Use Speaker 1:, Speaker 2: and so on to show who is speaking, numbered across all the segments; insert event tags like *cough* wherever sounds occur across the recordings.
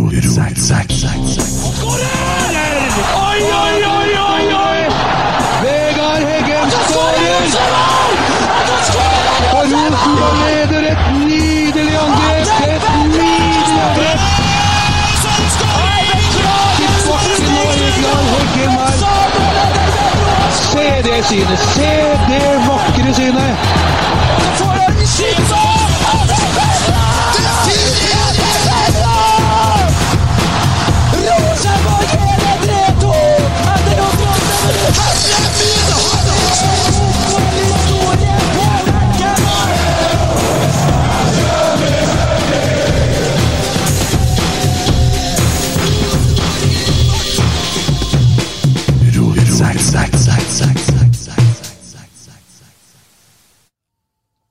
Speaker 1: Nerdsack.
Speaker 2: Oi, oi, oi, oi, oi!
Speaker 1: Vegard Heggen skårer! Og Rosenborg leder et nydelig angrep! Et nydelig angrep! Tilbake nå, Vegard Heggen her. Se det synet! Se det vakre synet!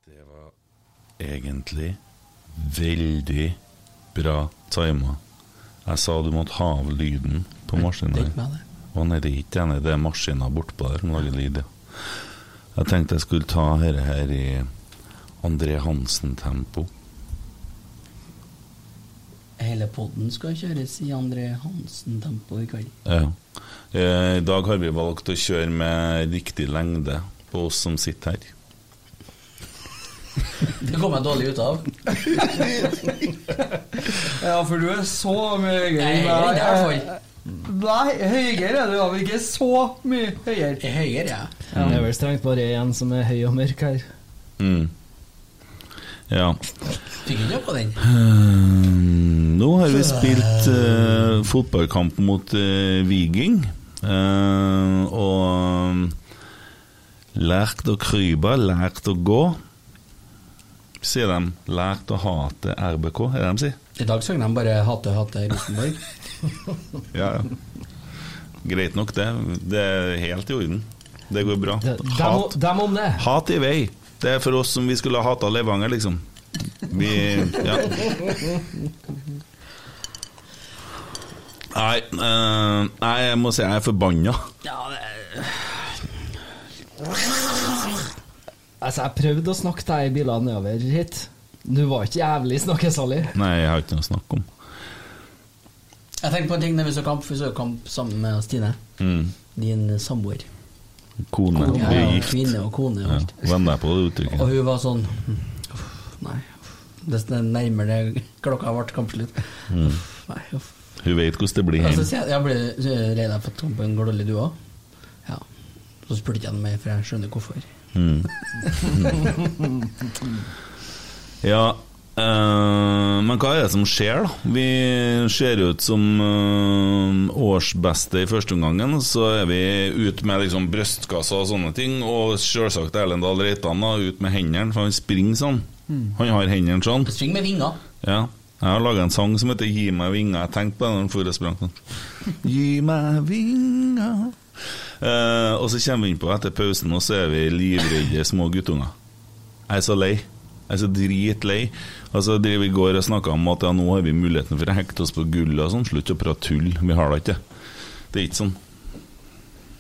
Speaker 3: Det var egentlig veldig bra tima. Jeg sa du måtte ha av lyden på maskinen. Å nei, det er ikke enig, det er maskinen bortpå der som lager lyd, ja. Jeg tenkte jeg skulle ta dette her i André Hansen-tempo.
Speaker 4: Hele podden skal kjøres i André Hansen-tempo i kveld.
Speaker 3: Ja. Eh, I dag har vi valgt å kjøre med riktig lengde på oss som sitter her.
Speaker 4: Det kom jeg dårlig ut av.
Speaker 5: Ja, for du er så mye høyere
Speaker 4: Jeg er høyere enn deg, i hvert fall.
Speaker 5: Nei, høyere er du da, men ikke så mye høyere.
Speaker 4: Jeg er høyere, jeg.
Speaker 6: Ja, det er vel strengt bare én som er høy og mørk her.
Speaker 3: Mm. Ja.
Speaker 4: Fikk ikke noe på den.
Speaker 3: Ehm, Nå har vi spilt eh, fotballkamp mot eh, Viking. Eh, og um, lært å krype, lært å gå. Sier de. Lært å hate RBK, er det de sier?
Speaker 4: I dag sang de bare 'Hate, hate Rosenborg'.
Speaker 3: Ja, ja. Greit nok, det. Det er helt i orden. Det går bra.
Speaker 6: De- Dem,
Speaker 3: Hat,
Speaker 6: dem om det.
Speaker 3: hat i vei. Det er for oss som vi skulle ha hata Levanger, liksom. Vi Ja. Nei, eh, nei, jeg må si jeg er forbanna.
Speaker 4: Ja, det
Speaker 6: Altså, jeg prøvde å snakke deg i bilene nedover hit. Du var ikke jævlig snakkesalig.
Speaker 3: Nei, jeg har ikke noe å snakke om.
Speaker 4: Jeg tenkte på en ting da vi så kamp. Vi så kamp sammen med Stine.
Speaker 3: Mm.
Speaker 4: Din samboer.
Speaker 3: Kone.
Speaker 4: Ja,
Speaker 3: Vi er
Speaker 4: og
Speaker 3: gift.
Speaker 4: kvinne og kone og
Speaker 3: Ja,
Speaker 4: alt.
Speaker 3: Venn deg på det
Speaker 4: Og
Speaker 3: uttrykket.
Speaker 4: hun var sånn «Uff, Nei. uff». Desto nærmere det klokka ble kampslutt.
Speaker 3: Mm.
Speaker 4: Uff, Nei, uff.
Speaker 3: Hun vet hvordan det blir
Speaker 4: Og så
Speaker 3: hjemme.
Speaker 4: sier jeg jeg ble så er jeg lei deg for at kampen går dårlig, du òg. Ja. Så spurte jeg ikke mer, for jeg skjønner hvorfor.
Speaker 3: Mm. *laughs* ja, eh, men hva er det som skjer, da? Vi ser ut som eh, årsbeste i første omgangen, så er vi ute med liksom brystkassa og sånne ting, og selvsagt Erlend Dahl Reitan da, ut med hendene, for han springer sånn. Han har hendene sånn.
Speaker 4: Sving med vinger.
Speaker 3: Ja. Jeg har laga en sang som heter 'Gi meg vinger'. Jeg tenkte på den når den forrige sprang sånn. Gi meg vinger Eh, Og så kommer vi innpå etter pausen, og så er vi livredde små guttunger. Jeg er så lei. Jeg er så dritlei. Og så driver vi i går og snakka om at ja, nå har vi muligheten for å hekte oss på gullet og sånn. Slutt å prate tull. Vi har da ikke det. Det er ikke sånn.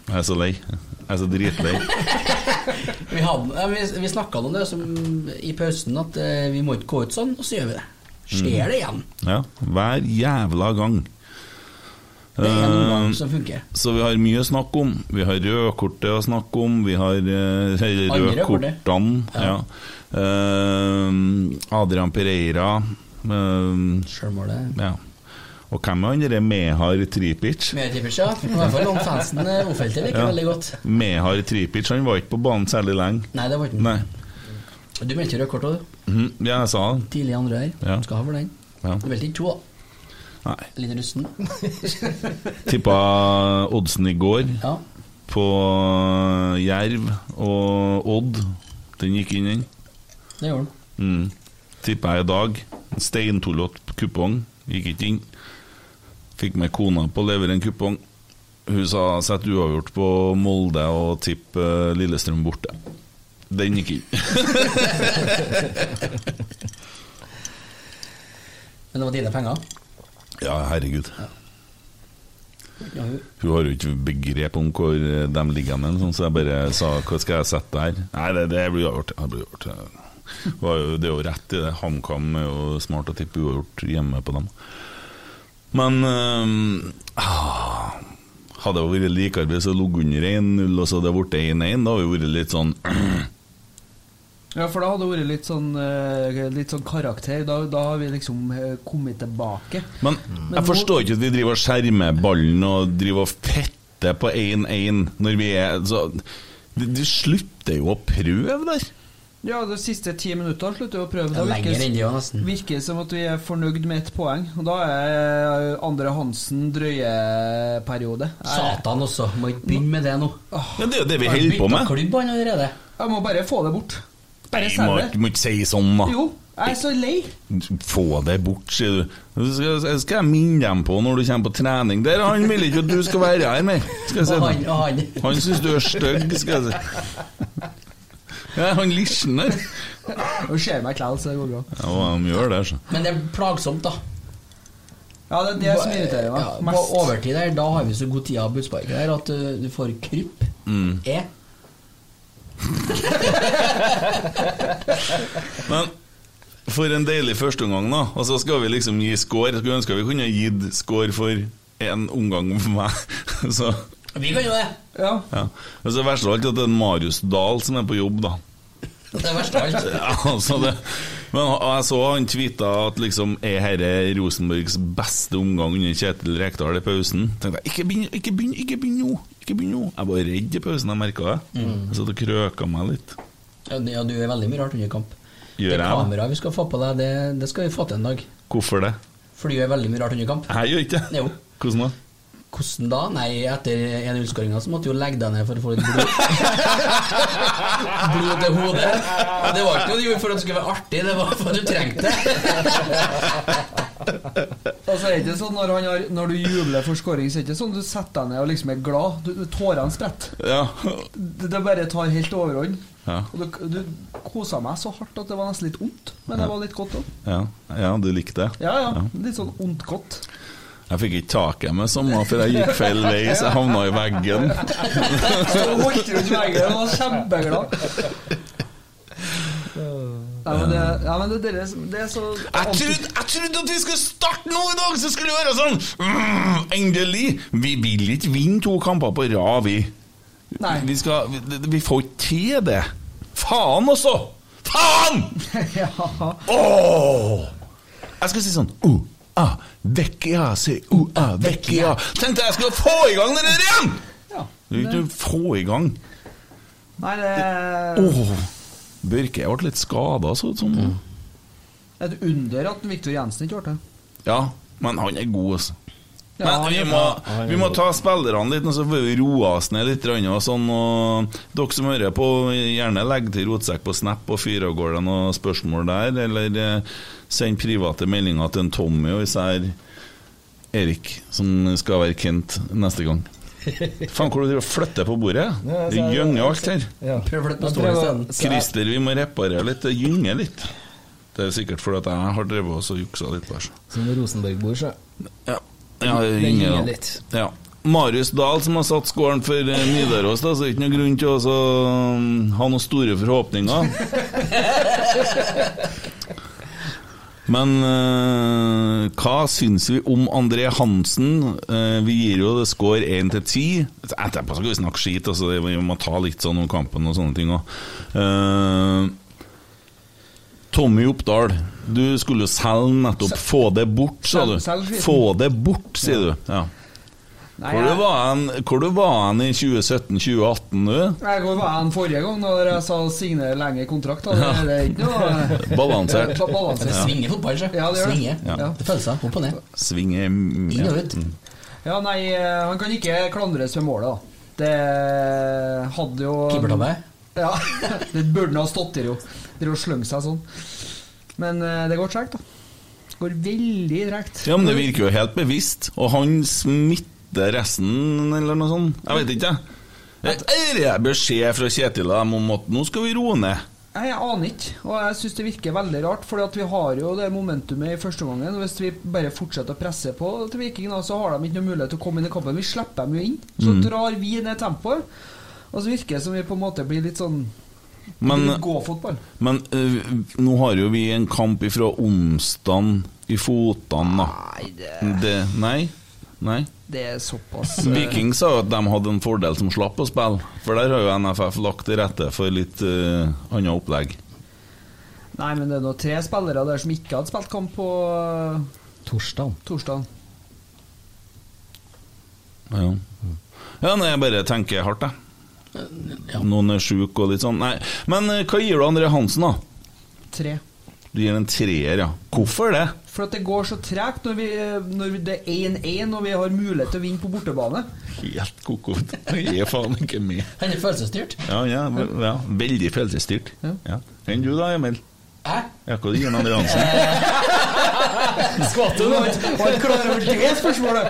Speaker 3: Jeg er så lei. Jeg er så dritlei.
Speaker 4: Vi, hadde- ja, vi, vi snakka om det som, i pausen, at eh, vi må ikke gå ut sånn, og så gjør vi det.
Speaker 3: Mm.
Speaker 4: Skjer det igjen?
Speaker 3: Ja. Hver jævla gang.
Speaker 4: Det er en
Speaker 3: Eh,
Speaker 4: gang som funker.
Speaker 3: Så vi har mye å snakke om. Vi har rødkortet å snakke om. Vi har eh,
Speaker 4: Andre kortet.
Speaker 3: rødkortene. Ja. Eh, Adrian Pereira. eh,
Speaker 4: Sjølmålet
Speaker 3: ja. Og hvem er han derre Mehar Tripic?
Speaker 4: Mer tippers, ja. I hvert fall om fansen eh, Ofeldt liker
Speaker 3: Ja.
Speaker 4: veldig godt.
Speaker 3: Mehar Tripic han var ikke på banen særlig lenge.
Speaker 4: Nei, det var ikke
Speaker 3: Nei.
Speaker 4: den. Du meldte rødt kort òg, du.
Speaker 3: Mhm, Ja, jeg sa det.
Speaker 4: Tidlig i andre her.
Speaker 3: Ja.
Speaker 4: Skal ha for den.
Speaker 3: Ja.
Speaker 4: Du meldte ikke to, da.
Speaker 3: Nei.
Speaker 4: Litt rusten.
Speaker 3: Tippa oddsen i går
Speaker 4: Ja.
Speaker 3: på Jerv og Odd. Den gikk inn, den.
Speaker 4: Det gjorde han.
Speaker 3: Mm. Tippa jeg i dag. En Steintullot kupong. Gikk ikke inn. Fikk med kona på å levere en kupong. Hun sa 'sett uavgjort på Molde og tipp eh, Lillestrøm borte'. Den gikk inn.
Speaker 4: Men det var dine penger.
Speaker 3: Ja, herregud.
Speaker 4: Ja, hun-
Speaker 3: Hun har jo ikke begrep om hvor eh, de ligger hen, sånn, så jeg bare sa 'hva skal jeg sette der'? Nei, det, det blir uavgjort. Det blir uavgjort. Det var jo- Det er jo rett i det. HamKam er jo smart å tippe uavgjort hjemme på dem. Men ehm, ah, Hadde det vært likarbeid, så lå under 1-0, og så hadde det blitt 1-1. Da hadde det vært litt sånn *clears throat*
Speaker 5: Ja, for da hadde det vært litt sånn eh, Litt sånn karakter. Da, da har vi liksom eh, kommet tilbake.
Speaker 3: Men jeg forstår ikke at vi driver og skjermer ballen og driver og fetter på 1-1 når vi er så, du, du slutter jo å prøve der.
Speaker 5: Ja, de siste ti minuttene slutter vi å prøve.
Speaker 4: Det er lenger enn det, ja, nesten.
Speaker 5: virker som at vi er fornøyd med ett poeng. Og da er eh, Andre Hansen drøyeperiode. Jeg,
Speaker 4: Satan også, må ikke begynne med det nå.
Speaker 3: Ja, det er jo det vi holder på med.
Speaker 4: Klubb han allerede.
Speaker 5: jeg må bare få det bort. Bare
Speaker 3: Du må,
Speaker 5: selge
Speaker 3: ikke-
Speaker 5: det.
Speaker 3: må ikke si sånn, da.
Speaker 5: Jo, jeg er så lei.
Speaker 3: Få det bort, sier du. Så Skal, skal jeg minne dem på når du kommer på trening Der, han vil ikke at du skal være her mer. Skal jeg
Speaker 4: Og han,
Speaker 3: si.
Speaker 4: og han.
Speaker 3: Han syns du er stygg, skal jeg si. Ja, han lisjen der.
Speaker 5: Nå ser jeg meg klæl, så det går bra.
Speaker 3: Ja, de gjør det, altså. så.
Speaker 4: Men det er plagsomt, da.
Speaker 5: Ja, det er det som irriterer
Speaker 4: Ja,
Speaker 5: meg
Speaker 4: på
Speaker 5: mest.
Speaker 4: overtid der, da har vi så god tid av budsparket der at uh, du får krypp.
Speaker 3: Mm.
Speaker 4: E.
Speaker 3: Men for en deilig førsteomgang, da. Og så skal vi liksom gi score. Skulle ønske vi kunne gitt score for én omgang for meg. *laughs* Så,
Speaker 4: Vi kan jo det.
Speaker 5: Ja.
Speaker 3: ja. Og så verst av alt at det er en Marius Dahl som er på jobb, da.
Speaker 4: Det er verst av alt.
Speaker 3: *laughs* Ja, altså det. Men og jeg så han tweeta at liksom er herre Rosenborgs beste omgang under Kjetil Rekdal i pausen. Tenkte jeg, ikke begynn, ikke begynn, ikke begynn nå! Ikke begynn nå! Jeg var redd i pausen, jeg merka det.
Speaker 4: Mm.
Speaker 3: Jeg satt og krøka meg litt.
Speaker 4: Ja, du- ja, du gjør veldig mye rart under kamp.
Speaker 3: Gjør
Speaker 4: det
Speaker 3: jeg?
Speaker 4: kameraet vi skal få på deg, det, det skal vi få til en dag.
Speaker 3: Hvorfor det?
Speaker 4: For du gjør veldig mye rart under kamp.
Speaker 3: Jeg gjør ikke det.
Speaker 4: Jo.
Speaker 3: Hvordan da?
Speaker 4: Hvordan da? Nei, etter 1-0-skåringa så måtte du jo legge deg ned for å få litt blod. blod til hodet. Og det var ikke noe du gjorde for at det skulle være artig, det var for at du trengte det.
Speaker 5: Og så er det ikke sånn når, han har, når du jubler for scoring, så er det ikke sånn du setter deg ned og liksom er glad. Du, du- tårene spretter.
Speaker 3: Ja,
Speaker 5: Det, det bare tar helt overhånd.
Speaker 3: Ja.
Speaker 5: Og du, du kosa meg så hardt at det var nesten litt vondt, men det var litt godt òg.
Speaker 3: Ja, ja du likte det.
Speaker 5: Ja, ja. Litt sånn ondt godt.
Speaker 3: Jeg fikk ikke tak i meg sommer, for jeg gikk feil vei, så jeg havna i veggen.
Speaker 5: Så holdt rundt veggen og var kjempeglad. Nei, men det, ja, men det, det, er, det er så
Speaker 3: Jeg trodde, jeg trodde at vi skulle starte nå i dag, så skulle det være sånn mm, Endelig! Vi vil ikke vinne to kamper på rad, vi.
Speaker 5: Nei.
Speaker 3: Vi, skal, vi, vi får ikke til det. Faen også! Faen!
Speaker 5: *laughs* Ja.
Speaker 3: Åh! Jeg skal si sånn uh, ah, Vecchia, se uh, ah, Vecchia. Tenkte jeg skulle få i gang det der igjen!
Speaker 5: ja.
Speaker 3: Du vil ikke få i gang.
Speaker 5: Nei, det er
Speaker 3: Åh, Børke jeg ble litt skada, så ut som.
Speaker 5: Mm. et under at Viktor Jensen ikke ble det.
Speaker 3: Ja, men han er god, altså.
Speaker 5: Ja,
Speaker 3: Men
Speaker 5: han
Speaker 3: vi
Speaker 5: er
Speaker 3: må, vi må ta spillerne litt, og så får vi roe oss ned litt. grann Og sånn, og dere som hører på, gjerne legg til rotsekk på Snap og fyr av gårde noen spørsmål der. Eller eh, send private meldinger til en Tommy og især Erik, som skal være Kent neste
Speaker 5: *laughs*
Speaker 3: gang. Faen, hvor du driver og flytter på bordet?
Speaker 5: altså,
Speaker 6: Ja,
Speaker 3: Det
Speaker 6: så er det-
Speaker 3: gynger alt her.
Speaker 6: Ja.
Speaker 4: Prøv å flytte på
Speaker 6: Jeg
Speaker 4: stolen
Speaker 6: prøver-
Speaker 4: isteden.
Speaker 6: så jeg-
Speaker 3: Christer, vi må reparere litt. Det gynger litt. Det er sikkert fordi at jeg har drevet oss og juksa litt. Lars.
Speaker 6: Som Rosenborg-bord, så.
Speaker 3: Ja. Ja, det
Speaker 6: Det
Speaker 3: gynger
Speaker 6: gynger
Speaker 3: da.
Speaker 6: litt.
Speaker 3: Ja. Marius Dahl, som har satt skåren for eh, Nidaros, da, så det er ikke noen grunn til å så, mm, ha noen store forhåpninger. Men eh, hva syns vi om André Hansen? Eh, vi gir jo det score 1 til 10. Etterpå skal vi snakke skit, altså, det- vi må ta litt sånn om kampen og sånne ting òg. Tommy Oppdal, du skulle jo selge nettopp. Få det bort, sa du.
Speaker 5: Selg- selg skiten.
Speaker 3: Få det bort, sier du. Ja.
Speaker 5: Nei,
Speaker 3: Hvor du
Speaker 5: jeg,
Speaker 3: var han, hvor du var han i 2017-2018, du?
Speaker 5: jeg går hva enn forrige gang da jeg sa signere lengre kontrakt. Da. Det, det er ikke noe
Speaker 3: Balansert.
Speaker 5: Ba- balanse.
Speaker 4: Det svinger fotball, så.
Speaker 5: Ja, det gjør det.
Speaker 4: svinger.
Speaker 5: Ja.
Speaker 4: Det føles seg opp og ned.
Speaker 3: Svinger
Speaker 4: Inn
Speaker 3: ja.
Speaker 4: og ut.
Speaker 5: Ja, nei, eh, han kan ikke klandres med målet, da. Det hadde jo
Speaker 4: Keepertabbe.
Speaker 5: Ja, *laughs* det burde han ha stått der jo. Dere å slønge seg sånn. Men eh, det går tregt, da. Går veldig tregt.
Speaker 3: ja, men det virker jo helt bevisst. Og han smitter resten, eller noe sånt. Jeg vet ikke, jeg. Er det beskjed fra Kjetil og dem om at nå skal vi roe ned?
Speaker 5: Nei, Jeg aner ikke, og jeg syns det virker veldig rart. For vi har jo det momentumet i første omgangen. og Hvis vi bare fortsetter å presse på til Viking, da, så har de ikke noe mulighet til å komme inn i kampen. Vi slipper dem jo inn.
Speaker 3: Mm.
Speaker 5: Så drar vi ned tempoet, og så virker det som vi på en måte blir litt sånn
Speaker 3: Men, eh,
Speaker 5: Gå fotball.
Speaker 3: men øh, nå har jo vi en kamp ifra onsdag I fotene, da.
Speaker 5: Nei, det,
Speaker 4: Ah.
Speaker 3: Det, nei? Nei?
Speaker 5: det er såpass eh,
Speaker 3: *laughs* Viking sa jo at de hadde en fordel som slapp å spille, for der har jo NFF lagt til rette for litt eh, annet opplegg.
Speaker 5: eh, Nei, men det er nå tre spillere der som ikke hadde spilt kamp på eh,
Speaker 6: Torsdag.
Speaker 5: torsdag.
Speaker 3: Ja, ja nei, jeg bare tenker hardt, jeg. Noen er sjuke og litt sånn. Nei, men eh, hva gir du André Hansen, da?
Speaker 5: Tre.
Speaker 3: Du gir en treer, ja. Hvorfor det?
Speaker 5: For at det går så tregt når, vi- når det er 1-1 og vi har mulighet til å vinne på bortebane.
Speaker 3: Helt ko-ko. Jeg er faen ikke med.
Speaker 4: Han er følelsesstyrt.
Speaker 3: Ja, ja, ve- ja. Veldig følelsesstyrt. Ja. Enn du da, Emil?
Speaker 4: Hæ?
Speaker 3: Ja, hva gir du André *laughs* Hansen?
Speaker 4: Skvatt du nå?
Speaker 5: Og jeg klarer over det spørsmålet!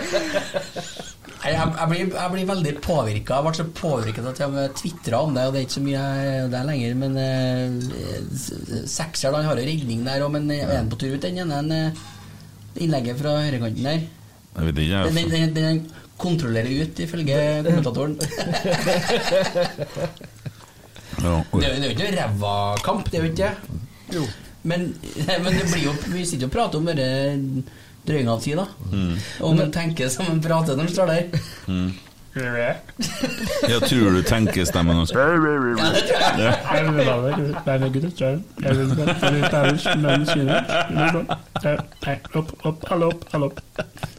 Speaker 4: Nei, Jeg, jeg, blir, jeg blir veldig påvirka. Jeg ble så påvirket at jeg tvitra om det, og det er ikke så mye jeg- der lenger. Men eh, s- sekser, da, han har jo redning der òg, men eh, er han på tur ut, den ene en, eh, innlegget fra høyrekanten der?
Speaker 3: Jeg vet ikke,
Speaker 4: Den,
Speaker 3: jeg.
Speaker 4: den, den, den kontrollerer ut, ifølge kommentatoren. Det
Speaker 3: Ja,
Speaker 4: er jo- det er jo ikke noe ræva kamp, det er jo ikke det. Men, *laughs* men det blir jo, vi sitter jo og prater om denne drøyinga av tid, da. Om en tenker som en prater når en står der.
Speaker 3: Jeg tror du tenker stemmen hans.
Speaker 4: Ja, det tror jeg.
Speaker 2: Eh, Opp, opp, alle opp, alle opp.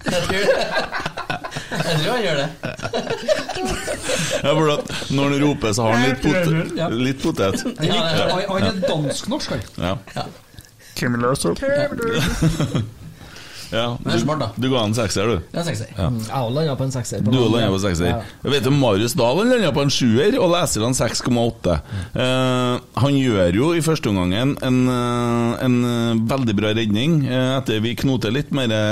Speaker 4: Jeg tror, *laughs* jeg tror han gjør det.
Speaker 3: Ja, for at når han roper, så har han litt,
Speaker 4: Ja.
Speaker 3: potet litt potet.
Speaker 4: Ja, det
Speaker 5: Han han er dansk-norsk, han.
Speaker 3: Ja.
Speaker 2: Kimmy Larsup.
Speaker 3: *laughs* ja.
Speaker 4: Men det er smart, da.
Speaker 3: Du, du ga han en sekser, du.
Speaker 4: det er sekser. Mm.
Speaker 6: Jeg har landa på en sekser. på
Speaker 3: Du
Speaker 6: den.
Speaker 3: landa på sekser.
Speaker 6: Ja.
Speaker 3: Jeg vet jo Marius Dahl han landa på en sjuer, og leserne 6,8. Eh, han gjør jo i første omgang en, eh, en eh, veldig bra redning. Eh, etter vi knoter litt med det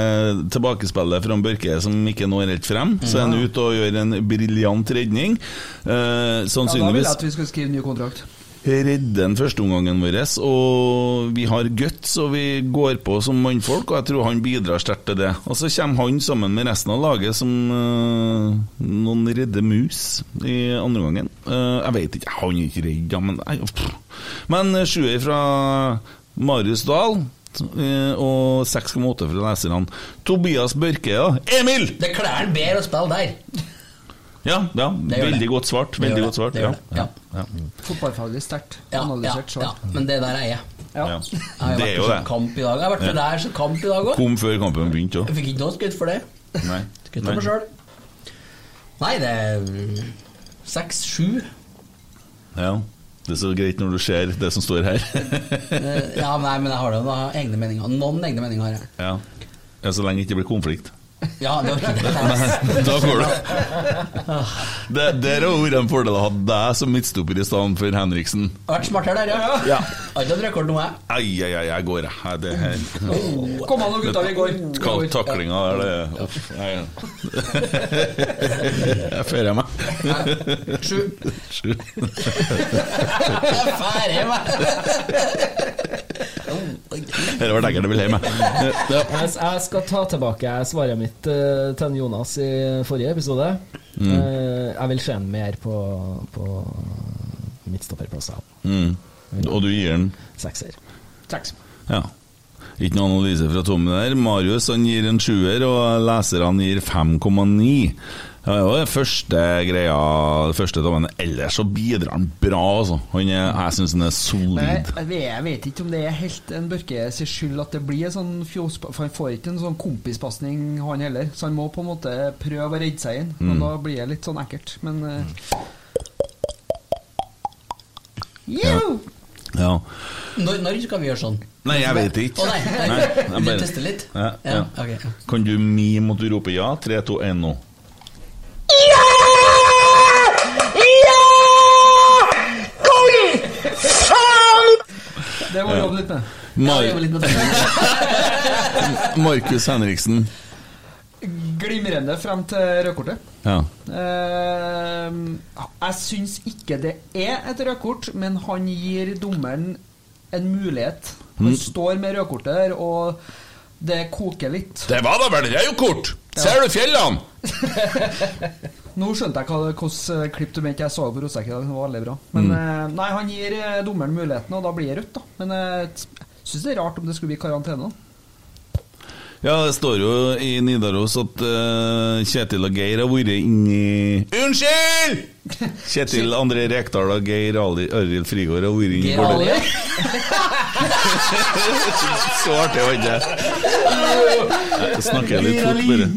Speaker 3: tilbakespillet fra Børke som ikke når helt frem, så er han ute og gjør en briljant redning. Eh,
Speaker 5: Ja, da ville jeg
Speaker 3: sannsynligvis
Speaker 5: at vi skulle skrive ny kontrakt.
Speaker 3: redde den førsteomgangen vår, og vi har guts, og vi går på som mannfolk, og jeg tror han bidrar sterkt til det. Og så kommer han sammen med resten av laget som eh, noen redde mus i andre gangen. Eh, jeg vet ikke, han er ikke redd, ja, men nei, pff. Men eh, sjuer fra Marius Dahl. eh, Og 6,8 fra leserne. Tobias Børke, ja. Emil!
Speaker 4: Det klær han bedre å spille der.
Speaker 3: Ja, ja
Speaker 4: Det gjør det.
Speaker 3: veldig godt svart.
Speaker 4: gjør
Speaker 3: Veldig
Speaker 4: det,
Speaker 3: godt svart.
Speaker 4: det
Speaker 3: Ja,
Speaker 4: gjør det, ja.
Speaker 3: ja.
Speaker 5: Fotballfaglig sterkt
Speaker 4: Ja, ja,
Speaker 5: analysert.
Speaker 4: ja,
Speaker 5: Ja,
Speaker 4: men det der er jeg.
Speaker 5: ja.
Speaker 4: Jeg har
Speaker 3: Det er jo
Speaker 4: vært på
Speaker 3: det.
Speaker 4: sånn kamp i dag. Jeg har vært på der så kamp i dag òg.
Speaker 3: Kom før kampen begynte òg.
Speaker 4: Jeg fikk ikke noe skudd for det.
Speaker 3: Nei.
Speaker 4: Skutt på meg sjøl. Nei, det er mm, seks-sju.
Speaker 3: Ja, det er så greit når du ser det som står her. *laughs*
Speaker 4: Eh, Ja, nei, men jeg har jo noen egne meninger. Noen egne meninger har jeg.
Speaker 3: ja. ja, Så lenge det ikke blir konflikt.
Speaker 4: Ja, det orker
Speaker 3: *laughs*
Speaker 4: jeg ikke.
Speaker 3: Da går det. det der har vært en fordel å ha deg som midtstopper i stedet for Henriksen.
Speaker 4: Jeg har Vært smartere der, ja.
Speaker 3: Ja.
Speaker 4: Jeg Har ikke hatt rekord nå, jeg. *laughs*
Speaker 3: Ai, ai, ai, jeg går, jeg. Nei, Det her
Speaker 5: Kom an, nå, gutta, vi går. Vi
Speaker 3: Ta-
Speaker 5: går.
Speaker 3: Taklinga der, det Uff, nei, ja. *laughs* Jeg fører meg.
Speaker 4: Sju.
Speaker 3: *laughs* Sju.
Speaker 4: Jeg *laughs* er ferdig med
Speaker 3: Dette var lekkert, jeg vil hjem, jeg. Ja.
Speaker 6: Jeg, jeg skal ta tilbake svaret mitt eh, til en Jonas i forrige episode. Eh, jeg vil se ham mer på, på midtstopperplasser.
Speaker 3: Mm. Og du gir den
Speaker 6: Sekser.
Speaker 5: Seks.
Speaker 3: Ja. Ikke noe analyse fra Tommy der. Marius han gir en sjuer, og leserne gir 5,9. Ja, det var det første greia det første dommen. Ellers så bidrar han bra, altså. Han er, jeg syns han er
Speaker 5: Men
Speaker 3: solid.
Speaker 5: jeg, jeg vet ikke om det er helt en Børke sin skyld at det blir en sånn fjos... For han får ikke en sånn kompispasning, han heller. Så han må på en måte prøve å redde seg inn. Og da blir det litt sånn ekkelt. Men eh, Jo!
Speaker 3: Ja.
Speaker 4: Når, når skal vi gjøre sånn?
Speaker 3: Nei, jeg vet
Speaker 4: Å
Speaker 3: ikke.
Speaker 4: nei, nei.
Speaker 3: Nei, jeg
Speaker 4: du
Speaker 3: bare-
Speaker 4: tester litt?
Speaker 3: Ja, ja.
Speaker 4: ok.
Speaker 3: Kan du mime at du roper ja? 3, 2, 1 nå.
Speaker 5: Det må vi jobbe litt med.
Speaker 4: Ja, vi
Speaker 3: Mar
Speaker 4: jobber litt med det.
Speaker 3: Markus Henriksen.
Speaker 5: Glimrende frem til rødkortet.
Speaker 3: Ja.
Speaker 5: Eh, jeg syns ikke det er et rødkort, men han gir dommeren en mulighet. Han står med rødkortet der, og det koker litt.
Speaker 3: Det var da vel rødkort! Ser du fjellene?
Speaker 5: Nå skjønte jeg hva- hvordan eh, klipp du mente jeg så på Rosek i dag. Det var veldig bra.
Speaker 4: Mm.
Speaker 5: Men eh, nei, han gir eh, dommeren muligheten, og da blir det rødt, da. Men eh, jeg syns det er rart om det skulle bli karantene. da.
Speaker 3: Ja, det står jo i Nidaros at eh, Kjetil og Geir har vært inni Unnskyld! Kjetil André Rekdal og Geir Ali- Arild Frigård har vært inni
Speaker 4: Geir Ali.
Speaker 3: Gordon. *laughs* Så artig var ikke det. Jeg snakker litt fort, bare.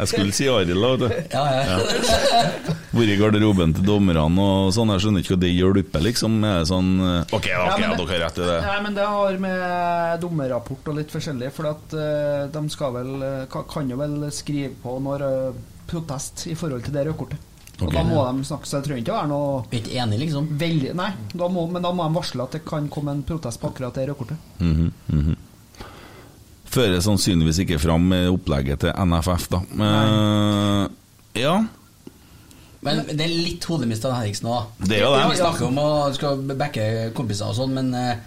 Speaker 3: Jeg skulle si Arild, da. vet du.
Speaker 4: Ja, ja.
Speaker 3: Vært i garderoben til dommerne og sånn. Jeg skjønner ikke hva det hjelper, liksom. Jeg er sånn eh, OK, ok, ja,
Speaker 5: men det-
Speaker 3: dere har rett i det.
Speaker 5: Nei, men det har med dommerrapport og litt forskjellig, for at eh, de skal vel eh, ka- kan jo vel skrive på når eh, protest i forhold til det rødkortet. Og
Speaker 3: Ok.
Speaker 5: da må de snakke, så det trenger ikke å være noe
Speaker 4: Vi er ikke enige, liksom.
Speaker 5: veldig Nei, da må, men da må de varsle at det kan komme en protest på akkurat det rødkortet.
Speaker 3: Mhm, mhm. Fører sannsynligvis ikke fram med opplegget til NFF, da. Eh, ja,
Speaker 4: Men det er litt hodemist av Henriksen òg.
Speaker 3: Det er jo det.
Speaker 4: Vi snakker om å skal backe kompiser og sånn, men eh,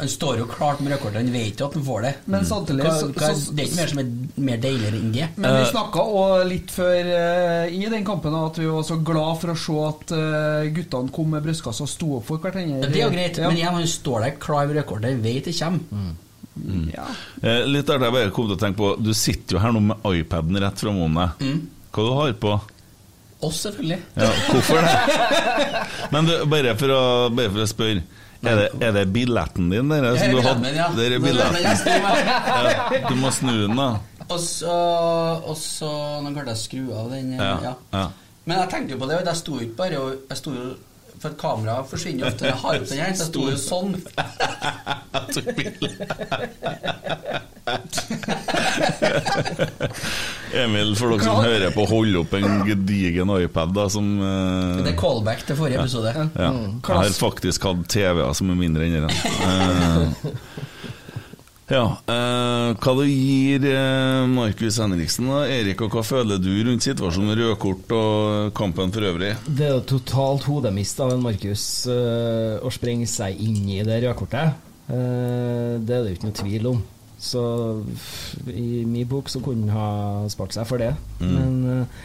Speaker 4: han står jo klart med rødkortet. Han vet jo at han får det.
Speaker 5: Men samtidig
Speaker 4: Mm. hva,
Speaker 5: så,
Speaker 4: hva,
Speaker 5: så,
Speaker 4: Det er ikke mer som er mer deiligere enn det.
Speaker 5: Men
Speaker 6: Eh,
Speaker 5: vi snakka òg litt før eh, i den kampen at vi var så glad for å se at eh, guttene kom med brystkasse og sto opp for hverandre.
Speaker 4: Ja, Det er jo greit, men igjen, han står der klar med rødkortet, vet det kommer.
Speaker 3: Mm.
Speaker 5: ja.
Speaker 6: Mm.
Speaker 3: eh, litt artig jeg bare kom til å tenke på. Du sitter jo her nå med iPaden rett framom deg.
Speaker 4: Mm.
Speaker 3: Hva du har på?
Speaker 4: Oss, selvfølgelig.
Speaker 3: Ja, hvorfor det?
Speaker 4: *laughs*
Speaker 3: Men du, bare, for å, bare for å spørre. Er det, er det billetten din der?
Speaker 4: Det
Speaker 3: Som
Speaker 4: er
Speaker 3: du hadde?
Speaker 4: billetten, ja.
Speaker 3: Det er
Speaker 4: Nå er det
Speaker 3: billetten.
Speaker 4: billetten.
Speaker 3: Ja, du må snu den, da.
Speaker 4: Og så, og så Nå klarte jeg å skru av den. eh,
Speaker 3: Ja, ja.
Speaker 4: Men jeg tenkte jo på det, og jeg sto jo ikke bare og jeg sto jo, For et kamera forsvinner jo ofte når jeg har opp den her, så jeg sto jo sånn.
Speaker 3: Jeg tok bilde. Emil, for dere som hører på, hold opp en gedigen iPad da, som eh,
Speaker 4: Det er callback til forrige episode.
Speaker 3: ja. Jeg har faktisk hatt TV-er som er mindre enn den. Eh, ja, eh, hva du gir eh, Markus Henriksen da? Erik, og hva føler du rundt situasjonen med rødkort og kampen for øvrig?
Speaker 6: Det er jo totalt hodemist av en Markus eh, å sprenge seg inn i det rødkortet. Eh, det er det jo ikke noe tvil om. Så f- i min bok så kunne han ha spart seg for det. Men eh,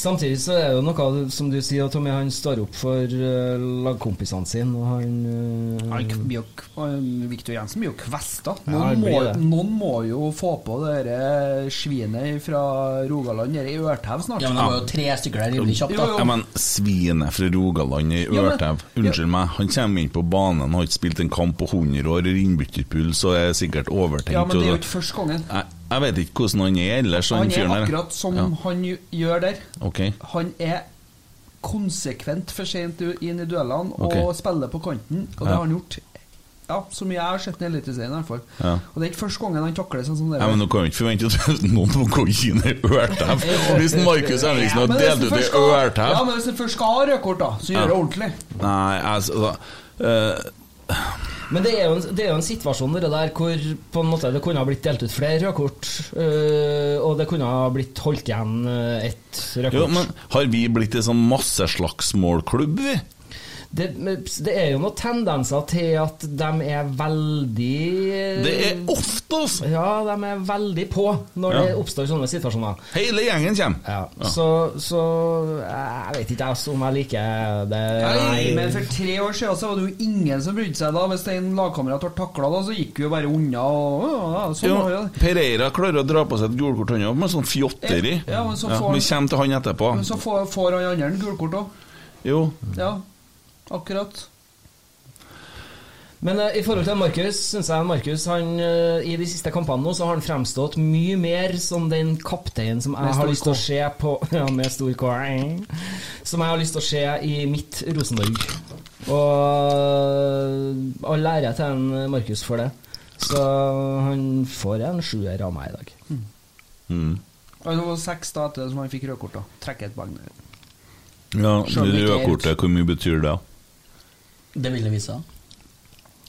Speaker 6: samtidig så er det jo noe som du sier, at Tommy han står opp for eh, lagkompisene sine, og han
Speaker 5: Han
Speaker 6: eh,
Speaker 5: blir jo k- han- Victor Jensen blir jo kvesta.
Speaker 6: Ja,
Speaker 5: Noen,
Speaker 6: han blir
Speaker 5: må-
Speaker 6: det.
Speaker 5: noen må jo få på det der eh, svinet fra Rogaland, det i Ørtev snart.
Speaker 4: Ja, men det var jo tre stykker der rimelig kjapt, da.
Speaker 5: Jo,
Speaker 3: Ja, men Svinet fra Rogaland i
Speaker 5: men-
Speaker 3: Ørtev, unnskyld meg, han kommer inn på banen, han har ikke spilt en kamp på 100 år, har innbytterpuls og er sikkert overtenkt.
Speaker 5: Ja, men det er jo
Speaker 3: og
Speaker 5: ikke første gangen.
Speaker 3: jeg, jeg vet ikke hvordan han er ellers, han,
Speaker 6: Sånn
Speaker 5: Han er
Speaker 3: fyren der.
Speaker 5: akkurat som
Speaker 3: Ja,
Speaker 5: han jo- gjør der.
Speaker 3: ok.
Speaker 5: Han er konsekvent for sent u- inn i duellene og
Speaker 3: Ok.
Speaker 5: spiller på kanten, og det
Speaker 3: Ja.
Speaker 5: har han gjort. Ja, Så mye jeg har sett i Eliteserien, i hvert fall.
Speaker 3: Ja.
Speaker 5: Og det er ikke første gangen han takler sånn som det.
Speaker 3: Ja, men Nå kan vi ikke forvente at noen må gå inn i
Speaker 5: *laughs*
Speaker 3: Ørtev hvis Markus Henriksen har
Speaker 5: Ja, men hvis
Speaker 3: delt
Speaker 5: du
Speaker 3: ut i
Speaker 5: først skal-
Speaker 3: Ørtev.
Speaker 5: Ja, men hvis du først skal ha rødkort, da, så gjør
Speaker 3: Ja.
Speaker 5: det ordentlig.
Speaker 3: Nei, altså eh,
Speaker 6: Men det er, jo en, det er jo en situasjon det der hvor på en måte det kunne ha blitt delt ut flere rødkort, eh, og det kunne ha blitt holdt igjen eh, ett rødkort.
Speaker 3: jo, men Har vi blitt en sånn masseslagsmålklubb, vi?
Speaker 6: Det, men det er jo noen tendenser til at de er veldig øh,
Speaker 3: Det er ofte, altså!
Speaker 6: Ja, de er veldig på når
Speaker 3: Ja.
Speaker 6: det oppstår sånne situasjoner.
Speaker 3: Hele gjengen kommer.
Speaker 6: Ja. Så, så jeg vet ikke jeg, om jeg liker det
Speaker 5: Nei, men for tre år siden så var det jo ingen som brydde seg da. Hvis en lagkamerat ble takla da, så gikk vi jo bare unna og ja, sånn
Speaker 3: Jo,
Speaker 5: var det.
Speaker 3: Pereira klarer å dra på seg et gulkort han òg, med sånn fjotteri.
Speaker 5: Ja, men så får han-
Speaker 3: vi kommer til han etterpå.
Speaker 5: Men så får, får han andre en gulkort òg.
Speaker 3: Jo.
Speaker 5: Ja, akkurat.
Speaker 6: Men eh, i forhold til Markus, syns jeg Markus han, eh, i de siste kampene nå, så har han fremstått mye mer som den kapteinen som jeg
Speaker 5: Med
Speaker 6: har
Speaker 5: stor
Speaker 6: lyst til å se på *laughs* Ja, med stor K. Som jeg har lyst til å se i mitt Rosenborg. Og all ære til en Markus for det. Så han får en sjuer av meg i dag.
Speaker 3: Mm.
Speaker 5: Og det var seks da etter det som han fikk rødkort. da Trekk et poeng. ned.
Speaker 3: Ja,
Speaker 5: Skjønner
Speaker 3: det
Speaker 5: ikke helt.
Speaker 3: rødkortet, hvor mye betyr det?
Speaker 4: Det ville vise seg.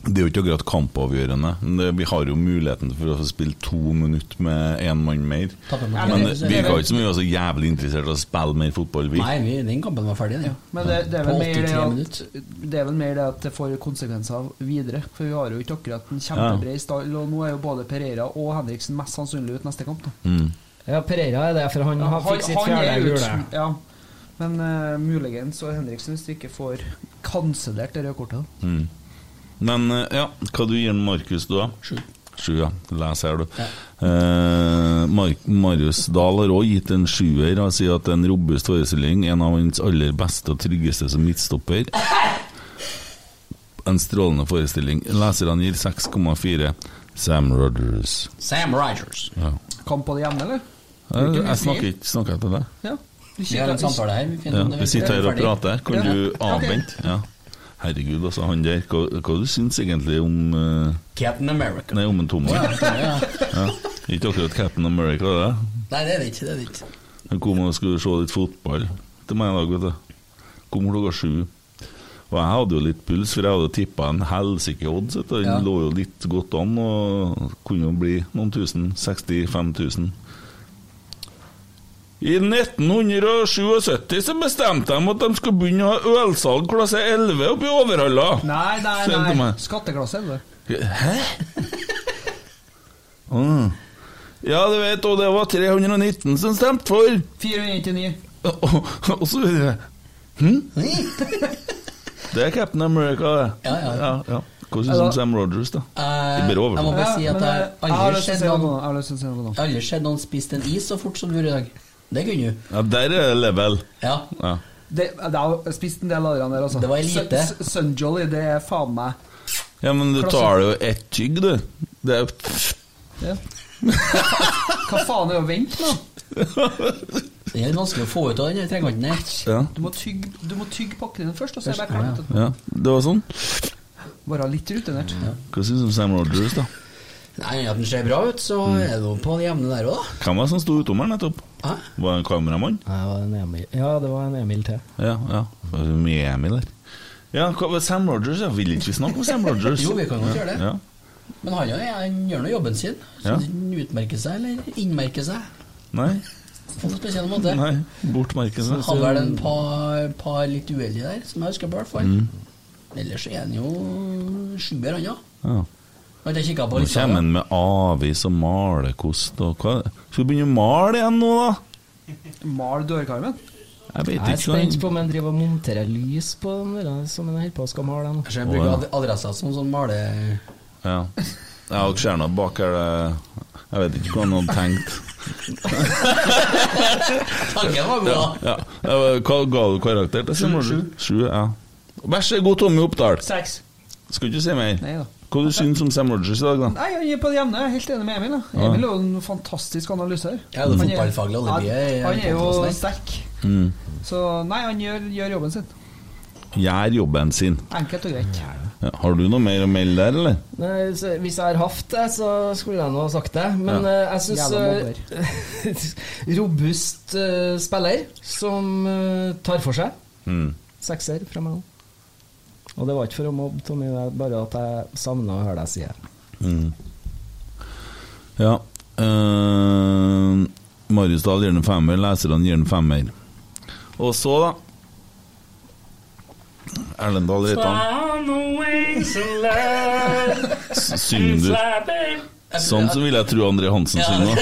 Speaker 3: Det er jo ikke akkurat kampavgjørende. men det- Vi har jo muligheten for å få spille to minutter med én mann mer.
Speaker 4: Tappe mot
Speaker 3: Men
Speaker 4: Rødkortet, så-
Speaker 3: vi er ikke så mye så jævlig interessert i å spille mer fotball, vi.
Speaker 4: Nei, vi, den kampen var ferdig, den.
Speaker 5: Men det, det, er vel
Speaker 4: På
Speaker 5: mer det,
Speaker 4: 83
Speaker 5: at, det er vel mer det at det får konsekvenser videre. For vi har jo ikke akkurat en kjempebred stall, og nå er jo både Pereira og Henriksen mest sannsynlig ut neste kamp. da
Speaker 3: Mm.
Speaker 6: Ja, Pereira er det, for han har fikk sitt fjerde
Speaker 5: er
Speaker 6: gule.
Speaker 5: ut. Ja. Men eh, muligens og Henriksen hvis du ikke får kansellert det røde kortet.
Speaker 3: Mm. Men eh, ja, hva du gir Markus, da?
Speaker 4: Sju.
Speaker 3: Sju, ja. Les her, du. Eh, Mar Marius Dahl har òg gitt en sjuer. Han sier at det er en robust forestilling, en av hans aller beste og tryggeste som midtstopper. En strålende forestilling. Leserne gir 6,4. Sam Rogers.
Speaker 4: Sam Rogers.
Speaker 3: Ja.
Speaker 5: Kamp på det jevne, eller?
Speaker 3: Jeg, jeg snakker ikke snakker jeg til deg.
Speaker 5: Ja. Vi
Speaker 4: Vi har en samtale her. Vi, finner
Speaker 3: Ja,
Speaker 4: ut om det
Speaker 3: vi sitter her og
Speaker 4: ferdig.
Speaker 3: prater. Kan du avvente? Ja. Herregud, altså, han der. Hva, hva du syns egentlig om eh,
Speaker 4: Captain America.
Speaker 3: Nei, om en tomme?
Speaker 4: Ja, *laughs* ja.
Speaker 3: Ja. Ikke akkurat Captain America, det.
Speaker 4: Nei, det er det ikke. Det er det ikke.
Speaker 3: Jeg kom og skulle se litt fotball til meg i dag, vet du. Kom klokka sju. Og jeg hadde jo litt puls, for jeg hadde tippa en helsike odds. vet du. Den
Speaker 4: Ja.
Speaker 3: lå jo litt godt an og kunne jo bli noen tusen. 65 000. I 1977 så bestemte de at de skulle begynne å ha ølsalg klasse 11 oppe i Overhalla.
Speaker 5: Nei, nei,
Speaker 3: Send til
Speaker 5: nei.
Speaker 3: meg.
Speaker 5: Skatteklasse, eller?
Speaker 3: Hæ? Ah. Ja, du vet, og det var 319 som stemte for.
Speaker 5: 499.
Speaker 3: Og, og, og så videre. Hm? Det er Captain America, det.
Speaker 4: Ja, ja. Altså-
Speaker 3: Hva syns du om Sam Rogers, da?
Speaker 4: Eh,
Speaker 3: Det blir over.
Speaker 4: Jeg må bare
Speaker 5: Ja,
Speaker 4: si at
Speaker 5: men,
Speaker 4: jeg
Speaker 5: eh, jeg har
Speaker 4: aldri
Speaker 5: lyst til å
Speaker 4: sett
Speaker 5: si noe
Speaker 4: noen
Speaker 5: nå, jeg har lyst til å si noe nå.
Speaker 4: Aldri sett noen spist en is så fort som du gjorde i dag. Det kunne du.
Speaker 3: Ja, Der er det level.
Speaker 4: Ja.
Speaker 3: Ja.
Speaker 5: Det, det har spist en del av den der, altså.
Speaker 4: Det var elite.
Speaker 5: Sun- Sun- Sunjolly, det er faen meg
Speaker 3: ja, men du tar det jo ett tygg, du. Det er
Speaker 5: Ja. Hva faen er det å vente nå?
Speaker 4: Det er vanskelig å få ut av den trekanten her.
Speaker 3: ja.
Speaker 5: Du må tygge du må tygge pakken din først, og så er det bare
Speaker 4: ja.
Speaker 5: klart. vet
Speaker 3: ja. Det var sånn.
Speaker 5: du. Bare litt rutinert.
Speaker 3: Hva syns du om Sam Rogers, da?
Speaker 4: Nei, at den ser bra ut, så
Speaker 3: Mm.
Speaker 4: er det noe på det jevne der òg,
Speaker 3: Hvem var det som sto utom her nettopp?
Speaker 4: da. Hæ?
Speaker 3: Var det en kameramann?
Speaker 6: Nei, det var en Emil. Ja, det var en Emil til.
Speaker 3: Ja, ja. Det var Mye Emil der. Ja, hva, var Sam Rogers, ja. Vil ikke vi snakke om Sam Rogers?
Speaker 4: Jo, vi kan godt gjøre det.
Speaker 3: Ja.
Speaker 4: Men han, ja, han gjør nå jobben sin. Så
Speaker 3: Ja.
Speaker 4: han utmerker seg, eller innmerker seg,
Speaker 3: Nei.
Speaker 4: på en spesiell måte.
Speaker 3: Nei. Bortmerke seg.
Speaker 4: Hadde vel en par, par litt uheldige der, som jeg husker på i hvert fall.
Speaker 3: Mm.
Speaker 4: Ellers er han jo sjuer, han, ja.
Speaker 3: Ja.
Speaker 4: Har ikke kikket på
Speaker 3: Nå
Speaker 4: litt
Speaker 3: kommer
Speaker 4: av det.
Speaker 3: han med avis og malekost og hva Skal vi begynne å male igjen nå, da?
Speaker 5: Mal dørkarmen.
Speaker 3: Jeg vet
Speaker 6: Jeg er
Speaker 3: ikke.
Speaker 6: spent
Speaker 3: hva
Speaker 6: på om han driver og monterer lys på den der som han holder på å skal male den.
Speaker 4: Kanskje jeg
Speaker 3: Å,
Speaker 4: bruker
Speaker 3: ja.
Speaker 4: ad adressa som sånn male...
Speaker 3: Ja. ja, og stjerna bak her det Jeg vet ikke hva han hadde tenkt.
Speaker 4: Tanken var god,
Speaker 3: Ja,
Speaker 4: da.
Speaker 3: ja. Eh, Hva ga du karakter til Simon? Sju. Sju, ja. Vær så god, Tommy Oppdal.
Speaker 5: Seks.
Speaker 3: Skal ikke si mer.
Speaker 5: Nei da.
Speaker 3: Hva du syns du om Sam Rogers i dag, da?
Speaker 5: Nei, jeg er på det jevne. Jeg er helt enig med Emil. Da.
Speaker 3: Ja.
Speaker 5: Emil er jo en fantastisk analyser.
Speaker 4: Ja, det er
Speaker 5: Han
Speaker 4: fotballfaglig alibi i
Speaker 5: Han han er
Speaker 4: podcasten
Speaker 5: jo
Speaker 4: her.
Speaker 5: sterk.
Speaker 3: Mm.
Speaker 5: Så nei, han gjør, gjør jobben sin.
Speaker 3: Gjør jobben sin.
Speaker 5: Enkelt og greit.
Speaker 3: Ja. Har du noe mer å melde der, eller?
Speaker 6: Nei, så Hvis jeg har hatt det, så skulle jeg nå ha sagt det. Men eh, jeg
Speaker 5: Jævla mobber.
Speaker 6: syns *laughs* Robust eh, spiller som eh, tar for seg.
Speaker 3: Mm.
Speaker 6: Sekser fra meg òg. Og det var ikke for å mobbe Tommy, det er bare at jeg savna å høre deg si det.
Speaker 3: Mm. Ja. Uh, Marius Dahl gir den femmer, leserne gir den femmer. Og så, da Erlend Dahl Reitan. S- Synger du Sånn så vil jeg tro André Hansen synger nå.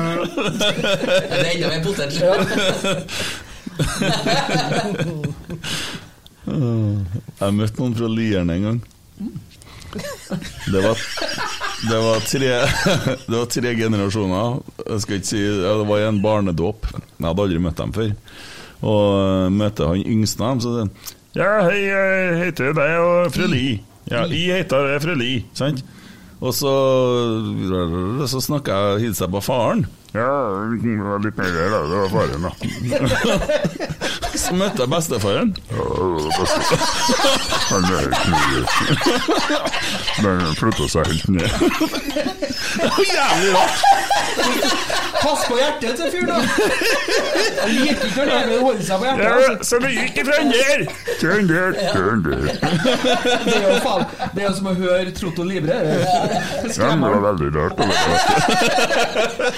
Speaker 4: Det er enda mer *laughs* potet.
Speaker 3: Eh, Jeg møtte noen fra Lierne en gang. Det var, det, var tre, *laughs* det var tre generasjoner. Jeg skal ikke si ja, Det var i en barnedåp. Jeg hadde aldri møtt dem før. Og eh, møtte han yngste av dem, så sier han Ja, hei, jeg heter deg og fra Li. Ja, jeg heter deg fra Li, sant? Og så, så snakka jeg og hilste jeg på faren. Ja, det var litt mer der, da. Det var faren, da. *laughs* Så møtte jeg bestefaren.
Speaker 7: Han er helt nede. Men
Speaker 3: Eh,
Speaker 7: han flytta seg helt
Speaker 3: *laughs*
Speaker 7: ned.
Speaker 3: Jævlig rart!
Speaker 5: Pass på hjertet til fyren, da! Han gikk ikke når Emil holder seg på hjertet. Altså.
Speaker 3: Så det gikk ifra den der!
Speaker 7: Den der, den der.
Speaker 5: Det er jo faen Det er jo som å høre Trotto Libre. det
Speaker 7: Den
Speaker 5: Skremmer.
Speaker 7: var veldig rart. det var det.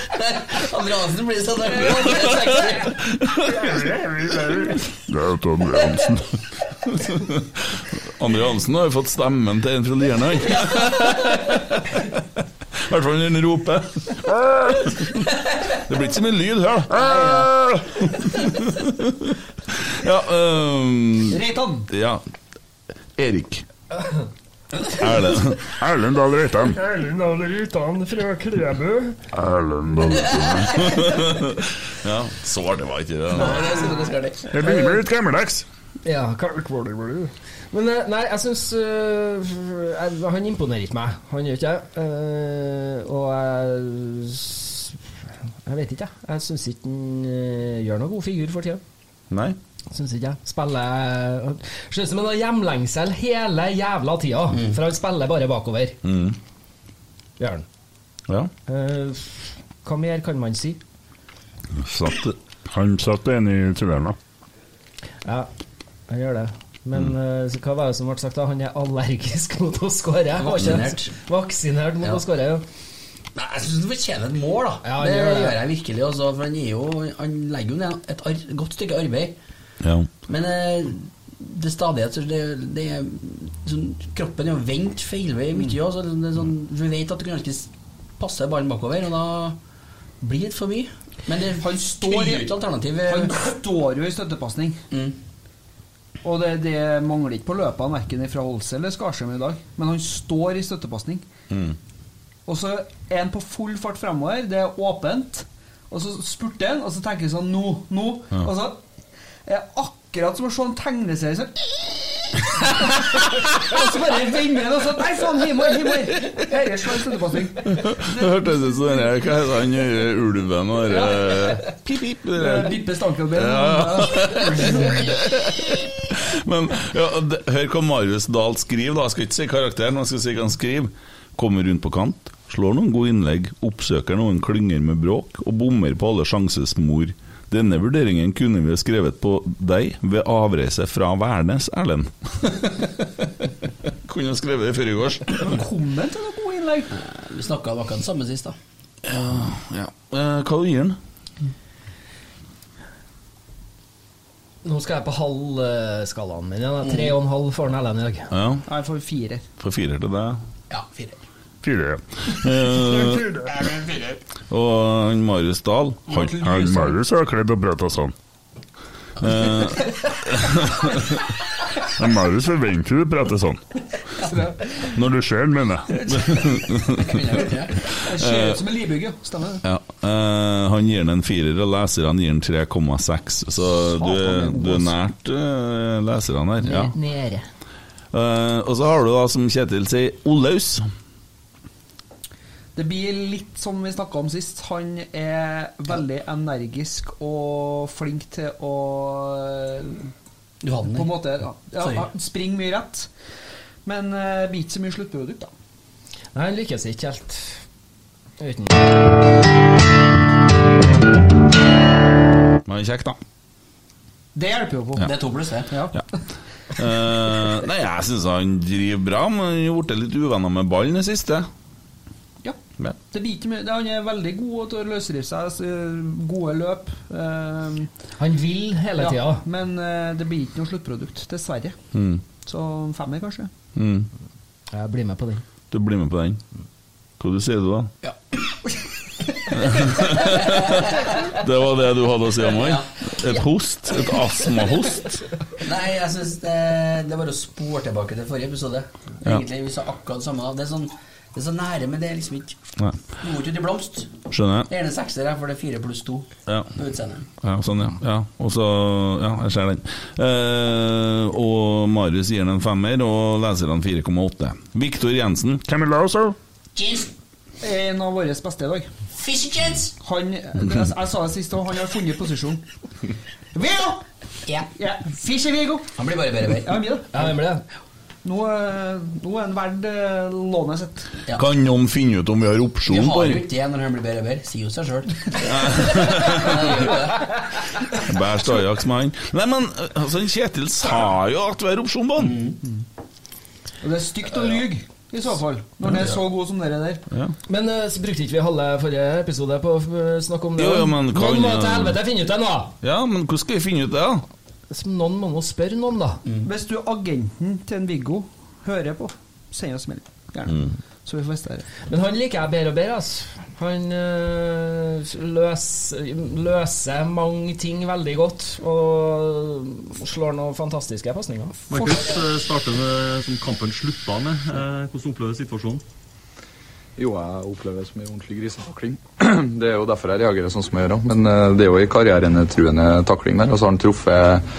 Speaker 4: Andre Hansen blir sånn der. Det er sexy.
Speaker 7: Det er jo Tom Johansen.
Speaker 3: Andre Hansen har jo fått stemmen til en fra Lierne. han. *laughs* I hvert fall når han roper. Det blir ikke så mye lyd her, da. *laughs* Ja, øhm,
Speaker 5: Reitan.
Speaker 3: ja. Erik. Erlend.
Speaker 7: Erlend Dahl Reitan.
Speaker 2: Erlend Aller Utan fra Klæbø.
Speaker 7: Erlend Dahl Reitan.
Speaker 3: Ja, svar det var ikke det. da.
Speaker 4: Det synes jeg skal det.
Speaker 7: Jeg begynner med litt gammeldags.
Speaker 6: Ja, hva var det, var det? Men eh, nei, jeg syns Han imponerer ikke meg. Han gjør ikke det. Eh, og jeg s- Jeg vet ikke, jeg. Jeg syns ikke han eh, gjør noen god figur for tida.
Speaker 3: Nei.
Speaker 6: Syns ikke jeg. Spiller han Ser ut som han har hjemlengsel hele jævla tida, for han spiller bare bakover.
Speaker 3: Mm.
Speaker 6: Gjør han.
Speaker 3: Ja.
Speaker 6: Eh, hva mer kan man si?
Speaker 3: Satt det.
Speaker 7: Han satt en i tunnelen.
Speaker 6: Ja, han gjør det. Men eh, så hva var det som ble sagt da? Han er allergisk *laughs* mot å skåre.
Speaker 4: Vaksinert.
Speaker 6: Vaksinert mot
Speaker 4: Ja.
Speaker 6: å skåre, ja.
Speaker 4: Nei, jeg syns han fortjener et mål, da.
Speaker 6: Ja, han
Speaker 4: det
Speaker 6: gjør det.
Speaker 4: gjør jeg virkelig. Også, for han, er jo, han legger jo ned et ar godt stykke arbeid.
Speaker 3: Ja.
Speaker 4: Men eh, det er stadighet så det, det er sånn, Kroppen er jo vendt feilvei mye òg. Sånn, vi vet at du kan ikke s- passe ballen bakover, og da blir det for mye. Men det
Speaker 5: Han står i-
Speaker 4: tvinger ut alternativ.
Speaker 5: Han står jo i støttepasning.
Speaker 4: Mm.
Speaker 5: Og det, det mangler ikke på løpene, verken fra Holse eller Skarsheim i dag. Men han står i støttepasning. Og så er han på full fart fremover, det er åpent. Og så spurter han, og så tenker han sånn Nå, nå. Og så er det akkurat som å se en tegneserie sånn *laughs* Og så bare vender han og sånn Nei, faen, himmel, himmel! Dette slår i støttepasning.
Speaker 3: Det hørtes ut som den der- Hva heter han eh, ulven og det der, Pip, pip. det der.
Speaker 5: Vippe stankelben.
Speaker 3: Men ja, det, hør hva Marius Dahl skriver, da. Jeg skal ikke si karakteren, men jeg skal si hva han skriver. Kommer rundt på kant, slår noen gode innlegg, oppsøker noen klynger med bråk og bommer på alle sjanses mor. Denne vurderingen kunne vi ha skrevet på deg ved avreise fra Værnes, Erlend. *laughs* kunne ha skrevet det før i gårs.
Speaker 5: Velkommen til noen gode innlegg.
Speaker 4: Vi snakka om akkurat det samme sist, da.
Speaker 3: Ja. Eh, hva gir han?
Speaker 6: Nå skal jeg på halv eh, skalaen min igjen. da. Tre og en halv får han Ellen i dag.
Speaker 3: Ja,
Speaker 5: Nei, for firer.
Speaker 3: fra firer til deg.
Speaker 4: Ja, fire.
Speaker 7: Fire.
Speaker 3: Eh, og han Marius Dahl
Speaker 7: Han, han Marius har kledd og prata sånn. *laughs* Men Marius forventer du prater sånn. Når du ser den, mener jeg.
Speaker 5: Det ser ut som en libygge, stemmer det?
Speaker 3: Ja, eh, Han gir den en firer, og leserne gir den 3,6. Så du, er- du er nært eh, leserne her. Ja.
Speaker 6: Nede.
Speaker 3: Eh, og så har du da, som Kjetil sier, Olaus.
Speaker 5: Det blir litt som vi snakka om sist. Han er veldig energisk og flink til å eh,
Speaker 4: Du hadde
Speaker 5: På en
Speaker 4: den der.
Speaker 5: måte ja, ja,
Speaker 4: Sorry.
Speaker 5: han springer mye rett, men eh, blir ikke så mye sluttprodukt, da.
Speaker 6: Nei, han lykkes ikke helt. Uten.
Speaker 3: Men kjekk, da.
Speaker 5: Det hjelper jo på.
Speaker 4: Det er to pluss, det.
Speaker 5: Ja.
Speaker 3: Eh, nei, jeg syns han driver bra, men han har blitt litt uvenner med ballen i det siste.
Speaker 5: Ja.
Speaker 3: Ja.
Speaker 5: Det blir ikke mye. Han er veldig god til å løsrive seg, så gode løp. eh,
Speaker 6: Han vil hele tida.
Speaker 5: ja, men eh, det blir ikke noe sluttprodukt, dessverre.
Speaker 3: Mm.
Speaker 5: Så femmer, kanskje.
Speaker 3: Mm.
Speaker 6: Jeg blir med på den.
Speaker 3: Du blir med på den. Hva du sier du da?
Speaker 4: Ja.
Speaker 3: *laughs* Det var det du hadde å si om han? Et host? Et astmahost?
Speaker 4: Nei, jeg synes det, det er bare å spore tilbake til forrige episode.
Speaker 3: Ja.
Speaker 4: Egentlig, Vi sa akkurat det samme. da. Det er, sånn, det er så nære, men det er liksom ikke
Speaker 3: Nei.
Speaker 4: Det går ikke til blomst.
Speaker 3: Skjønner jeg.
Speaker 4: Det er en sekser her, for det er fire pluss to
Speaker 3: Ja.
Speaker 4: på utseendet.
Speaker 3: Ja, sånn, ja. ja. Og så Ja, jeg ser den. Eh, og Marius gir den en femmer, og leserne 4,8. Viktor Jensen.
Speaker 7: Hvem vil du ha, sa du?
Speaker 4: Jeans,
Speaker 5: En av våre beste i dag.
Speaker 4: fishy jeans!
Speaker 5: Han det- Jeg, jeg sa det sist òg, han har funnet posisjon. Viggo!
Speaker 4: Ja.
Speaker 5: Ja, Fischer-Viggo!
Speaker 4: Han blir bare bedre og
Speaker 5: Ja,
Speaker 4: bedre.
Speaker 5: han blir det.
Speaker 6: Ja, hvem blir det?
Speaker 5: Nå, eh, nå er han verd eh, lånet sitt.
Speaker 4: Ja.
Speaker 3: Kan noen finne ut om vi har opsjon
Speaker 4: Vi
Speaker 3: på
Speaker 4: har jo
Speaker 3: den?
Speaker 4: ikke det når han blir bedre og bedre. Sier jo seg sjøl.
Speaker 3: Bæsj Ajax med han. Nei, men altså, Kjetil sa jo at vi har opsjon på den!
Speaker 4: Mm.
Speaker 5: Og det er stygt å lyge, i så fall, når han er så god som dere der.
Speaker 3: Ja.
Speaker 6: Men eh, så brukte ikke vi halve forrige episode på å eh, snakke om det?
Speaker 3: Jo, jo, men kan-
Speaker 6: Noen må til helvete finne ut det nå!
Speaker 3: ja, men hvordan skal vi finne ut det, da?
Speaker 6: Så Noen må nå spørre
Speaker 3: Mm.
Speaker 6: noen, da. Mm.
Speaker 5: Hvis du agenten til en Viggo hører på, send oss melding. Gjerne. Så vi får testere.
Speaker 6: Men han liker jeg bedre og bedre. Altså. Han øh, løs, løser mange ting veldig godt og slår noen fantastiske pasninger.
Speaker 8: Markus eh, starter med som kampen slutta med. Eh, Hvordan opplever du situasjonen?
Speaker 9: Jo, jeg opplever det som en ordentlig grisetakling. *clears throat* Det er jo derfor jeg reagerer sånn som jeg gjør. også. Men eh, det er jo en karrieretruende takling der. Og så har han truffet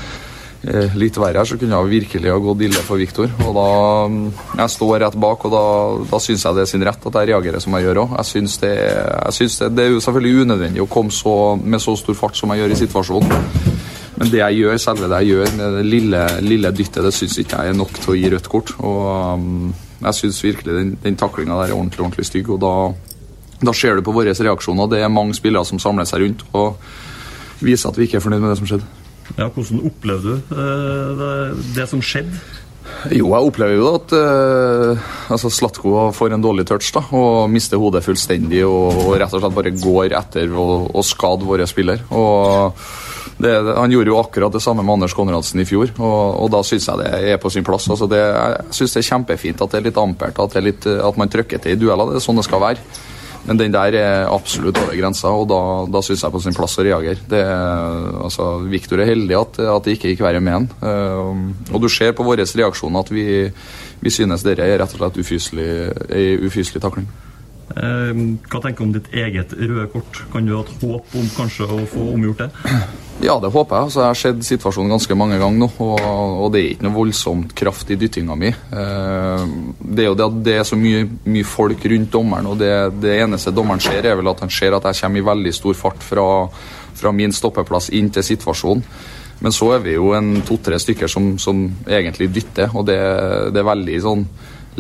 Speaker 9: eh, litt verre her, så kunne jeg virkelig ha gått ille for Viktor. Og da mm, Jeg står rett bak, og da, da syns jeg det er sin rett at jeg reagerer som jeg gjør òg. Jeg syns det, er- jeg synes det, det er jo selvfølgelig unødvendig å komme så, med så stor fart som jeg gjør i situasjonen. Men det jeg gjør, selve det jeg gjør med det lille, lille dyttet, det syns ikke jeg er nok til å gi rødt kort. Og um, jeg syns virkelig den, den taklinga der er ordentlig, ordentlig stygg. Og da, da ser du på våre reaksjoner. Det er mange spillere som samler seg rundt og viser at vi ikke er fornøyd med det som skjedde.
Speaker 8: Ja, Hvordan opplevde du eh, det, det som skjedde?
Speaker 9: Jo, jeg opplever jo at eh, altså Slatko får en dårlig touch da, og mister hodet fullstendig og, og rett og slett bare går etter og, og skader våre spiller. Og det, han gjorde jo akkurat det samme med Anders Konradsen i fjor, og, og da syns jeg det er på sin plass. Altså det, jeg syns det er kjempefint at det er litt ampert, at, det er litt, eh, at man trykker til i dueller. Det er sånn det skal være. Men den der er absolutt over grensa, og da, da syns jeg på sin plass å reagere. Det er- Altså, Viktor er heldig at, at det ikke gikk verre med han. Eh, og du ser på våre reaksjoner at vi, vi synes dette er rett og slett ufyselig, ei ufyselig takling.
Speaker 8: Eh, Hva tenker du om ditt eget røde kort? Kan du ha et håp om kanskje å få omgjort det?
Speaker 9: Ja, det håper jeg. Altså, jeg har sett situasjonen ganske mange ganger nå, og, og det er ikke noe voldsomt kraft i dyttinga mi. Eh, det er jo det at det er så mye, mye folk rundt dommeren, og det, det eneste dommeren ser, er vel at han ser at jeg kommer i veldig stor fart fra, fra min stoppeplass inn til situasjonen. Men så er vi jo en to-tre stykker som, som egentlig dytter, og det, det er veldig sånn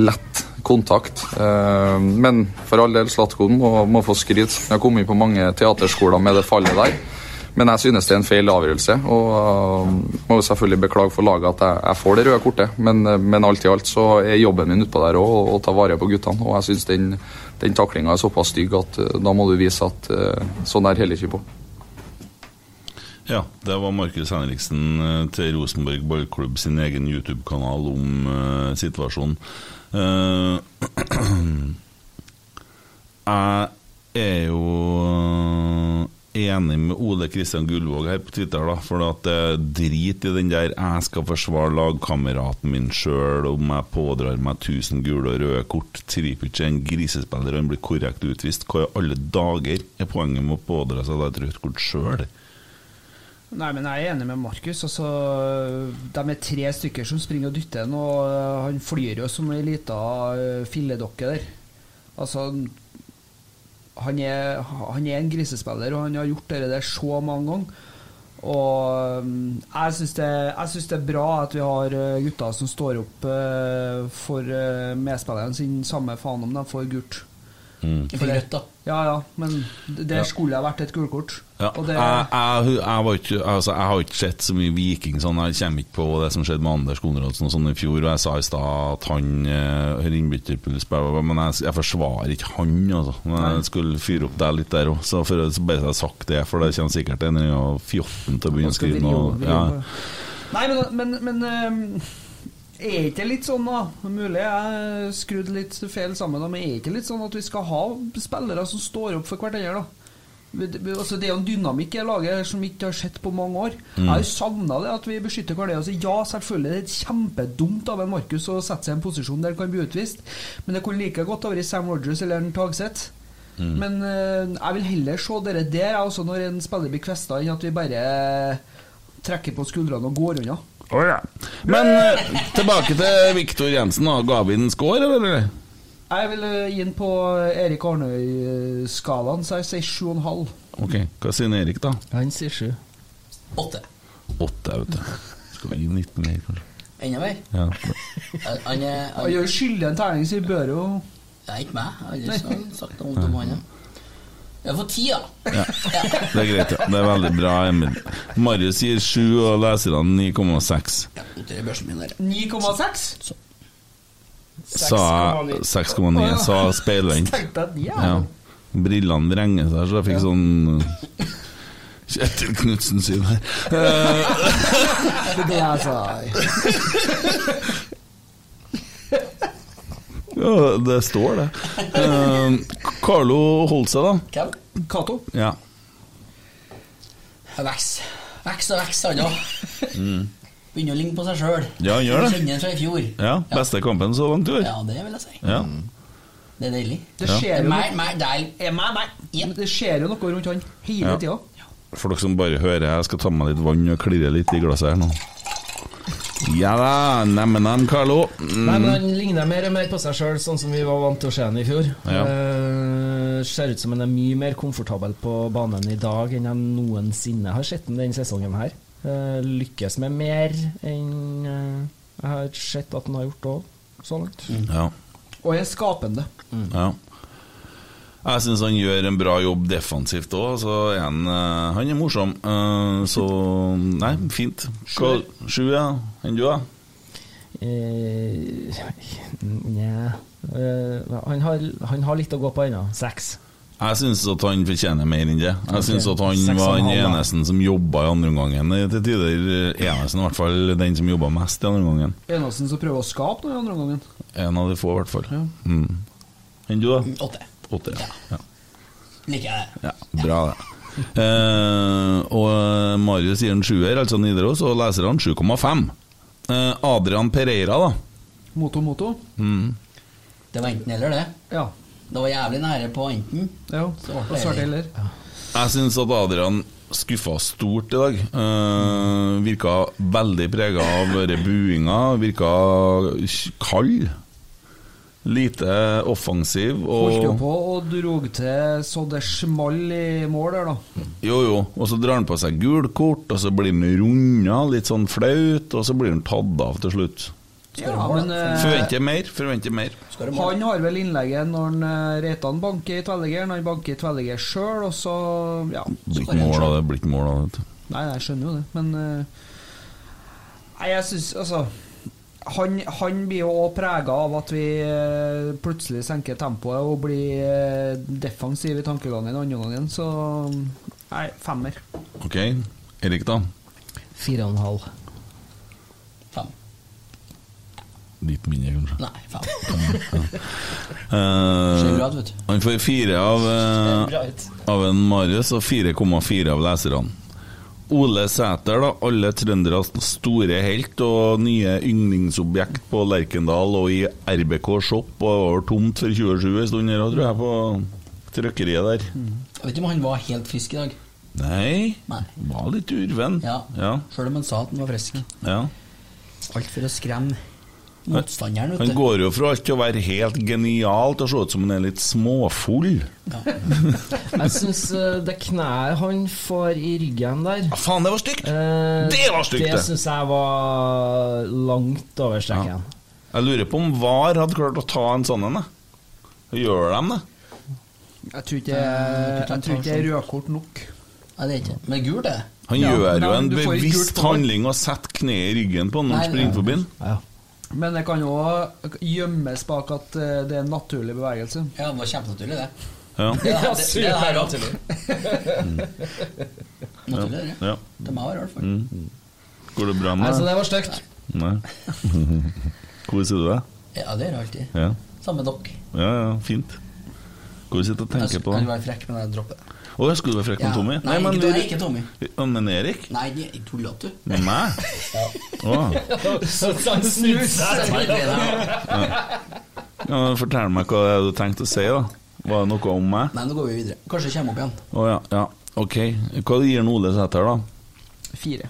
Speaker 9: lett kontakt. Eh, men for all del, Slatko må, må få skryt. Jeg har kommet på mange teaterskoler med det fallet der. Men jeg synes det er en feil avgjørelse, og øh, må jo selvfølgelig beklage for laget at jeg, jeg får det røde kortet. Men, øh, men alt i alt så er jobben min utpå der òg å ta vare på guttene. Og jeg synes den, den taklinga er såpass stygg at øh, da må du vise at øh, sånn der heller ikke på.
Speaker 3: Ja, det var Markus Henriksen eh, til Rosenborg Ballklubb sin egen YouTube-kanal om eh, situasjonen. Eh, *clears throat* jeg er jo eh, enig med Ole Kristian Gullvåg her på Twitter, da, for at eh, drit i den der 'jeg skal forsvare lagkameraten min sjøl om jeg pådrar meg 1000 gule og røde kort'. Tripic er en grisespiller, han blir korrekt utvist. Hva i alle dager er poenget med å pådra seg da et rødt kort sjøl?
Speaker 5: Nei, men jeg er enig med Markus. Altså, de er tre stykker som springer og dytter han, og øh, han flyr jo som ei lita øh, filledokke der. Altså han er, han er en grisespiller, og han har gjort det der så mange ganger. Og øhm, jeg syns det, jeg synes det er bra at vi har øh, gutter som står opp øh, for øh, medspilleren sin, samme faen om de får gult.
Speaker 4: For rødt, da.
Speaker 5: Ja ja, men det det skulle ha vært et gulkort.
Speaker 3: Ja,
Speaker 5: Og det,
Speaker 3: jeg, jeg, jeg, var ikke, altså, jeg har ikke sett så mye Viking sånn. Jeg kommer ikke på det som skjedde med Anders Konradsen og sånn i fjor. Og jeg sa i stad at han eh, har innbytterpuls, bla, bla, bla, men jeg, jeg forsvarer ikke han, altså. Men jeg skulle fyre opp deg litt der òg, så for å bare ha sagt det, for det kommer sikkert en eller annen fjotten til å begynne å
Speaker 5: skal
Speaker 3: skrive
Speaker 5: vri
Speaker 3: noe.
Speaker 5: over, vri
Speaker 3: Ja.
Speaker 5: over. Nei, men, men, men ehm, er ikke det litt sånn, da? Mulig jeg skrudde litt feil sammen, da, men er ikke det litt sånn at vi skal ha spillere som står opp for hverandre, da? Vi- vi- Altså, det er jo en dynamikk i det laget her som vi ikke har sett på mange år. Jeg har jo savna det, at vi beskytter hverandre. Altså, ja, selvfølgelig, det er kjempedumt av en Markus å sette seg i en posisjon der han kan bli utvist, men det kunne like godt ha vært Sam Rogers eller en Tagseth. Men eh, jeg vil heller se dere der, jeg, også når en spiller blir kvesta, enn at vi bare trekker på skuldrene og går unna.
Speaker 7: Å ja.
Speaker 3: Men eh, tilbake til Viktor Jensen. Da. Ga vi den score, eller?
Speaker 5: Jeg vil eh, gi den på Erik Arnøy-skalaen, så jeg sier sju og en halv.
Speaker 3: Ok, Hva sier Erik, da?
Speaker 6: Han sier sju.
Speaker 4: Åtte.
Speaker 3: Åtte, vet du. Skal vi gi 19 mer, kanskje?
Speaker 4: Enda mer?
Speaker 3: Ja.
Speaker 4: Han- Han er
Speaker 5: Han
Speaker 4: han,
Speaker 5: gjør skyldig en terning, så vi bør jo
Speaker 4: Det er ikke meg. Jeg har aldri sa- sagt noe vondt om han. ja. Jeg får ti, da.
Speaker 3: Det er greit, ja. Det er veldig bra, Emil. Marius gir 7, og leserne 9,6.
Speaker 4: Jeg noterer børsen min der.
Speaker 5: 9,6?
Speaker 3: Sa jeg 6,9. Sa speilvendt.
Speaker 5: Tenkte jeg at ja.
Speaker 3: Ja. Brillene vrenger seg, så jeg fikk sånn Kjetil Knutsen syn her.
Speaker 5: altså- Det er det jeg sa.
Speaker 3: Eh, Ja, det står det. Eh, Carlo holdt seg, da.
Speaker 4: Hvem?
Speaker 5: Cato.
Speaker 3: Ja.
Speaker 4: Veks. Veks og veks, han òg. Begynner å ligne på seg sjøl.
Speaker 3: Mm. Ja, han gjør det.
Speaker 4: Kjenner han fra i fjor.
Speaker 3: ja beste kampen så langt i år.
Speaker 4: Ja, det vil jeg si.
Speaker 3: Ja.
Speaker 4: Det er deilig.
Speaker 5: Det
Speaker 3: Ja.
Speaker 5: skjer jo noe,
Speaker 4: Meg, meg, deg. Ja.
Speaker 5: det skjer jo noe rundt han hele
Speaker 3: Ja.
Speaker 5: tida.
Speaker 3: For dere som bare hører, jeg skal ta med litt vann og klirre litt i glasset her nå. Ja da, nemmen han, Carlo. Mm.
Speaker 6: Nei, men Han ligner mer og mer på seg sjøl, sånn som vi var vant til å se han i fjor.
Speaker 3: Ja.
Speaker 6: Eh, ser ut som han er mye mer komfortabel på banen i dag enn han noensinne har sett han denne sesongen her. Eh, lykkes med mer enn eh, jeg har sett at han har gjort òg, så langt.
Speaker 3: Ja.
Speaker 5: Og er skapende.
Speaker 3: Ja. Jeg syns han gjør en bra jobb defensivt òg, så er han, eh, han er morsom. Eh, Så Nei, fint. Hva- Sju, ja. Enn du, da?
Speaker 6: Eh, *laughs* Nja eh, han, har, han har litt å gå på ennå. Seks.
Speaker 3: Jeg syns at han fortjener mer enn det. Jeg syns at han
Speaker 6: Seks og
Speaker 3: var
Speaker 6: en
Speaker 3: den
Speaker 6: halv, da.
Speaker 3: eneste som jobba i andre omgangen. Til tider eh, eneste, i hvert fall den som jobba mest i andre omgangen.
Speaker 5: Eneste som prøver å skape noe i andre omgangen.
Speaker 3: En av de få, i hvert fall. Mm. Enn du, da?
Speaker 4: Åtte.
Speaker 3: Åtte. ja. Ja.
Speaker 4: Liker jeg det.
Speaker 3: Ja, bra det. Eh, og Marius sier en sjuer, altså Nidaros, og leserne 7,5. Eh, Adrian Pereira, da.
Speaker 5: Moto, moto. Mm.
Speaker 4: Det var enten eller, det.
Speaker 5: Ja.
Speaker 4: Det var jævlig nære på enten.
Speaker 5: ja.
Speaker 4: Så
Speaker 5: Og svarte heller.
Speaker 3: Jeg syns at Adrian skuffa stort i dag. Eh, virka veldig prega av denne buinga. Virka kald. Lite offensiv. Og
Speaker 5: Holdt jo på og drog til så det small i mål der, da.
Speaker 3: Jo, jo. Og så drar han på seg gult kort, og så blir han runda, litt sånn flaut, og så blir han tatt av til slutt.
Speaker 5: Ja, men eh,
Speaker 3: Forventer mer, forventer mer.
Speaker 4: Skal du måle?
Speaker 5: han har vel innlegget når han, eh, Reitan banker i tvellegeren, han banker i tvellegeren sjøl, og så Ja.
Speaker 3: Det blir ikke mål av det. det blir ikke mål av det. vet du.
Speaker 5: Nei, nei, jeg skjønner jo det, men eh, Nei, jeg syns altså han, han blir jo òg prega av at vi eh, plutselig senker tempoet og blir eh, defensiv i tankegangen i andre gangen, så Nei, femmer.
Speaker 3: Ok, Erik da
Speaker 6: Fire og en halv.
Speaker 4: Fem.
Speaker 3: Litt mindre kanskje
Speaker 4: Nei, fem.
Speaker 3: Eh,
Speaker 4: Ser bra ut, vet du.
Speaker 3: Han får fire av, eh,
Speaker 4: Bra ut.
Speaker 3: av en Marius Og 4,4 av leserne Ole Sæter da Alle trønderes store helt Og nye yndlingsobjekt på Lerkendal Og i RBK Shop Og det var tomt for 2020 stunder da, Tror jeg på trøkkeriet der
Speaker 4: Jeg vet ikke om han var helt frisk i dag.
Speaker 3: Nei
Speaker 4: Mm. Nei.
Speaker 3: Var litt urven
Speaker 4: Ja.
Speaker 3: ja,
Speaker 4: Sjøl om han sa at han var frisk.
Speaker 3: ja.
Speaker 4: Alt for å skremme motstanderen,
Speaker 3: Han
Speaker 4: vet du.
Speaker 3: går jo fra alt til å være helt genial Til å se ut som han er litt småfull
Speaker 6: Jeg syns det kneet han får i ryggen der
Speaker 3: Ja, faen, det var stygt!
Speaker 6: eh,
Speaker 3: Det var stygt,
Speaker 6: Det
Speaker 3: det.
Speaker 6: syns jeg var langt over streken.
Speaker 3: Jeg lurer på om VAR hadde klart å ta en sånn en. jeg. Gjør de det?
Speaker 5: Jeg tror
Speaker 6: Eh,
Speaker 5: ikke jeg tror ikke det er rødkort nok.
Speaker 4: Nei, det er ikke Men gult er det.
Speaker 3: Han
Speaker 5: Ja,
Speaker 3: gjør
Speaker 5: nei,
Speaker 3: jo en
Speaker 5: du får ikke gult
Speaker 3: bevisst
Speaker 5: på det.
Speaker 3: handling og setter kneet i ryggen på han når
Speaker 4: Nei,
Speaker 3: han springer
Speaker 4: nei.
Speaker 3: forbi. han.
Speaker 6: Ja.
Speaker 5: Men det kan jo også gjemmes bak at eh, det er en naturlig bevegelse.
Speaker 4: Ja, det var kjempenaturlig, det.
Speaker 3: Ja.
Speaker 4: Det er det, det, er det her
Speaker 3: *laughs*
Speaker 4: òg. Naturlig, det.
Speaker 3: ja. Mm.
Speaker 4: Det må være i hvert fall.
Speaker 3: Går det bra
Speaker 6: Nei,
Speaker 3: med
Speaker 6: så
Speaker 5: Altså,
Speaker 3: deg?
Speaker 6: det var stygt.
Speaker 3: Nei. *laughs* Hvor sitter du deg?
Speaker 4: Ja, det gjør jeg alltid.
Speaker 3: Ja.
Speaker 4: Samme dokk.
Speaker 3: ja, ja, fint. Hvor sitter du og
Speaker 4: Jeg
Speaker 3: tenker på
Speaker 4: Altså, kan
Speaker 3: det?
Speaker 4: være frekk, men jeg dropper det.
Speaker 3: Å, jeg skulle være frekk med Tommy.
Speaker 4: Nei,
Speaker 3: men,
Speaker 4: ikke, nei, ikke Tommy.
Speaker 3: Å, men Erik?
Speaker 4: Nei, tullete, du.
Speaker 3: Med meg? Å.
Speaker 4: Nei,
Speaker 3: Ja, fortell meg hva det er du tenkte å si, da. Var det noe om meg?
Speaker 4: nå går vi videre. Kanskje det kommer opp igjen.
Speaker 3: Å ja, ja. Ok. Hva gir han Ole Sæter, da?
Speaker 5: Fire.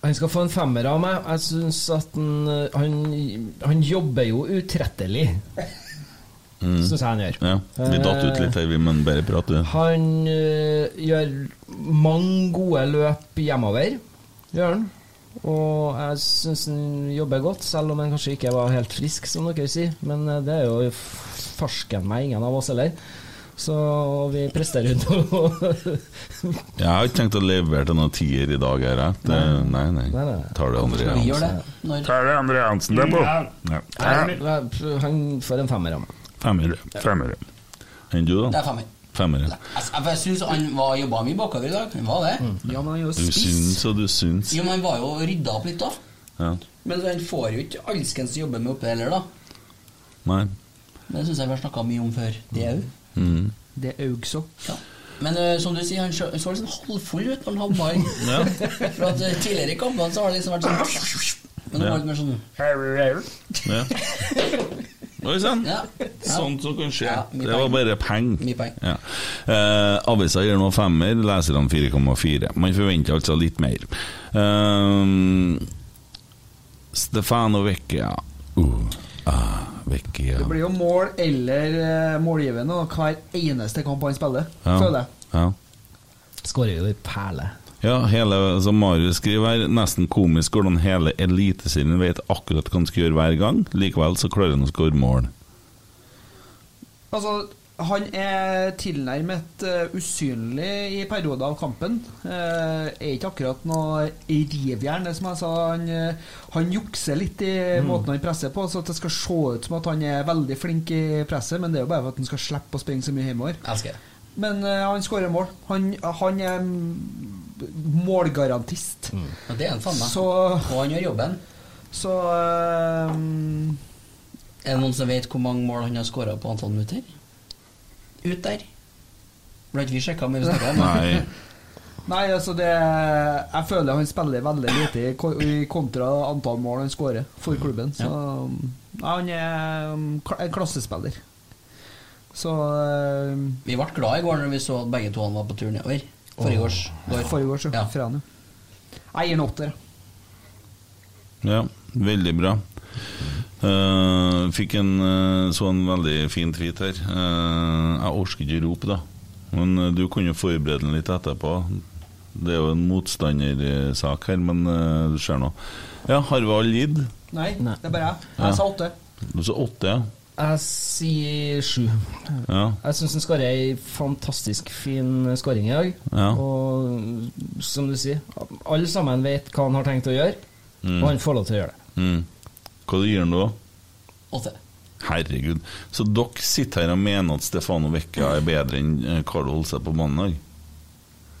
Speaker 6: Han skal få en femmer av meg. Jeg syns at han, eh, han Han jobber jo utrettelig,
Speaker 3: Mm.
Speaker 6: syns jeg han gjør.
Speaker 3: Ja, vi datt ut litt her, vi, men bare prat, du.
Speaker 6: Han eh, gjør mange gode løp hjemover, gjør han. Og jeg syns han jobber godt, selv om han kanskje ikke var helt frisk, som dere sier. Men eh, det er jo f- farsken meg ingen av oss heller. Så vi presterer jo noe.
Speaker 3: Jeg har ikke tenkt å levere til noen tier i dag, her. jeg. Det, nei, nei.
Speaker 6: Nei, nei.
Speaker 3: Tar det andre
Speaker 4: Vi gjør det.
Speaker 3: Jansen.
Speaker 4: Når
Speaker 7: Tar det andre Hansen der på?
Speaker 6: Nei, Han får en femmer av meg.
Speaker 3: Femmer.
Speaker 7: Femmer.
Speaker 3: Enn du,
Speaker 4: det
Speaker 3: da?
Speaker 4: er femmer.
Speaker 3: Femmer. ja.
Speaker 4: Altså, Jeg, jeg syns han var jobba mye bakover i dag. Han var det.
Speaker 5: Mm. Ja, men han er jo
Speaker 3: Du
Speaker 5: spiss.
Speaker 3: syns og du syns.
Speaker 4: Jo, men han var jo rydda opp litt, da.
Speaker 3: Ja.
Speaker 4: Men han får jo ikke alskens jobbe med oppe heller, da.
Speaker 3: Nei.
Speaker 4: Men Det syns jeg vi har snakka mye om før. Det òg.
Speaker 3: Mm.
Speaker 5: Det er også.
Speaker 4: Ja. Men eh, som du sier, han så, så litt sånn halvfull ut når han havna inn.
Speaker 3: Ja.
Speaker 4: *laughs* For at eh, tidligere i kampene så har det liksom vært sånn Men nå var det mer
Speaker 3: *laughs*
Speaker 4: sånn
Speaker 3: Ja. Oi sann!
Speaker 4: Ja.
Speaker 3: Sånt som kan skje.
Speaker 4: Ja, mye
Speaker 3: det var
Speaker 4: penger.
Speaker 3: bare penger.
Speaker 4: Mye penger.
Speaker 3: Ja. Eh, avisa gir nå femmer, leserne 4,4. Man forventer altså litt mer. Eh, Stefano Vecchia. Uh, ah, Vecchia.
Speaker 5: Det blir jo mål eller eh, målgivende da, hver eneste kamp han spiller,
Speaker 3: Ja.
Speaker 5: føler jeg.
Speaker 3: Ja.
Speaker 6: Skårer jo i perle.
Speaker 3: Ja, hele, som Marius skriver her, nesten komisk hvordan hele eliteserien vet akkurat hva han skal gjøre hver gang. Likevel så klarer han å skåre mål.
Speaker 5: Altså, han er tilnærmet eh, usynlig i perioder av kampen. Eh, er ikke akkurat noe rivjern, det som jeg sa. Han, eh, han jukser litt i måten han presser på, så at det skal se ut som at han er veldig flink i presset, men det er jo bare for at han skal slippe å springe så mye hjemover.
Speaker 4: Elsker det.
Speaker 5: Men eh, han skårer mål. Han, han er mm, målgarantist.
Speaker 3: Mm.
Speaker 4: Ja, det er han faen meg.
Speaker 5: Så-
Speaker 4: Og han gjør jobben.
Speaker 5: Så eh,
Speaker 4: Er det noen som vet hvor mange mål han har skåra på antall minutter? Ut der. Ble ikke vi sjekka, men vi snakka om det.
Speaker 6: *laughs*
Speaker 3: Nei.
Speaker 5: Nei, altså det Jeg føler han spiller veldig lite i ko- i kontra antall mål han skårer for klubben. Så ja. han er um, kla- en klassespiller. Så um,
Speaker 4: Vi ble glad i går når vi så at begge to han var på tur nedover. Forrige års. Går.
Speaker 5: Forrige år så
Speaker 4: Ja.
Speaker 5: fra han jo. Jeg gir en åtter.
Speaker 3: Ja, veldig bra. Eh, fikk en eh, så en veldig fin tweet her. Eh, jeg orker ikke rope, da. Men eh, du kunne jo forberede den litt etterpå. Det er jo en motstandersak her, men eh, du ser nå. Ja, Harvald Lid.
Speaker 5: Nei,
Speaker 6: Nei.
Speaker 5: det er bare jeg.
Speaker 3: Ja.
Speaker 5: Jeg sa åtte.
Speaker 3: Du sa åtte, ja.
Speaker 6: Jeg sier sju.
Speaker 3: ja.
Speaker 6: Jeg syns han skårer ei fantastisk fin skåring i dag.
Speaker 3: Ja.
Speaker 6: Og som du sier, alle sammen vet hva han har tenkt å gjøre, og han får lov til å gjøre det.
Speaker 3: Mm. Hva gir han da?
Speaker 4: Åtte.
Speaker 3: Herregud. Så dere sitter her og mener at Stefano Vecchia er bedre enn eh, Carlo Holse på mandag?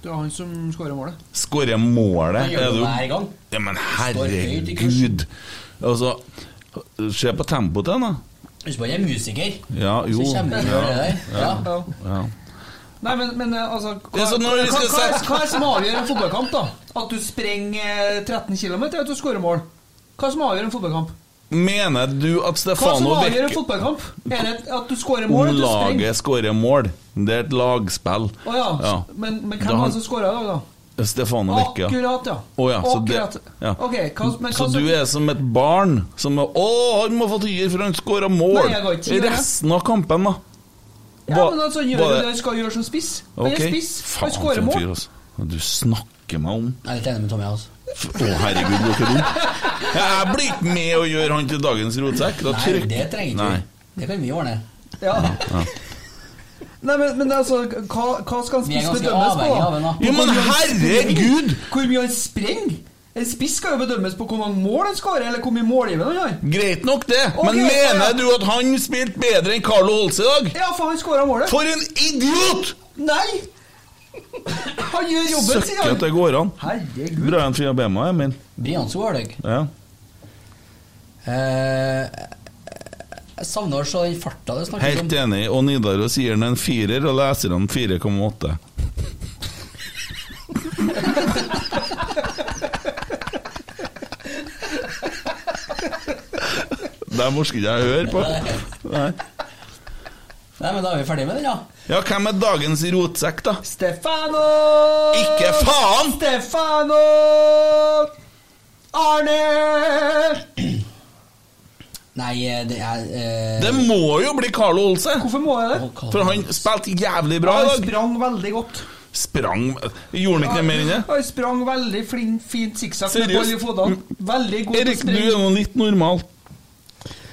Speaker 5: Det var han som skårer målet.
Speaker 3: Skårer jeg målet?
Speaker 4: Han gjør
Speaker 3: Er
Speaker 4: det
Speaker 3: du-
Speaker 4: hver gang.
Speaker 3: Ja, men
Speaker 4: høyt i kursen.
Speaker 3: herregud! Altså, se på tempoet til han, da.
Speaker 4: Husk på han er musiker.
Speaker 3: Ja, jo.
Speaker 4: Så kommer han
Speaker 3: Ja,
Speaker 4: og gjør det der. Ja.
Speaker 5: Ja.
Speaker 3: ja.
Speaker 5: Nei, men, men eh, altså
Speaker 3: Det er sånn når vi
Speaker 5: hva,
Speaker 3: skal
Speaker 5: hva, er-
Speaker 3: sette-
Speaker 5: hva er det som avgjør en fotballkamp, da? At du sprenger eh, 13 km, er at du skårer mål. Hva er det som avgjør en fotballkamp?
Speaker 3: Mener du at
Speaker 5: Hva som
Speaker 3: Stefano
Speaker 5: avgjør en
Speaker 3: Vecchia
Speaker 5: fotballkamp? Er det at du skårer
Speaker 3: Om
Speaker 5: mål? At du springer?
Speaker 3: laget skårer mål. Det er et lagspill.
Speaker 5: Å ja.
Speaker 3: Ja.
Speaker 5: Men, men
Speaker 3: Da
Speaker 5: hvem var
Speaker 3: han-
Speaker 5: det som skåra i dag, da?
Speaker 3: Stefano Vecchia.
Speaker 5: Akkurat, ja.
Speaker 3: Å ja, så det-
Speaker 5: Akkurat.
Speaker 3: ja.
Speaker 5: Ok, hva, men hva
Speaker 3: Så
Speaker 5: som-
Speaker 3: du er som et barn som er Å, han må få tier, for han skåra mål!
Speaker 5: Nei, jeg går ikke til å gjøre det.
Speaker 3: Resten av kampen, da?
Speaker 5: Ja,
Speaker 3: Hva-
Speaker 5: men altså, han gjør
Speaker 3: var
Speaker 5: jo
Speaker 3: det-
Speaker 5: det han skal gjøre som spiss. Han er
Speaker 3: Ok.
Speaker 5: spiss,
Speaker 3: Faen,
Speaker 5: han
Speaker 3: for
Speaker 5: skårer
Speaker 3: en
Speaker 5: mål.
Speaker 3: fyr, altså. Du snakker meg om
Speaker 4: Jeg er litt enig med Tommy. Altså.
Speaker 3: F- Å, herregud, dere rom. Jeg blir ikke med å gjøre han til dagens rotsekk. Da
Speaker 4: Nei,
Speaker 3: trykker
Speaker 4: det trenger ikke
Speaker 3: Nei.
Speaker 4: vi. Det kan vi ordne.
Speaker 5: Ja. *laughs* Nei, men, men altså, hva, hva skal en
Speaker 4: Vi er
Speaker 5: spiss
Speaker 4: ganske
Speaker 5: bedømmes på?
Speaker 4: avhengig av en,
Speaker 5: da?
Speaker 4: da.
Speaker 3: Jo, men herregud!
Speaker 5: Hvor mye han sprenger? En spiss skal jo bedømmes på hvor mange mål han skårer, eller hvor mye målgivende han har.
Speaker 3: Greit nok, det.
Speaker 5: Ok,
Speaker 3: Men
Speaker 5: ja.
Speaker 3: mener du at han spilte bedre enn Carlo Holse i dag?
Speaker 5: Ja, for han skåra målet.
Speaker 3: For en idiot!
Speaker 5: Nei! Han gjør jobben, sier
Speaker 3: Søkker at det
Speaker 5: han.
Speaker 3: går an.
Speaker 5: Herregud.
Speaker 3: Bra en Fia Bema, Emil.
Speaker 4: Brian Solhaug.
Speaker 3: Ja.
Speaker 4: Eh, jeg savner å se den farta det snakkes om.
Speaker 3: Helt enig. Og Nidaros gir han en firer, og leserne 4,8. Det orker ikke jeg høre på. Nei.
Speaker 4: Nei, men Da er vi ferdig med den, da.
Speaker 3: Ja, hvem er dagens rotsekk, da?
Speaker 5: Stefano!
Speaker 3: Ikke faen!
Speaker 5: Stefano! Arne!
Speaker 4: Nei, eh, det er eh,
Speaker 3: Det må jo bli Carlo Olse!
Speaker 5: Hvorfor må jeg det?
Speaker 3: For han spilte jævlig bra i
Speaker 5: Han
Speaker 3: dag.
Speaker 5: sprang veldig godt.
Speaker 3: Sprang Gjorde han ikke noe mer enn det?
Speaker 5: Han sprang veldig flin, fint sikksakk med
Speaker 3: Seriøst? Mm.
Speaker 5: ball i føttene. Veldig god
Speaker 3: Erik, du er nå litt normal.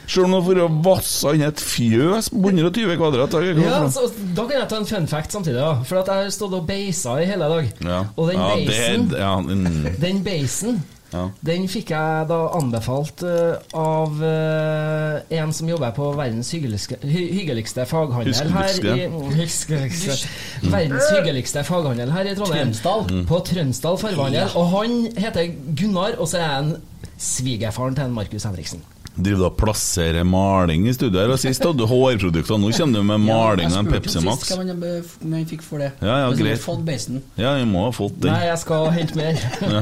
Speaker 3: Sjøl om du har vært vassa inn i et fjøs på 120 kvadrat. da er det ikke
Speaker 6: Ja,
Speaker 3: noe problem.
Speaker 6: så, da kan jeg ta en fun fact samtidig, da. For at jeg har stått og beisa i hele dag.
Speaker 3: Ja.
Speaker 6: Og den
Speaker 3: ja, det
Speaker 6: beisen
Speaker 3: er- ja, mm,
Speaker 6: Den basen
Speaker 3: Ja.
Speaker 6: Den fikk jeg da anbefalt eh, av eh, en som jobber på verdens hyggeligste, hy hyggeligste faghandel her i *laughs* Hyskeligste.
Speaker 3: Mm.
Speaker 6: Verdens hyggeligste faghandel her i Trondheim.
Speaker 4: Trønsdal.
Speaker 6: På Trønsdal fargehandel. Og han heter Gunnar, og så er han svigerfaren til en Markus Henriksen.
Speaker 3: Driver du og plasserer maling i studio her? Og Sist hadde du hårprodukter, nå kommer du med maling og en Pepsi Max.
Speaker 4: Hva man, hva man fikk for det.
Speaker 3: Ja, ja,
Speaker 4: Men så har vi
Speaker 3: greit.
Speaker 4: Fått beisen.
Speaker 3: Ja, vi må ha fått den.
Speaker 6: Nei, jeg skal hente mer.
Speaker 4: *laughs*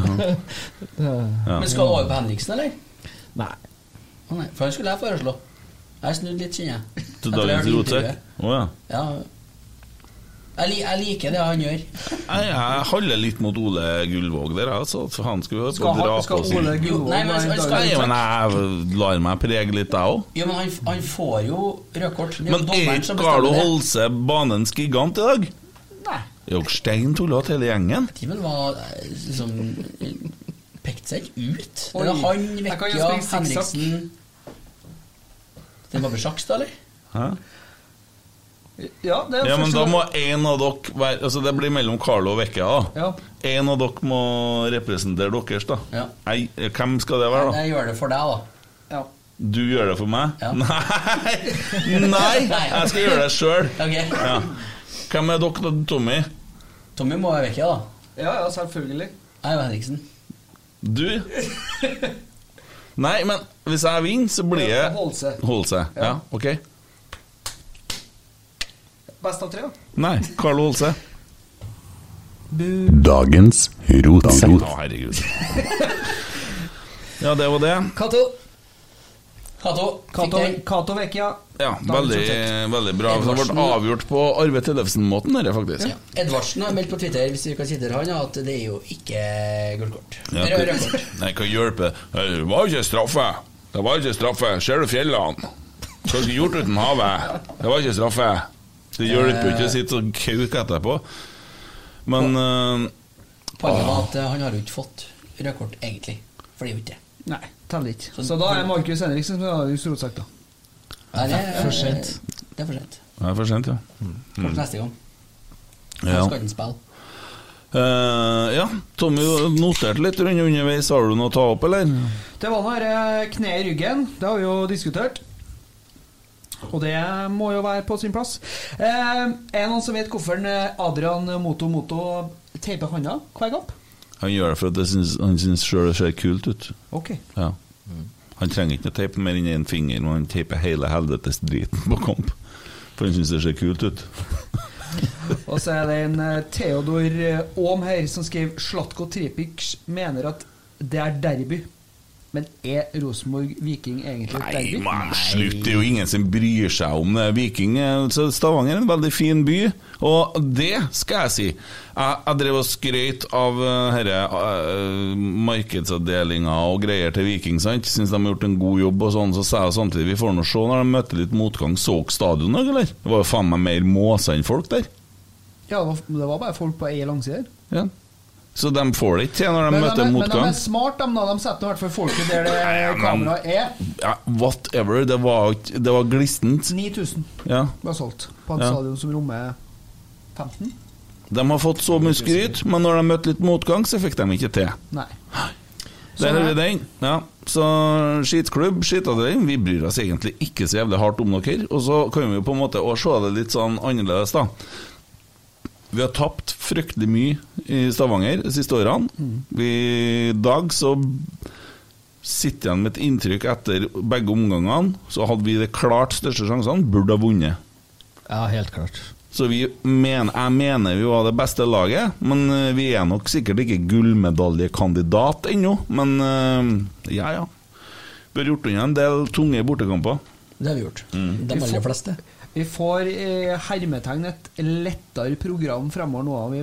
Speaker 4: Men skal du over på Henriksen, eller?
Speaker 6: Nei.
Speaker 4: Å nei, for det skulle jeg foreslå. Jeg snudde litt, kjenner jeg.
Speaker 3: Til
Speaker 4: Etter jeg
Speaker 3: dagens
Speaker 4: hørte
Speaker 3: rotsekk.
Speaker 4: intervjuet.
Speaker 3: Å ja.
Speaker 4: Ja. Jeg, li jeg liker det han gjør.
Speaker 3: Jeg, jeg holder litt mot Ole Gullvåg der, altså. For han skulle jo
Speaker 5: Skal,
Speaker 3: dra
Speaker 5: ha,
Speaker 3: på
Speaker 5: skal
Speaker 3: sin
Speaker 5: Ole
Speaker 4: Jo,
Speaker 5: Gullvåg
Speaker 4: nei, men
Speaker 5: være
Speaker 4: han
Speaker 5: en
Speaker 4: skal
Speaker 3: Nei,
Speaker 5: dag-
Speaker 3: men jeg lar meg prege litt, jeg òg.
Speaker 4: Jo, men han, han får jo rødkort. Det er jo
Speaker 3: Men er
Speaker 4: dommeren
Speaker 3: ikke
Speaker 4: som
Speaker 3: Carlo
Speaker 4: bestemmer det.
Speaker 3: Holse banens gigant i dag?
Speaker 4: Nei.
Speaker 3: Jo, stein tullete hele gjengen.
Speaker 4: Timen var eh, liksom Pekte seg ikke ut. Det
Speaker 5: Oi.
Speaker 4: var han,
Speaker 5: Jeg kan
Speaker 4: Vekkia,
Speaker 5: jo spille sikksakk.
Speaker 4: Henriksen Det var på sjakks, da, eller?
Speaker 3: Hæ?
Speaker 5: Ja, det er
Speaker 3: Ja, men
Speaker 5: første
Speaker 3: da
Speaker 5: gang-
Speaker 3: må en av dere være Altså, det blir mellom Carlo og Vekke, da.
Speaker 5: Ja.
Speaker 3: En av dere må representere deres, da.
Speaker 4: Ja.
Speaker 3: Nei, hvem skal det være, da?
Speaker 4: Jeg gjør det for deg, da.
Speaker 5: Ja.
Speaker 3: Du gjør det for meg?
Speaker 4: Ja.
Speaker 3: Nei! *laughs* Nei! Jeg skal gjøre det sjøl.
Speaker 4: Ok.
Speaker 3: Ja. Hvem er dere, da, Tommy?
Speaker 4: Tommy må være Vekkia, da.
Speaker 5: ja, ja, selvfølgelig.
Speaker 4: Jeg er jo Henriksen.
Speaker 3: Du?
Speaker 4: *laughs*
Speaker 3: Nei, men hvis jeg vinner, så blir jeg
Speaker 5: Holde seg.
Speaker 3: Holde seg. Ja,
Speaker 5: Ja.
Speaker 3: ok.
Speaker 5: Best av tre, da.
Speaker 3: Nei, Carlo Holse.
Speaker 10: Dagens
Speaker 3: Å,
Speaker 10: rotsekk.
Speaker 3: herregud. Ja, det var det.
Speaker 5: Cato.
Speaker 4: Cato. fikk
Speaker 5: Cato
Speaker 4: den.
Speaker 5: Cato Vecchia.
Speaker 3: Ja, veldig, veldig bra. Det
Speaker 4: Edvardsen.
Speaker 3: ble avgjort på Arve Tellefsen-måten, dette, faktisk.
Speaker 4: Ja. Edvardsen har meldt på Twitter hvis vi kan sitere han, at det er jo ikke gult kort.
Speaker 3: Ja,
Speaker 4: Rød,
Speaker 3: hva-
Speaker 4: rød kort.
Speaker 3: Nei, hva hjelper Eh, det? Det var jo ikke straffe. Det var ikke straffe. Ser du fjellene? Hva skulle gjort uten havet? Det var ikke straffe. Det hjelper jo ikke å sitte og kauke etterpå. Men eh,
Speaker 4: Poenget var at eh, han har jo ikke fått rødt kort, egentlig. For det er jo ikke det.
Speaker 5: Nei, teller ikke.
Speaker 4: Sånn
Speaker 5: Så, da er Markus Henriksen som er dagens rotsekk, da.
Speaker 4: Nei, det er for sent. Mm. Det er for sent.
Speaker 3: det er for sent, ja.
Speaker 4: Kanskje neste gang. Da
Speaker 3: Ja.
Speaker 4: skal han spille.
Speaker 3: Eh, ja, Tommy du noterte litt rundt underveis. Har du noe å ta opp, eller?
Speaker 5: Det var nå dette kneet i ryggen. Det har vi jo diskutert. Og det må jo være på sin plass. Eh, er det noen som vet hvorfor en, eh, Adrian Moto Moto teiper hånda hver kamp?
Speaker 3: Han gjør det for at det syns, han syns sjøl det ser kult ut.
Speaker 5: Ok.
Speaker 3: Ja. Han trenger ikke noe teip mer enn én finger, men han teiper hele helvetes driten på kamp. For han syns det ser kult ut.
Speaker 5: Og så er det en eh, Theodor eh, Aam her som skriver Slatko Tripic mener at det er derby. Men er Rosenborg Viking egentlig et
Speaker 3: Nei,
Speaker 5: derby?
Speaker 3: men slutt, det er jo ingen som bryr seg om det. Viking eh, så Stavanger er en veldig fin by, og det skal jeg si. Jeg, jeg drev og skrøt av eh, herre eh, markedsavdelinga og greier til Viking, sant. Syns de har gjort en god jobb og sånn, så sa jeg samtidig vi får nå se når de møter litt motgang. Så dere stadion òg, eller? Det var jo faen meg mer måser enn folk der.
Speaker 5: Ja, det var, det var bare folk på ei langside her.
Speaker 3: Ja. Så de får det ikke til når de
Speaker 5: Men, de
Speaker 3: møter
Speaker 5: er- men de
Speaker 3: motgang.
Speaker 5: er smart de, da. De setter i hvert fall folket der
Speaker 3: Ja,
Speaker 5: det
Speaker 3: men-
Speaker 5: kameraet er.
Speaker 3: Ja, whatever, det var, ikke- det var glistent.
Speaker 5: 9000
Speaker 3: Ja.
Speaker 5: ble solgt på en
Speaker 3: Ja.
Speaker 5: stadion som rommer 15?
Speaker 3: De har fått så mye skryt, men når de møtte litt motgang, så fikk de ikke til.
Speaker 5: Nei.
Speaker 3: Der er vi den. Ja. Så skitklubb, skitavdeling. Vi bryr oss egentlig ikke så jævlig hardt om dere. Og så kan vi jo på en måte også se det litt sånn annerledes, da. Vi har tapt fryktelig mye i Stavanger de siste årene. Vi, I dag så sitter igjen med et inntrykk etter begge omgangene. Så hadde vi de klart største sjansene, burde ha vunnet.
Speaker 6: Ja, helt klart.
Speaker 3: Så vi men, jeg mener vi var det beste laget, men eh, vi er nok sikkert ikke gullmedaljekandidat ennå. Men eh, ja, ja. Vi har gjort unna en del tunge bortekamper.
Speaker 4: Det har vi gjort. De aller fleste.
Speaker 5: Vi får eh, hermetegn et lettere program fremover nå. Vi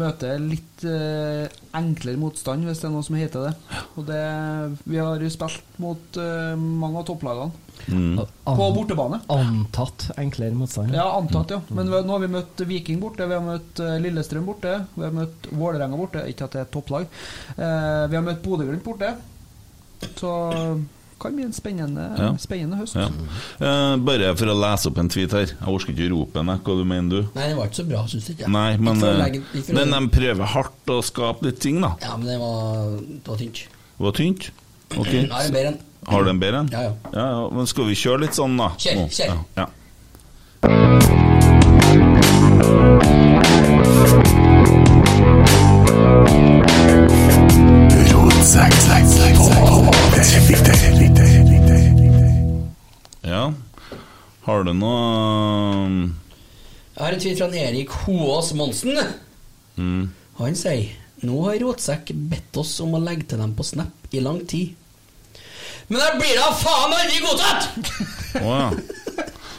Speaker 5: møter litt eh, enklere motstand, hvis det er noe som heter det. Og det vi har jo spilt mot eh, mange av topplagene.
Speaker 3: Mm. Ah.
Speaker 5: På bortebane.
Speaker 6: Antatt enklere motstand.
Speaker 5: Ja, antatt, ja.
Speaker 3: Mm.
Speaker 5: Men vi, nå har vi møtt Viking borte, vi har møtt eh, Lillestrøm borte, vi har møtt Vålerenga borte. Ikke at det er et topplag. Eh, vi har møtt Bodø-Glimt borte. Så kan bli en spennende,
Speaker 3: Ja.
Speaker 5: spennende høst.
Speaker 3: Ja. Eh, bare for å lese opp en tweet her. Jeg orker ikke rope den, jeg. hva du mener du?
Speaker 4: Nei, det var ikke så bra, syns jeg. ikke.
Speaker 3: Nei, men
Speaker 4: Ikke for å
Speaker 3: eh,
Speaker 4: legge- ikke for å-
Speaker 3: men de prøver hardt å skape litt ting, da.
Speaker 4: Ja, men det var, det var tynt.
Speaker 3: Det var tynt. Ok.
Speaker 4: Nå er det bedre enn
Speaker 3: Har du en bedre en?
Speaker 4: Ja, ja.
Speaker 3: ja. Men skal vi kjøre litt sånn, da?
Speaker 4: Kjør,
Speaker 3: Nå.
Speaker 4: kjør.
Speaker 3: Ja. ja.
Speaker 10: Rotsekk.
Speaker 3: Ja. Har du noe
Speaker 4: Jeg har en tweet fra en Erik Hoås Monsen.
Speaker 3: mm.
Speaker 4: Han sier Nå har Rotsekk bedt oss om å legge til dem på Snap i lang tid. Men jeg blir da faen aldri godtatt!
Speaker 3: Å ja.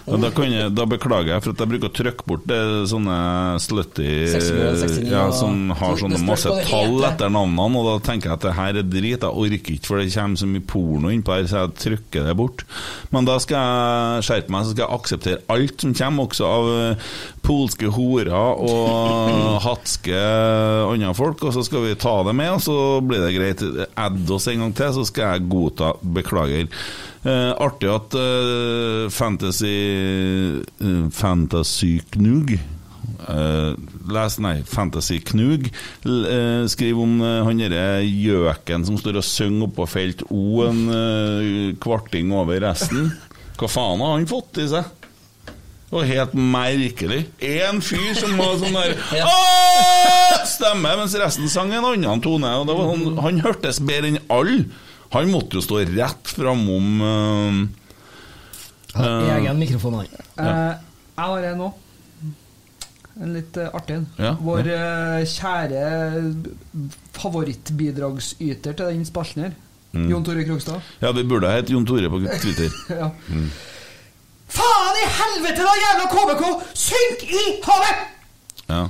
Speaker 3: Ja, da, kan jeg, da beklager jeg, for at jeg bruker å trykke bort det, sånne slutty
Speaker 4: 69, 69,
Speaker 3: ja,
Speaker 4: og-
Speaker 3: Som har
Speaker 4: som-
Speaker 3: sånne
Speaker 4: det spørs
Speaker 3: masse
Speaker 4: hva det
Speaker 3: tall
Speaker 4: heter.
Speaker 3: etter navnene, og da tenker jeg at det her er drit. Jeg orker ikke, for det kommer så mye porno innpå her, så jeg trykker det bort. Men da skal jeg skjerpe meg, så skal jeg akseptere alt som kommer, også av eh, polske horer og *laughs* hatske andre folk, og så skal vi ta det med, og så blir det greit. Add oss en gang til, så skal jeg godta. Beklager. Eh, artig at eh, Fantasy eh, Fantasy Knug eh, les, Nei, Fantasy Knug l- eh, skriver om eh, han derre gjøken som står og synger oppå felt O en eh, kvarting over resten. Hva faen har han fått i seg? Det var helt merkelig. Én fyr som var sånn der «Åh!» Stemme, mens resten sang en annen tone. Og det var sånn, han hørtes bedre enn alle. Han måtte jo stå rett framom eh,
Speaker 6: I
Speaker 3: eh,
Speaker 6: egen mikrofon, han.
Speaker 3: Ja.
Speaker 5: Eh, jeg har en òg. En litt eh, artig en.
Speaker 3: Ja,
Speaker 5: Vår eh, kjære favorittbidragsyter til den spalten her.
Speaker 3: Mm.
Speaker 5: Jon Tore Krogstad. *laughs*
Speaker 3: Ja, vi burde ha hett Jon Tore på Twitter.
Speaker 5: ja.
Speaker 3: Mm.
Speaker 5: Faen i helvete, da, jævla KBK! Synk i havet!
Speaker 3: Ja.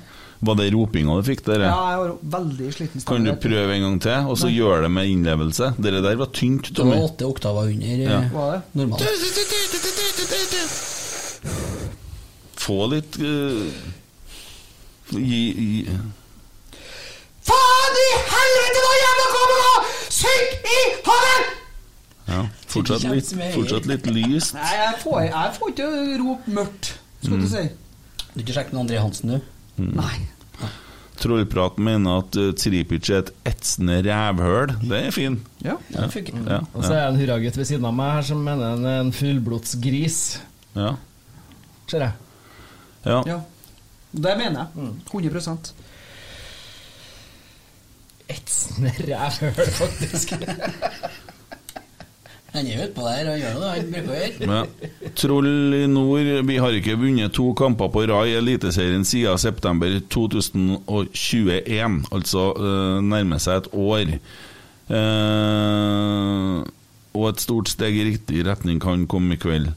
Speaker 3: Var det ropinga du fikk, dere?
Speaker 5: Ja, jeg har veldig sliten
Speaker 3: Kan du prøve en gang til, og så gjør det med innlevelse? Dere der var tynt,
Speaker 4: Det var
Speaker 3: Tommy.
Speaker 4: åtte oktaver under
Speaker 3: Ja.
Speaker 4: eh,
Speaker 5: Hva er det?
Speaker 4: normalt.
Speaker 3: Få litt eh, gi, gi.
Speaker 5: Faen i helvete, da, jævla KBK! Synk i havet!
Speaker 3: Ja. Fortsatt litt, fortsatt litt lyst.
Speaker 5: Nei, jeg får, jeg får ikke rop mørkt,
Speaker 3: Mm.
Speaker 5: skulle du si.
Speaker 4: Du har ikke sjekket med André Hansen, du?
Speaker 5: Nei.
Speaker 3: Trollprat mener at eh, Tripic er et etsende rævhøl. Det er fin.
Speaker 5: Ja.
Speaker 4: Ja, det funker.
Speaker 3: Ja.
Speaker 6: Og så er det en hurragutt ved siden av meg her som mener han er en fullblodsgris,
Speaker 3: Ja.
Speaker 6: ser jeg.
Speaker 3: ja.
Speaker 5: ja. Det mener jeg. 100
Speaker 3: Eh.
Speaker 6: Etsende rævhøl, faktisk.
Speaker 4: Han er jo utpå der og gjør det, han bruker å gjøre.
Speaker 3: Ja. Troll i nord, vi har ikke vunnet to kamper på rad i Eliteserien siden september 2021. Altså eh, nærmer seg et år. Eh, og et stort steg i riktig retning kan komme i kveld.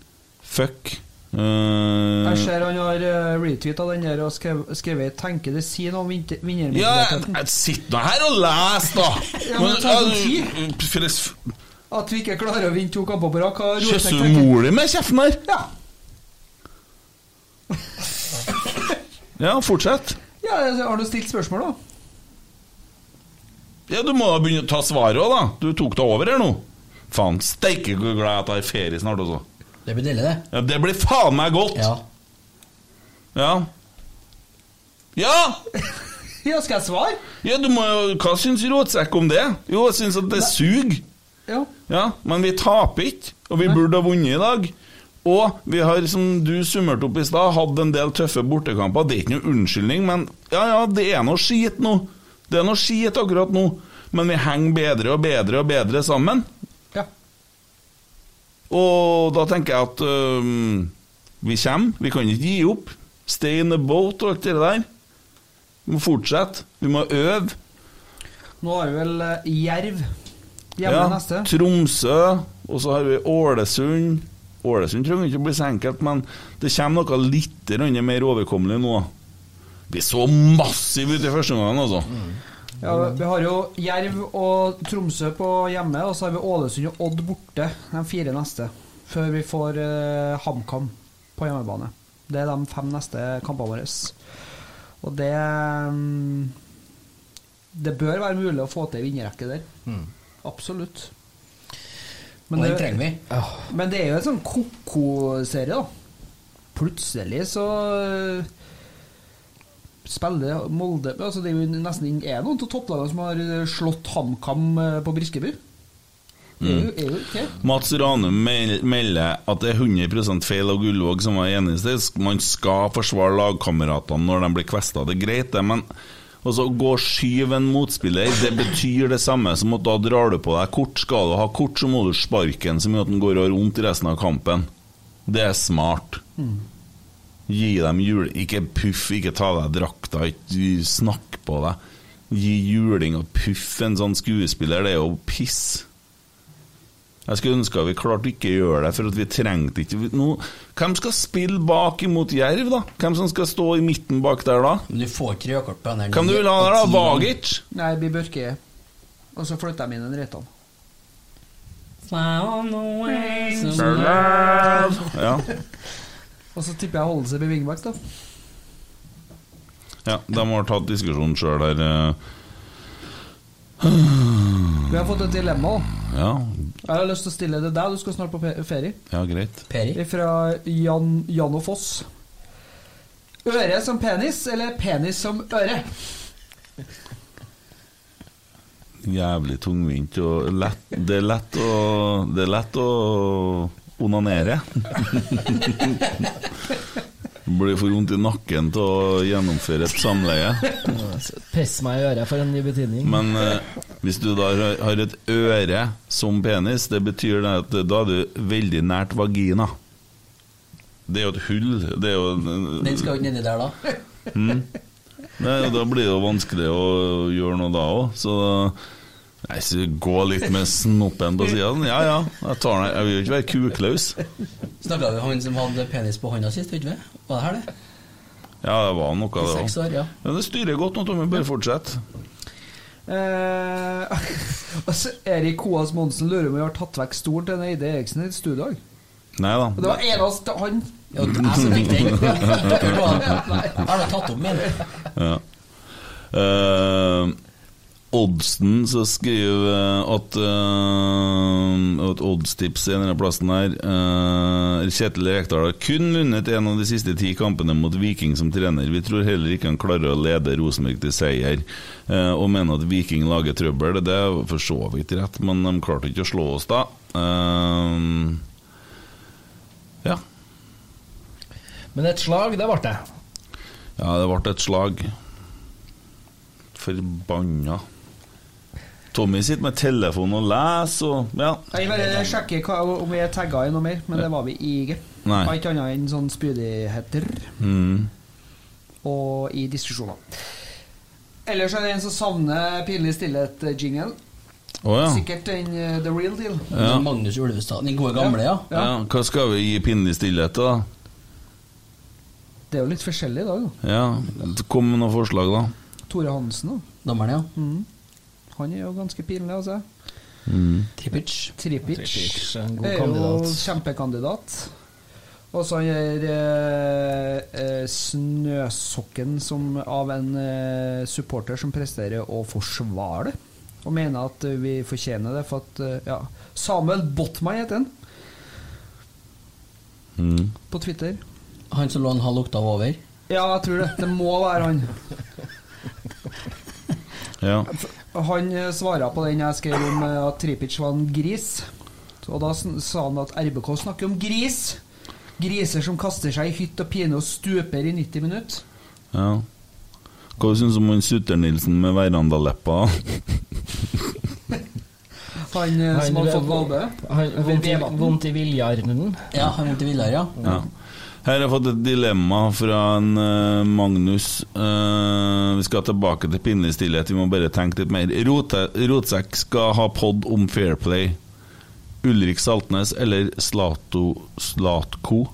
Speaker 3: Fuck. Eh,
Speaker 5: Jeg ser han har eh, retweetet den der og skrev- skrevet 'Tenker det sier noe om vinter-
Speaker 3: ja,
Speaker 5: vinnermuligheten'.
Speaker 3: jeg- sitt nå her og les, da!
Speaker 5: Ja, men det tar jo tid.
Speaker 3: Men, eh, ja, for det-
Speaker 5: At vi ikke klarer å vinne to kamper på rad. hva har
Speaker 3: Jøss,
Speaker 5: Rosek
Speaker 3: du
Speaker 5: tenkt?
Speaker 3: mor di med kjeften her!
Speaker 5: Ja.
Speaker 3: Ja, fortsett.
Speaker 5: ja, altså, har du stilt spørsmål, da?
Speaker 3: Ja, Du må da begynne å ta svaret òg, da. Du tok deg over her nå. Faen steike hvor glad jeg er at jeg har ferie snart også.
Speaker 4: Det blir deilig, det.
Speaker 3: Ja, Det blir faen meg godt!
Speaker 4: Ja.
Speaker 3: Ja! Ja!
Speaker 5: Ja, skal jeg svare?
Speaker 3: ja du må, jo- hva syns Råtsekk om det? Jo, jeg syns at det suger.
Speaker 5: Ja.
Speaker 3: Ja, men vi taper ikke, og vi burde ha vunnet i dag. Og vi har, som du summerte opp i stad, hatt en del tøffe bortekamper. Det er ikke noe unnskyldning, men ja, ja, det er noe skit nå. Det er noe skit akkurat nå. Men vi henger bedre og bedre og bedre sammen.
Speaker 5: ja.
Speaker 3: Og da tenker jeg at øhm, vi kommer. Vi kan ikke gi opp. Stay in the boat og alt det der. Vi må fortsette. Vi må øve.
Speaker 5: Nå har vi vel eh, Jerv hjemme
Speaker 3: Ja,
Speaker 5: neste.
Speaker 3: Tromsø, og så har vi Ålesund. Ålesund trenger ikke å bli så enkelt, men det kommer noe litt grann mer overkommelig nå. Vi så massive ut i første omgang, altså.
Speaker 5: Ja, vi har jo Jerv og Tromsø på hjemme, og så har vi Ålesund og Odd borte, de fire neste. Før vi får eh, HamKam på hjemmebane. Det er de fem neste kampene våre. Og det mm, Det bør være mulig å få til en vinnerrekke der. Absolutt.
Speaker 4: Mm. Og den
Speaker 5: det-
Speaker 4: trenger vi.
Speaker 5: men det er jo en sånn ko-ko-serie, da. Plutselig så øh, spiller Molde altså Det er jo nesten ingen- er noen av topplagene som har øh, slått HamKam øh, på Briskeby. Det er jo, er jo ikke det.
Speaker 3: Mats Ranum mel- melder at det er 100 feil av Gullvåg som var enig i sted. Man skal forsvare lagkameratene når de blir kvesta. Det er greit, det, men Og så gå og skyve en motspiller, det betyr det samme som at da drar du på deg kort. Skal du ha kort, så må du sparke den så mye at den går og har vondt resten av kampen. Det er smart. Gi dem jul... Ikke puff, ikke ta av deg drakta, ikke snakk på deg. Gi juling og puff en sånn skuespiller, det er jo piss. Jeg skulle ønske at vi klarte ikke å gjøre det, for at vi trengte ikke vi- nå, Hvem skal spille bak imot Jerv, da? Hvem som skal stå i midten bak der, da?
Speaker 4: Men du får ikke rødkort på den her.
Speaker 3: Hvem du vil ha der, da? Vagic?
Speaker 5: Nei, det blir Børke. Og så flytter de inn en Reitan.
Speaker 3: Ja.
Speaker 5: Og så tipper jeg Holden seg med wingback, da.
Speaker 3: ja. De har tatt diskusjonen sjøl der. eh.
Speaker 5: Vi har fått et dilemma. da.
Speaker 3: Ja,
Speaker 5: Jeg har lyst til å stille det deg, du skal snart på pe- ferie.
Speaker 3: ja greit.
Speaker 4: Peri.
Speaker 5: Fra Jan, Jan og Foss. Øre som penis, eller penis som øre?
Speaker 3: Jævlig tungvint og lett Det er lett å Det er lett å onanere. *laughs* Blir for vondt i nakken til å gjennomføre et samleie.
Speaker 6: Press meg i øret for en ny betydning.
Speaker 3: Men eh, hvis du da har- har et øre som penis, det betyr det at eh, da er du veldig nært vagina. Det er jo et hull. Det er jo
Speaker 4: Den skal jo ikke nedi der, da.
Speaker 3: Nei, Da blir det jo vanskelig å gjøre noe da òg, så Nei, så gå litt med snoppen på sida. Ja ja, jeg tar den. Jeg vil jo ikke være kukløs.
Speaker 4: Snakka vi om han som hadde penis på hånda sist, vet du? Var det her, det?
Speaker 3: Ja, det var noe,
Speaker 4: I
Speaker 3: det
Speaker 4: seks
Speaker 3: òg.
Speaker 4: år, ja.
Speaker 3: Men det styrer godt nå, Tommy. Bare fortsett.
Speaker 5: Eh, *laughs* altså, Erik Koas Monsen lurer om vi har tatt vekk stolen til Eide Eriksen i studiodag.
Speaker 3: Nei
Speaker 5: Og
Speaker 3: da.
Speaker 5: det var eneste han
Speaker 4: Ja, det er så viktig. *laughs* Har du tatt opp min?
Speaker 3: Eh, oddsen så skriver eh, at uh, Et oddstips i denne plassen her eh, Kjetil Rekdal har kun vunnet en av de siste ti kampene mot Viking som trener. Vi tror heller ikke han klarer å lede Rosenborg til seier, eh, og mener at Viking lager trøbbel. Det er for så vidt rett, men de klarte ikke å slå oss da. Eh, ja.
Speaker 6: Men et slag, det ble det.
Speaker 3: Ja, det ble et slag. Forbanna. Tommy sitter med telefon og leser og Ja.
Speaker 5: Jeg bare sjekker hva, om vi er tagga i noe mer, men det var vi ikke.
Speaker 3: Nei.
Speaker 5: Det var Ikke annet enn sånn spydigheter
Speaker 3: Mm.
Speaker 5: og i diskusjoner. Ellers er det en som savner pinlig stillhet-jingen.
Speaker 3: Å ja.
Speaker 5: Sikkert den eh, The Real Deal.
Speaker 3: Ja.
Speaker 4: Magnus Ulvestad. Den gode gamle, ja.
Speaker 3: ja. Hva skal vi gi pinlig stillhet til, da?
Speaker 5: Det er jo litt forskjellig i dag, da.
Speaker 3: Ja, Kom med noen forslag, da.
Speaker 5: Tore Hansen, da.
Speaker 4: Dommeren, ja.
Speaker 6: Mm.
Speaker 5: Han er jo ganske pinlig, altså.
Speaker 4: Tripic.
Speaker 5: Tripic
Speaker 6: Tripic er en god
Speaker 5: er jo
Speaker 6: kandidat.
Speaker 5: kjempekandidat. Og så er eh, eh, Snøsokken som, av en eh, supporter som presterer å forsvare det. Og mener at eh, vi fortjener det, for at eh, ja. Samuel Botman heter han
Speaker 3: Mm.
Speaker 5: på Twitter.
Speaker 4: Han som lå en halv oktav over.
Speaker 5: Ja, jeg tror det. Det må være han.
Speaker 3: Ja.
Speaker 5: Han eh, svarer på den jeg skrev om eh, at Tripic var en gris. Og da sn- sa han at RBK snakker om gris! Griser som kaster seg i hytt og pine og stuper i 90 minutter.
Speaker 3: ja. Hva syns du om han Sutter-Nilsen med verandaleppa?
Speaker 5: Han eh, som har fått valbue.
Speaker 6: Han- vondt i-
Speaker 5: Vevatten.
Speaker 6: Vondt i viljearmen.
Speaker 4: Ja, han vondt i Villar, ja.
Speaker 3: Ja. Her har jeg fått et dilemma fra en eh, Magnus. Eh, vi skal tilbake til pinlig stillhet, vi må bare tenke litt mer. Rote, Rotsekk skal ha pod om Fair Play. Ulrik Saltnes eller Slato Slatko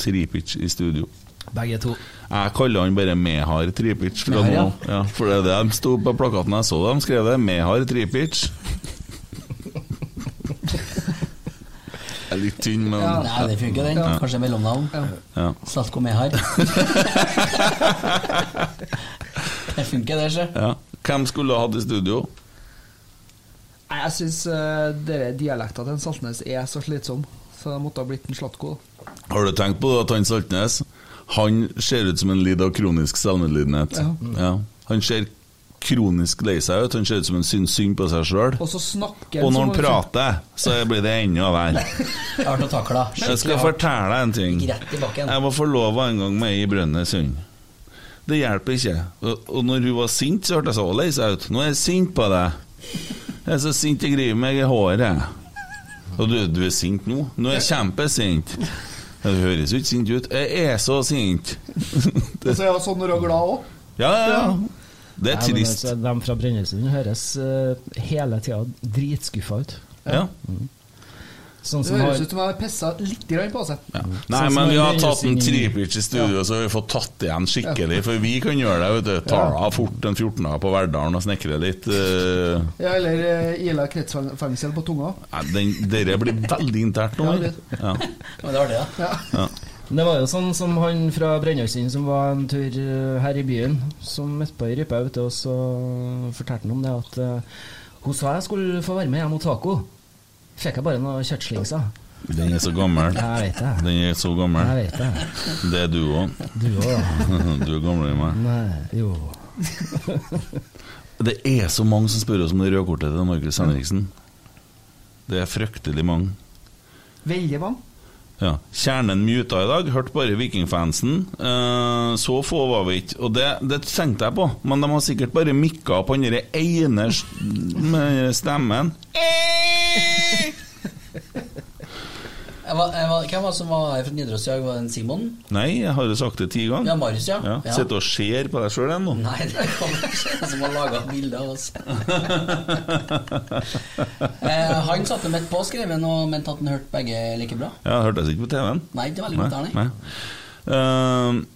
Speaker 3: Tripic i studio.
Speaker 6: Begge to.
Speaker 3: Jeg kaller han bare Mehar Tripic fra
Speaker 4: Mehar,
Speaker 3: nå.
Speaker 4: ja.
Speaker 3: Ja, for det er det de sto på plakaten jeg så de skrev det. Mehar Tripic. Jeg er litt tynn, men
Speaker 4: Nei, det funker, den. Kanskje mellomnavn.
Speaker 3: Ja.
Speaker 4: Slatko
Speaker 3: *laughs*
Speaker 4: Mehar. det funker, det, sjø.
Speaker 3: Ja. Hvem skulle ha hatt i studio?
Speaker 5: Nei, jeg syns uh, dere dialekta til en Saltnes er så slitsom, så det måtte ha blitt en Slatko. da.
Speaker 3: Har du tenkt på det at han Saltnes Han ser ut som en lider av kronisk selvmedlidenhet.
Speaker 5: Ja.
Speaker 3: Ja. Han ser kronisk lei seg ut. Han ser ut som han syns synd på seg sjøl.
Speaker 5: Og så snakker
Speaker 3: Og når
Speaker 5: som
Speaker 3: han prater, så blir det enda verre.
Speaker 4: Jeg har vært og takla.
Speaker 3: Jeg skal fortelle deg en ting.
Speaker 4: Gikk rett i bakken.
Speaker 3: Jeg var forlova en gang med ei i Brønnøysund. Det hjelper ikke. Og, og når hun var sint, så hørtes hun lei seg ut. Nå er jeg sint på deg. Jeg er så sint jeg griver meg i håret. Og du, du er sint nå? Nå er jeg kjempesint. Det høres jo ikke sint ut. Jeg er så sint.
Speaker 10: Og så er hun sånn når hun er glad òg.
Speaker 3: Ja, ja, ja. Det er
Speaker 6: Nei, men
Speaker 3: trist.
Speaker 6: altså, De fra Brønnøysund høres eh, hele tida dritskuffa ut.
Speaker 3: Ja.
Speaker 6: Sånn
Speaker 10: Det
Speaker 6: som har
Speaker 10: høres ut som hun har pissa litt grann på seg.
Speaker 3: Ja. Nei,
Speaker 6: Sånn som
Speaker 3: men vi har tatt en
Speaker 6: Brønnøysund i-
Speaker 3: tripic i studio, så har vi fått tatt igjen skikkelig. For vi kan gjøre det. vet du Tar av fort en 14-er på Verdalen og snekre litt. eh.
Speaker 10: Ja, eller eh, Ila kretsfengsel på tunga.
Speaker 3: Nei, den, dere blir veldig internt nå.
Speaker 10: Ja,
Speaker 3: Ja.
Speaker 4: Men det var det, da.
Speaker 6: Det var jo sånn som han fra Brønnøysund som var en tur eh, her i byen, som møtte på ei rype ute, og så fortalte han om det at eh, hun sa jeg skulle få være med hjem og taco. Fikk jeg bare noen kjøttslinger.
Speaker 3: Den er så gammel.
Speaker 6: Jeg vet det.
Speaker 3: Den er så
Speaker 6: Jeg
Speaker 3: gammel.
Speaker 6: vet det.
Speaker 3: Det er du òg.
Speaker 6: Du òg.
Speaker 3: *laughs* Du er gamlere enn meg.
Speaker 6: Nei, jo.
Speaker 3: Det er så mange som spør oss om det røde kortet til Markus Henriksen. Det er fryktelig mange.
Speaker 10: Veldig mange.
Speaker 3: Ja. Kjernen muta i dag, hørte bare vikingfansen. Eh, så få var vi ikke. Og det, det tenkte jeg på, men de har sikkert bare mikka på den der ene s- med stemmen.
Speaker 4: Jeg var, jeg var, hvem var det som var her fra Nidaros i dag? Var det en Simon?
Speaker 3: Nei, jeg har jo sagt det ti
Speaker 4: Ja,
Speaker 3: ganger.
Speaker 4: Marius, ja.
Speaker 3: Ja.
Speaker 4: Ja.
Speaker 3: Sitter og ser på deg sjøl ennå.
Speaker 4: Nei, det kan ikke være en som har laga bilde av oss. eh, han satte midt på og skrev en og mente at han hørte begge like bra.
Speaker 3: Ja, det hørtes ikke på TV-en.
Speaker 4: Nei, det er veldig godt der, nei.
Speaker 3: nei. Eh,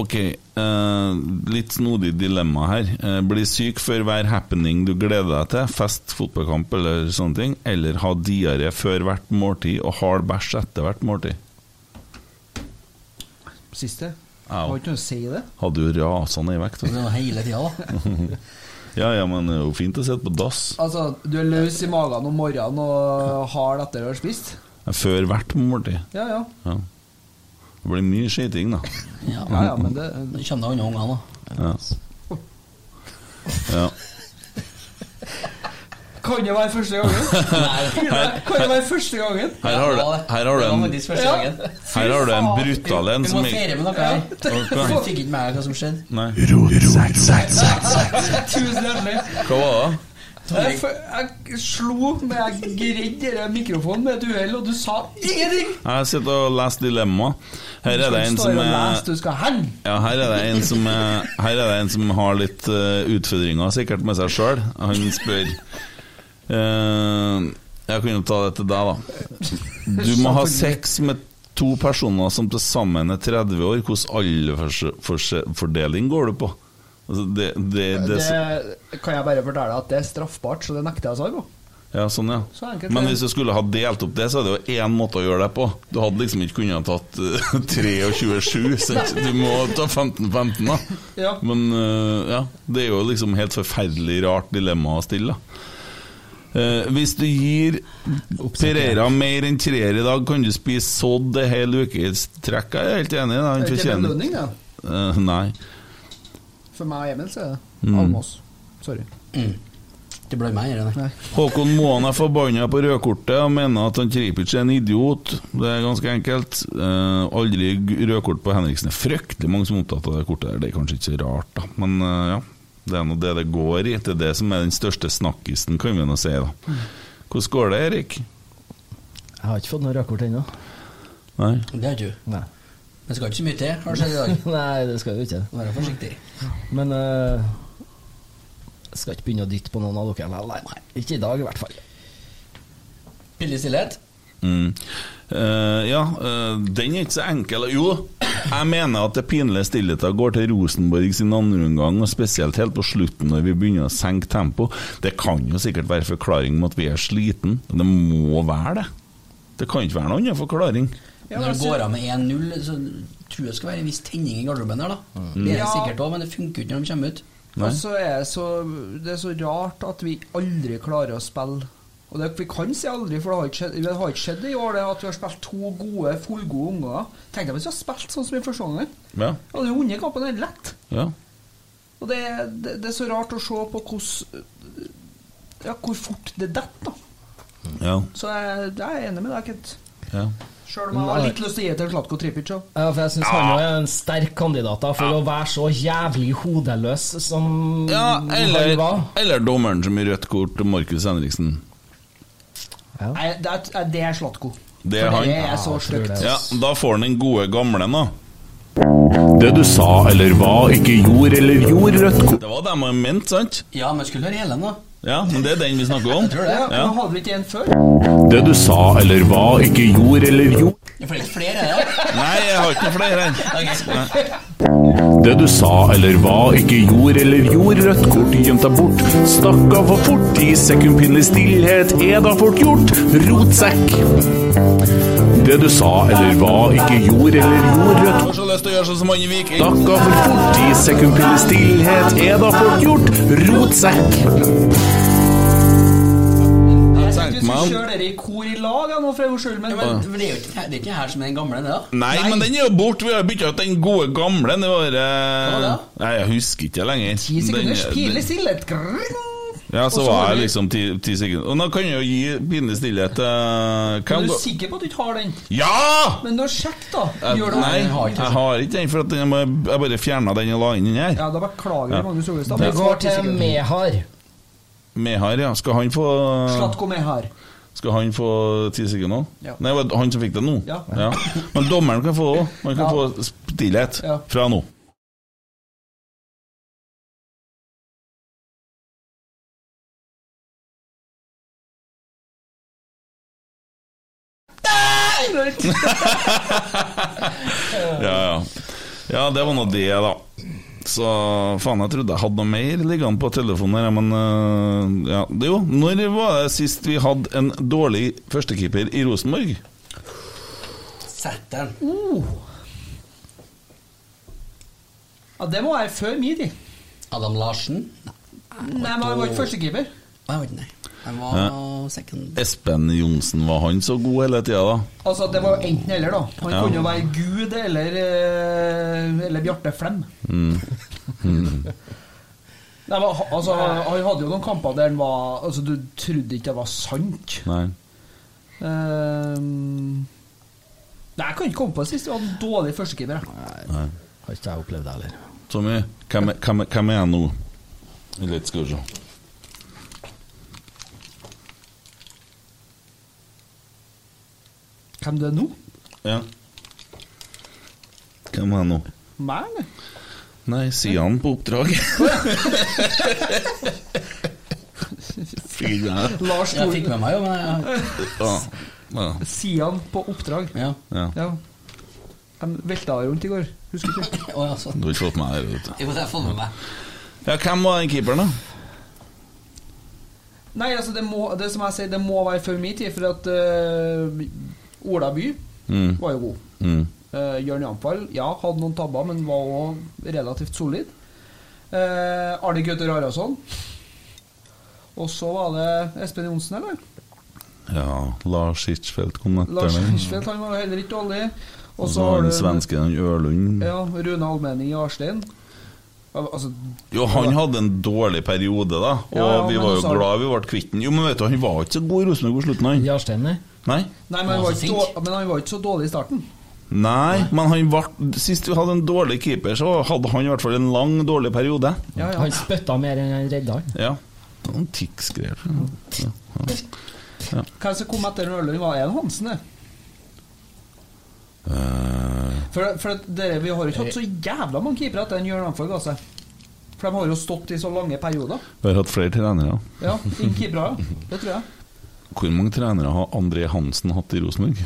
Speaker 3: ok, eh, litt snodig dilemma her. Eh, bli syk før hver happening du gleder deg til, fest, fotballkamp eller sånne ting, eller ha diaré før hvert måltid og hard bæsj etter hvert måltid.
Speaker 5: Siste.
Speaker 3: Au.
Speaker 5: Har ikke noe å si i det.
Speaker 3: Hadde jo rasende i vekt.
Speaker 4: Det
Speaker 3: vet du.
Speaker 4: var Hele tida, da.
Speaker 3: Ja, ja, men det er jo fint å sitte på dass
Speaker 5: Altså, du er løs i magen om morgenen og hard etter du har spist.
Speaker 3: før hvert måltid.
Speaker 5: Ja, ja.
Speaker 3: Ja. Det blir mye skiting, da.
Speaker 4: Ja,
Speaker 5: ja, ja men det
Speaker 4: Nå kommer det andre unger, da.
Speaker 3: Ja. ja.
Speaker 5: Kan det være
Speaker 3: *laughs*
Speaker 5: første gangen? Kan det være første gangen?
Speaker 3: Her har du, her har du
Speaker 4: Det var
Speaker 3: en
Speaker 4: faktisk første gangen.
Speaker 3: Her har du en brutal en
Speaker 4: Vi
Speaker 3: som
Speaker 4: må feire med noe her.
Speaker 3: Ok.
Speaker 4: *laughs* Du fikk ikke med deg hva som skjedde.
Speaker 3: Nei.
Speaker 5: Tusen hjertelig.
Speaker 3: Hva var det?
Speaker 5: Jeg, f- jeg slo med jeg gredde denne mikrofonen med et uhell, og du sa ingenting!
Speaker 3: Jeg sitter og leser Dilemma. Her er det en
Speaker 5: Du
Speaker 3: som
Speaker 5: står og
Speaker 3: er
Speaker 5: leser, du skal henge!
Speaker 3: ja, her er det en som, er, her er det en som har litt eh, utfordringer sikkert med seg sjøl. Han spør eh, Jeg kunne ta det til deg, da. Du må ha sex med to personer som til sammen er 30 år. Hvilken aldersfordeling går du på? Altså, det, det, det,
Speaker 10: Det kan jeg bare fortelle at det er straffbart, så det nekter jeg å svare på.
Speaker 3: Ja, sånn, ja.
Speaker 10: Så enkelt
Speaker 3: Men
Speaker 10: er det.
Speaker 3: hvis du skulle ha delt opp det, så er det jo én måte å gjøre det på. Du hadde liksom ikke kunnet ha tatt eh, *laughs*
Speaker 10: *laughs*
Speaker 3: 23, så du må ta 15-15, da.
Speaker 10: Ja.
Speaker 3: Men eh, ja, det er jo liksom helt forferdelig rart dilemma å stille, da. Eh, hvis du gir Pereira mer enn treer i dag, kan du spise sodd ei hel uke i strekk? Jeg er helt enig i det.
Speaker 10: Det
Speaker 3: Han
Speaker 10: er ikke
Speaker 3: fortjener
Speaker 10: belønning, det.
Speaker 3: Eh, Nei.
Speaker 10: For meg og Emil så er det
Speaker 3: Mm.
Speaker 10: Almås. Sorry.
Speaker 4: Det ble meg, eller? nei?
Speaker 3: Håkon Moan er forbanna på rødkortet og mener at han Tripic er en idiot. Det er ganske enkelt. Eh, aldri g- rødkort på Henriksen. Det er fryktelig mange som er opptatt av det kortet der. Det er kanskje ikke så rart, da. Men eh, ja, det er nå det det går i. Det er det som er den største snakkisen, kan vi nå si, da. Hvordan går det, Erik?
Speaker 6: Jeg har ikke fått noe rødkort ennå. *laughs*
Speaker 3: Nei?
Speaker 4: Det har ikke du.
Speaker 6: Nei.
Speaker 4: Men det skal ikke så mye til, har det skjedd i dag.
Speaker 6: Nei, det skal jo ikke.
Speaker 4: Vær forsiktig.
Speaker 6: Men eh, jeg skal ikke begynne å dytte på noen av dere. Nei, nei, ikke i dag i hvert fall.
Speaker 4: Billig stillhet.
Speaker 3: Mm. Eh, ja, eh, den er ikke så enkel. Jo, jeg mener at det pinlige stillheten går til Rosenborg sin andre omgang, og spesielt helt på slutten når vi begynner å senke tempo. Det kan jo sikkert være forklaring med at vi er sliten. Det må være det. Det kan ikke være noen annen forklaring.
Speaker 4: Når det går av med 1-0, så tror jeg det skal være en viss tenning i garderoben der, da. Det er det
Speaker 5: Ja.
Speaker 4: sikkert òg, men det funker jo ikke når de kommer ut.
Speaker 3: Nei.
Speaker 5: Og så er det så, det er så rart at vi aldri klarer å spille. Og det, vi kan si aldri, for det har ikke skjedd, det har ikke skjedd i år det at vi har spilt to gode, fullgode omganger. Tenk deg hvis vi hadde spilt sånn som i første omgang.
Speaker 3: Ja,
Speaker 5: Vi hadde jo vunnet kampen helt lett.
Speaker 3: ja.
Speaker 5: Og det, er- det, det er så rart å se på hvordan Ja, hvor fort det detter, da.
Speaker 3: ja,
Speaker 5: Så jeg, jeg er enig med deg, Kent.
Speaker 3: ja.
Speaker 5: Sjøl om jeg har litt lyst til å gi det til Slatko Tripic òg.
Speaker 6: Ja, for jeg syns han også er en sterk kandidat da, for å være så jævlig hodeløs som
Speaker 3: Ja,
Speaker 6: han
Speaker 3: eller,
Speaker 6: var.
Speaker 3: eller dommeren som gir rødt kort til Markus Henriksen.
Speaker 5: Nei, det er, det er Slatko.
Speaker 3: Det
Speaker 5: For
Speaker 3: er han.
Speaker 5: Det er så stygt.
Speaker 3: Ja, da får han den gode gamle, da.
Speaker 11: Det du sa eller hva ikke gjorde eller gjorde rødt kort
Speaker 3: Det var det man mente, sant?
Speaker 4: Ja, men skulle høre Helen, da.
Speaker 3: Ja, men det er den vi snakker om.
Speaker 4: tror det.
Speaker 5: Ja,
Speaker 3: Ja.
Speaker 5: men Hadde vi ikke en før?
Speaker 11: Det du sa eller hva ikke gjorde eller gjorde
Speaker 4: Det er litt flere, er *laughs* det?
Speaker 3: Nei, jeg har ikke noe flere her.
Speaker 4: Okay.
Speaker 11: Det du sa eller hva ikke gjorde eller gjorde rødt kort Gjemt deg bort, stakk av for fort I sekundpinnelig stillhet er da fort gjort Rotsekk Det du sa eller hva ikke gjorde eller gjorde rødt
Speaker 3: Jeg har så lyst til å gjøre sånn som han i Viking.
Speaker 11: Stakk av for fort i sekundpinnelig stillhet er da fort gjort Rotsekk
Speaker 5: Jeg tenkte vi
Speaker 3: man.
Speaker 5: skulle kjøre dere i kor i lag ja, nå, for en gangs skyld, men
Speaker 4: Men men det er jo ikke, det er ikke her som er den gamle, det, da.
Speaker 3: Nei, men den er jo borte. Vi har bytta ut den gode gamle. Det var
Speaker 4: Hva
Speaker 3: eh,
Speaker 4: da?
Speaker 3: Nei, jeg husker ikke lenger.
Speaker 5: ti sekunders
Speaker 3: Den-
Speaker 5: pile stillhet Grrrr.
Speaker 3: Ja, så
Speaker 5: Og så
Speaker 3: var
Speaker 5: har
Speaker 3: jeg
Speaker 5: vi-
Speaker 3: liksom ti, ti sekunder. Og nå kan jeg jo gi pinlig stillhet til
Speaker 5: Er
Speaker 3: Hvem
Speaker 5: du
Speaker 3: går
Speaker 5: sikker på at du ikke har den?
Speaker 3: Ja!
Speaker 5: Men da sjekk, da.
Speaker 3: Eh,
Speaker 5: Gjør det
Speaker 3: Nei, jeg har ikke den, for at den, jeg må- jeg bare fjerna den og la inn den her.
Speaker 5: Ja, da beklager vi Magnus Ovestad.
Speaker 6: Det går til Mehar.
Speaker 3: Mehar, ja. Skal han få
Speaker 5: Slatko med her.
Speaker 3: Skal han få ti sekunder òg?
Speaker 5: Ja.
Speaker 3: Nei, det var han som fikk det nå?
Speaker 5: Ja.
Speaker 3: Men dommeren kan få òg. Han kan
Speaker 5: Ja.
Speaker 3: få stillhet
Speaker 5: Ja.
Speaker 3: fra nå. *laughs* Ja, ja. Ja, det var nå det, da. Så faen, jeg trodde jeg hadde noe mer liggende på telefonen her, men øh, ja. Det jo, når var det sist vi hadde en dårlig førstekeeper i Rosenborg?
Speaker 4: Sett den.
Speaker 5: Ja, det må være før min tid.
Speaker 4: Adam Larsen? Nei,
Speaker 5: Nei, men han var ikke førstekeeper.
Speaker 4: jeg vet ikke. nei. Han var second.
Speaker 3: Espen Johnsen, var han så god hele tida, da?
Speaker 5: Altså, det var jo enten eller, da. Han
Speaker 3: Ja.
Speaker 5: kunne jo være Gud eller eh, Eller Bjarte Flem. Nei, men, ha- altså, han hadde jo noen kamper der han var Altså, du trodde ikke det var sant.
Speaker 3: Nei.
Speaker 5: Ehm, nei, jeg kan ikke komme på det siste. Det var en dårlig førstekeeper. jeg.
Speaker 6: Har ikke jeg opplevd det heller.
Speaker 3: Tommy, hvem, er- hvem, er- hvem er jeg nå? Litt, skal vi se.
Speaker 5: Hvem det er nå?
Speaker 3: Ja. Hvem er jeg nå?
Speaker 5: Meg, eller?
Speaker 3: Nei, sier han på oppdrag. *laughs* Fy, ja.
Speaker 5: Lars
Speaker 4: Jeg fikk
Speaker 5: Thor
Speaker 4: med meg, jo, men jeg,
Speaker 3: Ja. Ja.
Speaker 5: Sian på oppdrag.
Speaker 4: ja.
Speaker 3: ja.
Speaker 5: Ja. Han velta rundt i går. Husker ikke.
Speaker 4: Å, ja, sånn.
Speaker 3: Du har ikke fått meg her, vet du.
Speaker 4: Jo, det har jeg fått med meg.
Speaker 3: Ja, hvem var den keeperen, da?
Speaker 5: Nei, altså det må Det som jeg sier, det må være før min tid, for at eh, Ola By
Speaker 3: Mm.
Speaker 5: var jo god.
Speaker 3: Mm.
Speaker 5: Uh, Jørn Jampal ja, hadde noen tabber, men var òg relativt solid. Uh, Arne Gauter Haraldsson. Og så var det Espen Johnsen, eller?
Speaker 3: Ja, Lars Hirschfeldt kom etter
Speaker 5: Lars
Speaker 3: meg.
Speaker 5: Hirschfeldt, han var jo heller ikke dårlig.
Speaker 3: Og
Speaker 5: Og
Speaker 3: så
Speaker 5: så
Speaker 3: var
Speaker 5: har
Speaker 3: den
Speaker 5: du
Speaker 3: svensken han Ørlund.
Speaker 5: ja, Rune Almenning i Arstein. Al- Altså
Speaker 3: Jo, han hadde en dårlig periode, da. Og
Speaker 5: Ja, ja,
Speaker 3: vi
Speaker 5: men
Speaker 3: var jo
Speaker 5: også har-
Speaker 3: glad vi ble kvitt den. Jo, men vet du, han var ikke så god i Rosenborg på slutten, han.
Speaker 6: Jarstein, nei.
Speaker 3: Nei?
Speaker 5: Nei, men han,
Speaker 4: var
Speaker 5: var
Speaker 4: så
Speaker 5: ikke
Speaker 4: flink.
Speaker 5: dår- men han var ikke så dårlig i starten.
Speaker 3: Nei, men han ble Sist vi hadde en dårlig keeper, så hadde han i hvert fall en lang, dårlig periode.
Speaker 5: Ja, ja.
Speaker 6: Han spytta mer enn han redda han.
Speaker 3: Ja. Noen tics-greier. Ja.
Speaker 5: Hvem som kom etter Ørlund, var en Hansen, det.
Speaker 3: Eh,
Speaker 5: For, for at dere, vi har ikke hatt så jævla mange keepere etter en Jørn Amfag, altså. For de har jo stått i så lange perioder.
Speaker 3: Vi har hatt flere trenere.
Speaker 5: Ja, ingen keepere, ja. Det tror jeg.
Speaker 3: Hvor mange trenere har André Hansen hatt i *laughs* Rosenborg?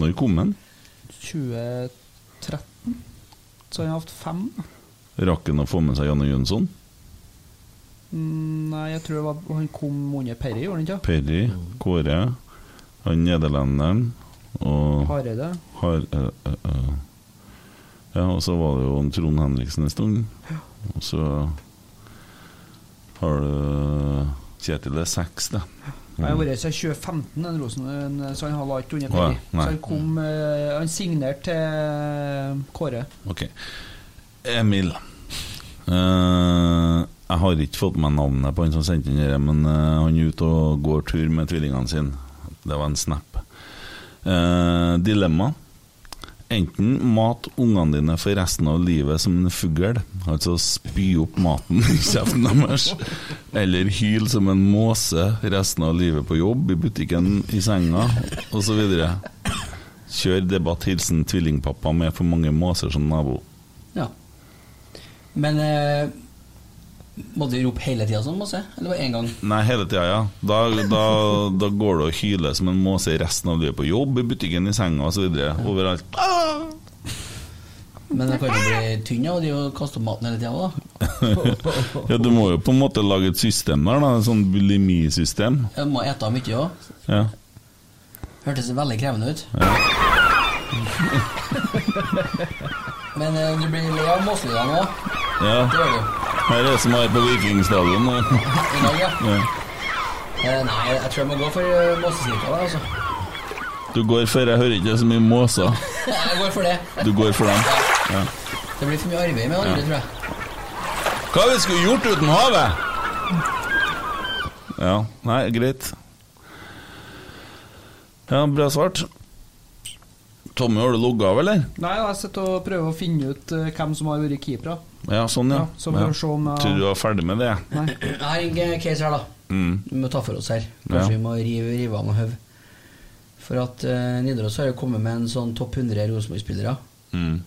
Speaker 3: Når kom han?
Speaker 5: 2013, så har jeg hatt fem.
Speaker 3: Rakk han å få med seg Janne Jønsson?
Speaker 5: Mm, Nei, jeg tror det var han kom under Perry, gjorde han ikke?
Speaker 3: Perry, Kåre, han nederlenderen og
Speaker 5: Hareide.
Speaker 3: har, eh, eh, eh. Ja, og så var det jo en Trond Henriksen en stund. Og så har du Kjetil det er seks, da.
Speaker 4: Mm.
Speaker 5: Han har vært siden 2015, den Rosen, en- så han har vært
Speaker 3: Å,
Speaker 5: under Perry.
Speaker 3: ja, nei.
Speaker 5: Så han kom eh, Han signerte til Kåre.
Speaker 3: Ok. Emil. Eh, jeg har ikke fått med navnet på han som sendte inn dette, men eh, han er ute og går tur med tvillingene sine. Det var en snap. Eh, dilemma. Enten mat ungene dine for resten av livet som en fugl, altså spy opp maten i kjeften deres, eller hyl som en måse resten av livet på jobb, i butikken, i senga, osv. Kjør debatt, hilsen tvillingpappa med for mange måser som nabo.
Speaker 4: Men eh, måtte du rope hele tida sånn, måse? Eller bare én gang?
Speaker 3: Nei, hele tida, ja. Da, da, da går det og hyler som en måse resten av livet på jobb, i butikken, i senga osv. Overalt.
Speaker 4: Men det kan ikke bli tynn av å kaste opp maten hele tida òg.
Speaker 3: ja, du må jo på en måte lage et system der, da. Et sånn bulimisystem.
Speaker 4: Du må ete mye òg.
Speaker 3: Ja.
Speaker 4: Hørtes veldig krevende ut. *laughs* Men eh, du blir lei av måselydene òg.
Speaker 3: ja.
Speaker 4: Det gjør du.
Speaker 3: Her er det som er på Vikingstadion.
Speaker 4: I dag, ja.
Speaker 3: Ja.
Speaker 4: Eh, nei, jeg tror jeg må gå for eh, måsesnippa, da, altså.
Speaker 3: Du går for Jeg hører ikke så mye måser.
Speaker 4: Jeg går for det.
Speaker 3: Du går for dem. Ja.
Speaker 4: Det blir for mye arbeid med andre,
Speaker 3: Ja.
Speaker 4: tror jeg.
Speaker 3: Hva vi skulle gjort uten havet? Ja, nei, greit. Ja, bra svart. Tommy, har du logget av, eller?
Speaker 5: Nei, jeg sitter og prøver å finne ut eh, hvem som har vært keepere.
Speaker 3: Ja, sånn, ja.
Speaker 5: Ja, så får vi se om, eh,
Speaker 3: Tror du var ferdig med det?
Speaker 5: Nei.
Speaker 4: Jeg har en eh, case her, da.
Speaker 3: Mm.
Speaker 4: Vi må ta for oss her. Kanskje
Speaker 3: Ja.
Speaker 4: vi må rive, rive av noe høv. For at eh, Nidaros har jo kommet med en sånn topp 100 Rosenborg-spillere.
Speaker 3: Mm.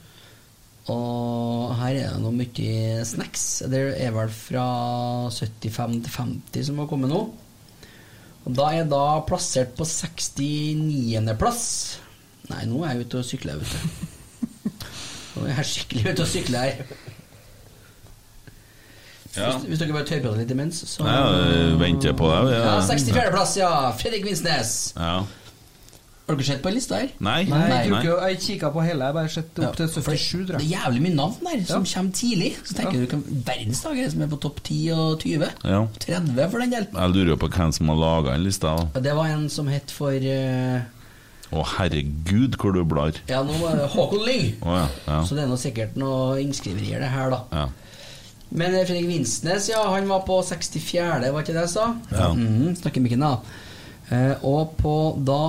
Speaker 4: Og her er det noe mye snacks. Det er vel fra 75 til 50 som har kommet nå. Og da er jeg da plassert på 69.-plass. Nei, nå er jeg ute og sykler, vet du.
Speaker 3: *laughs*
Speaker 4: Nå er jeg skikkelig ute og sykler her.
Speaker 3: Ja.
Speaker 4: Hvis, hvis dere bare tørrprater litt imens, så
Speaker 3: Ja, vi venter på deg. vi.
Speaker 4: Ja, 64.-plass, ja. Fredrik Vinsnes.
Speaker 3: Ja.
Speaker 4: Har dere sett på en lista her?
Speaker 3: Nei.
Speaker 5: Nei, jeg, tror ikke- jeg kikka på hele, jeg bare sett opp til 77, tror
Speaker 4: Det er
Speaker 5: jeg.
Speaker 4: jævlig mye navn der som kommer tidlig. Så tenker du hvem verdens dag er det som er på topp 10 og 20?
Speaker 3: Ja.
Speaker 4: 30 for den del.
Speaker 3: Jeg lurer jo på hvem som har laga den lista. da.
Speaker 4: Ja, Det var en som het for eh,
Speaker 3: Å, herregud, hvor du blar.
Speaker 4: Ja, nå var det Håkon Lyng.
Speaker 3: Å ja. ja.
Speaker 4: Så det er nå sikkert noe innskriverier, det her, da.
Speaker 3: ja.
Speaker 4: Men eh, Fredrik Vinsnes, ja, han var på 64., var ikke det jeg sa?
Speaker 3: Ja.
Speaker 4: Mhm, snakker mikken, da. Eh, og på da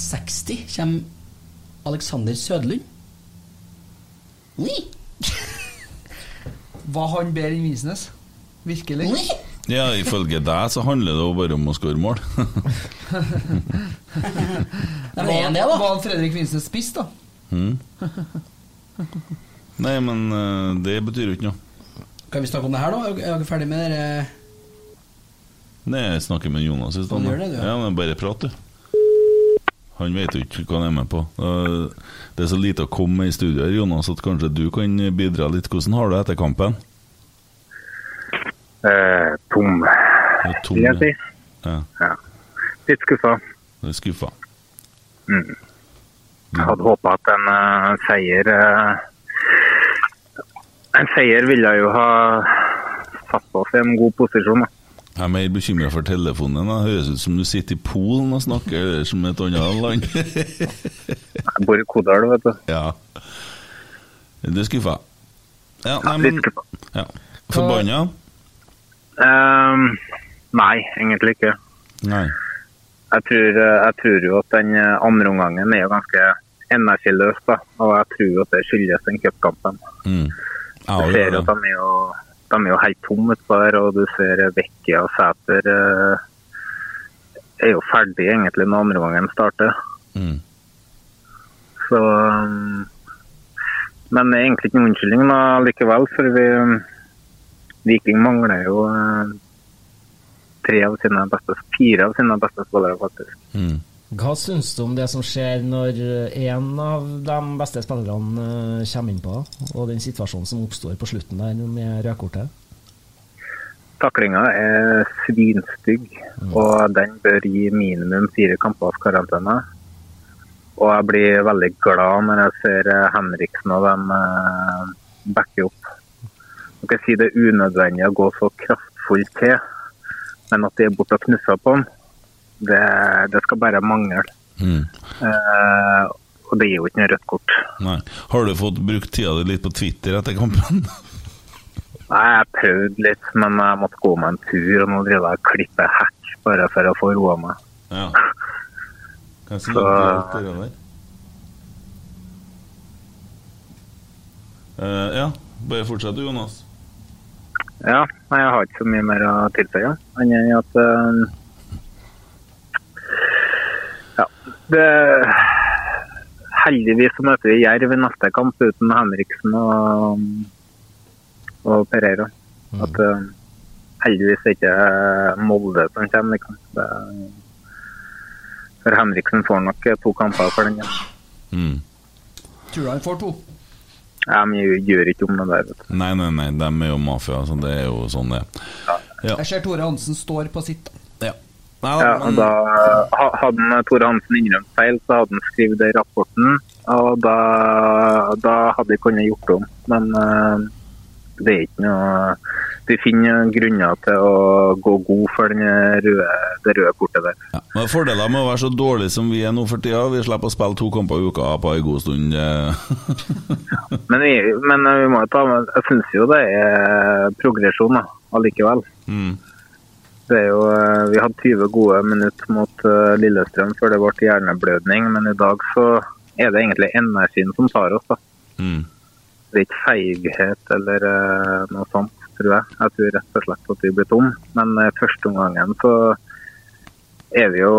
Speaker 4: 60 kommer Alexander Sødlund. Oi!
Speaker 5: Var han bedre enn Vinsnes? Virkelig?
Speaker 3: ja, ifølge deg så handler det jo bare om å skåre mål. *laughs*
Speaker 5: Var,
Speaker 4: er han det, da?
Speaker 5: var han Fredrik Vinsnes spiss, da?
Speaker 3: Mm. Nei, men eh, det betyr jo ikke noe.
Speaker 4: Kan vi snakke om det her, da? Er dere- Er dere ferdig med det? eh?
Speaker 3: Nei, jeg snakker med Jonas i
Speaker 4: Han
Speaker 3: stedet.
Speaker 4: gjør det, du, ja.
Speaker 3: Ja, men bare prat, du. Han vet jo ikke hva han er med på. Eh, Det er så lite å komme med i studio her, Jonas, at kanskje du kan bidra litt. Hvordan har du det etter kampen?
Speaker 12: Eh, tom,
Speaker 3: Du er tom,
Speaker 12: vil jeg si.
Speaker 3: Ja,
Speaker 12: Ja. Litt skuffa.
Speaker 3: du er skuffa.
Speaker 12: Mm. Jeg hadde håpa at en eh, seier eh, En seier ville jo ha satt oss i en god posisjon. Da.
Speaker 3: Jeg er mer bekymra for telefonen. din, da. Høres ut som du sitter i Polen og snakker eller som et annet land.
Speaker 12: Jeg bor i Kodal, vet du.
Speaker 3: Ja. Du er skuffa? Ja, nei, men ja. Forbanna?
Speaker 12: Eh, nei, egentlig ikke.
Speaker 3: Nei.
Speaker 12: Jeg tror, eh, jeg tror jo at den eh, andre omgangen er jo ganske energiløs, da. Og jeg tror jo at det skyldes den cupkampen.
Speaker 3: Mm. Ja,
Speaker 12: Du
Speaker 3: det
Speaker 12: ser
Speaker 3: gjør
Speaker 12: jo at
Speaker 3: det.
Speaker 12: de er jo, de er jo helt tomme utpå der, og du ser Vekkia og Sæter eh, er jo ferdig egentlig når andre gangen starter.
Speaker 3: Mm.
Speaker 12: Så um, Men det er egentlig ikke noen unnskyldning da, likevel, for vi um, Viking mangler jo eh, tre av sine beste, fire av sine beste spillere, faktisk.
Speaker 3: mm,
Speaker 6: Hva syns du om det som skjer når én av de beste spillerne eh, kommer inn på, og den situasjonen som oppstår på slutten der med rødkortet?
Speaker 12: Taklinga er svinstygg, og den bør gi minimum fire kampers karantene. Og jeg blir veldig glad når jeg ser eh, Henriksen og dem eh, backe opp. Man kan si det er unødvendig å gå så kraftfullt til, men at de er borte og knusser på den, det, det skal bare mangle.
Speaker 3: Mm.
Speaker 12: Eh, og det gir jo ikke noe rødt kort.
Speaker 3: Nei. Har du fått brukt tida di litt på Twitter etter kampen? *laughs*
Speaker 12: Nei, jeg prøvde litt, men jeg måtte gå meg en tur, og nå driver jeg og klipper hekk bare for å få roa meg.
Speaker 3: Ja. Hva
Speaker 12: Så-
Speaker 3: som ligger i alt det der? Eh, ja, bare fortsett du, Jonas.
Speaker 12: Ja, nei, jeg har ikke så mye mer å tilføye. Annet enn at eh, Ja. Det, heldigvis så møter vi Jerv i neste kamp uten Henriksen og, og Pereira. At eh, heldigvis er det ikke eh, Molde som kommer, liksom. Det, for Henriksen får nok eh, to kamper for den. ja.
Speaker 5: Tror du han får to?
Speaker 12: De gjør ikke om det der. Vet du.
Speaker 3: Nei, nei, nei, de er jo mafia, så det er jo sånn det er. Ja.
Speaker 5: Jeg ser Tore Hansen står på sitt.
Speaker 12: Ja, og da eh, ha- Hadde han Tore Hansen innrømt feil, så hadde han skrevet det i rapporten. Og da, da hadde vi kunnet gjort det om. Men eh, det er ikke noe Vi finner grunner til å gå god for den røde, det røde kortet der.
Speaker 3: Men Fordeler med å være så dårlig som vi er nå for tida, vi slipper å spille to kamper i uka på en god stund. eh. *laughs*
Speaker 12: Men vi, men eh, vi må jo ta med Jeg syns jo det er progresjon da, allikevel.
Speaker 3: Mm,
Speaker 12: Det er jo, eh, vi hadde 20 gode minutter mot eh, Lillestrøm før det ble hjerneblødning, men i dag så er det egentlig energien som tar oss. da.
Speaker 3: mm,
Speaker 12: Det er ikke feighet eller eh, noe sånt, tror jeg. Jeg tror rett og slett at vi blir tom. Men eh, første omgangen så er vi jo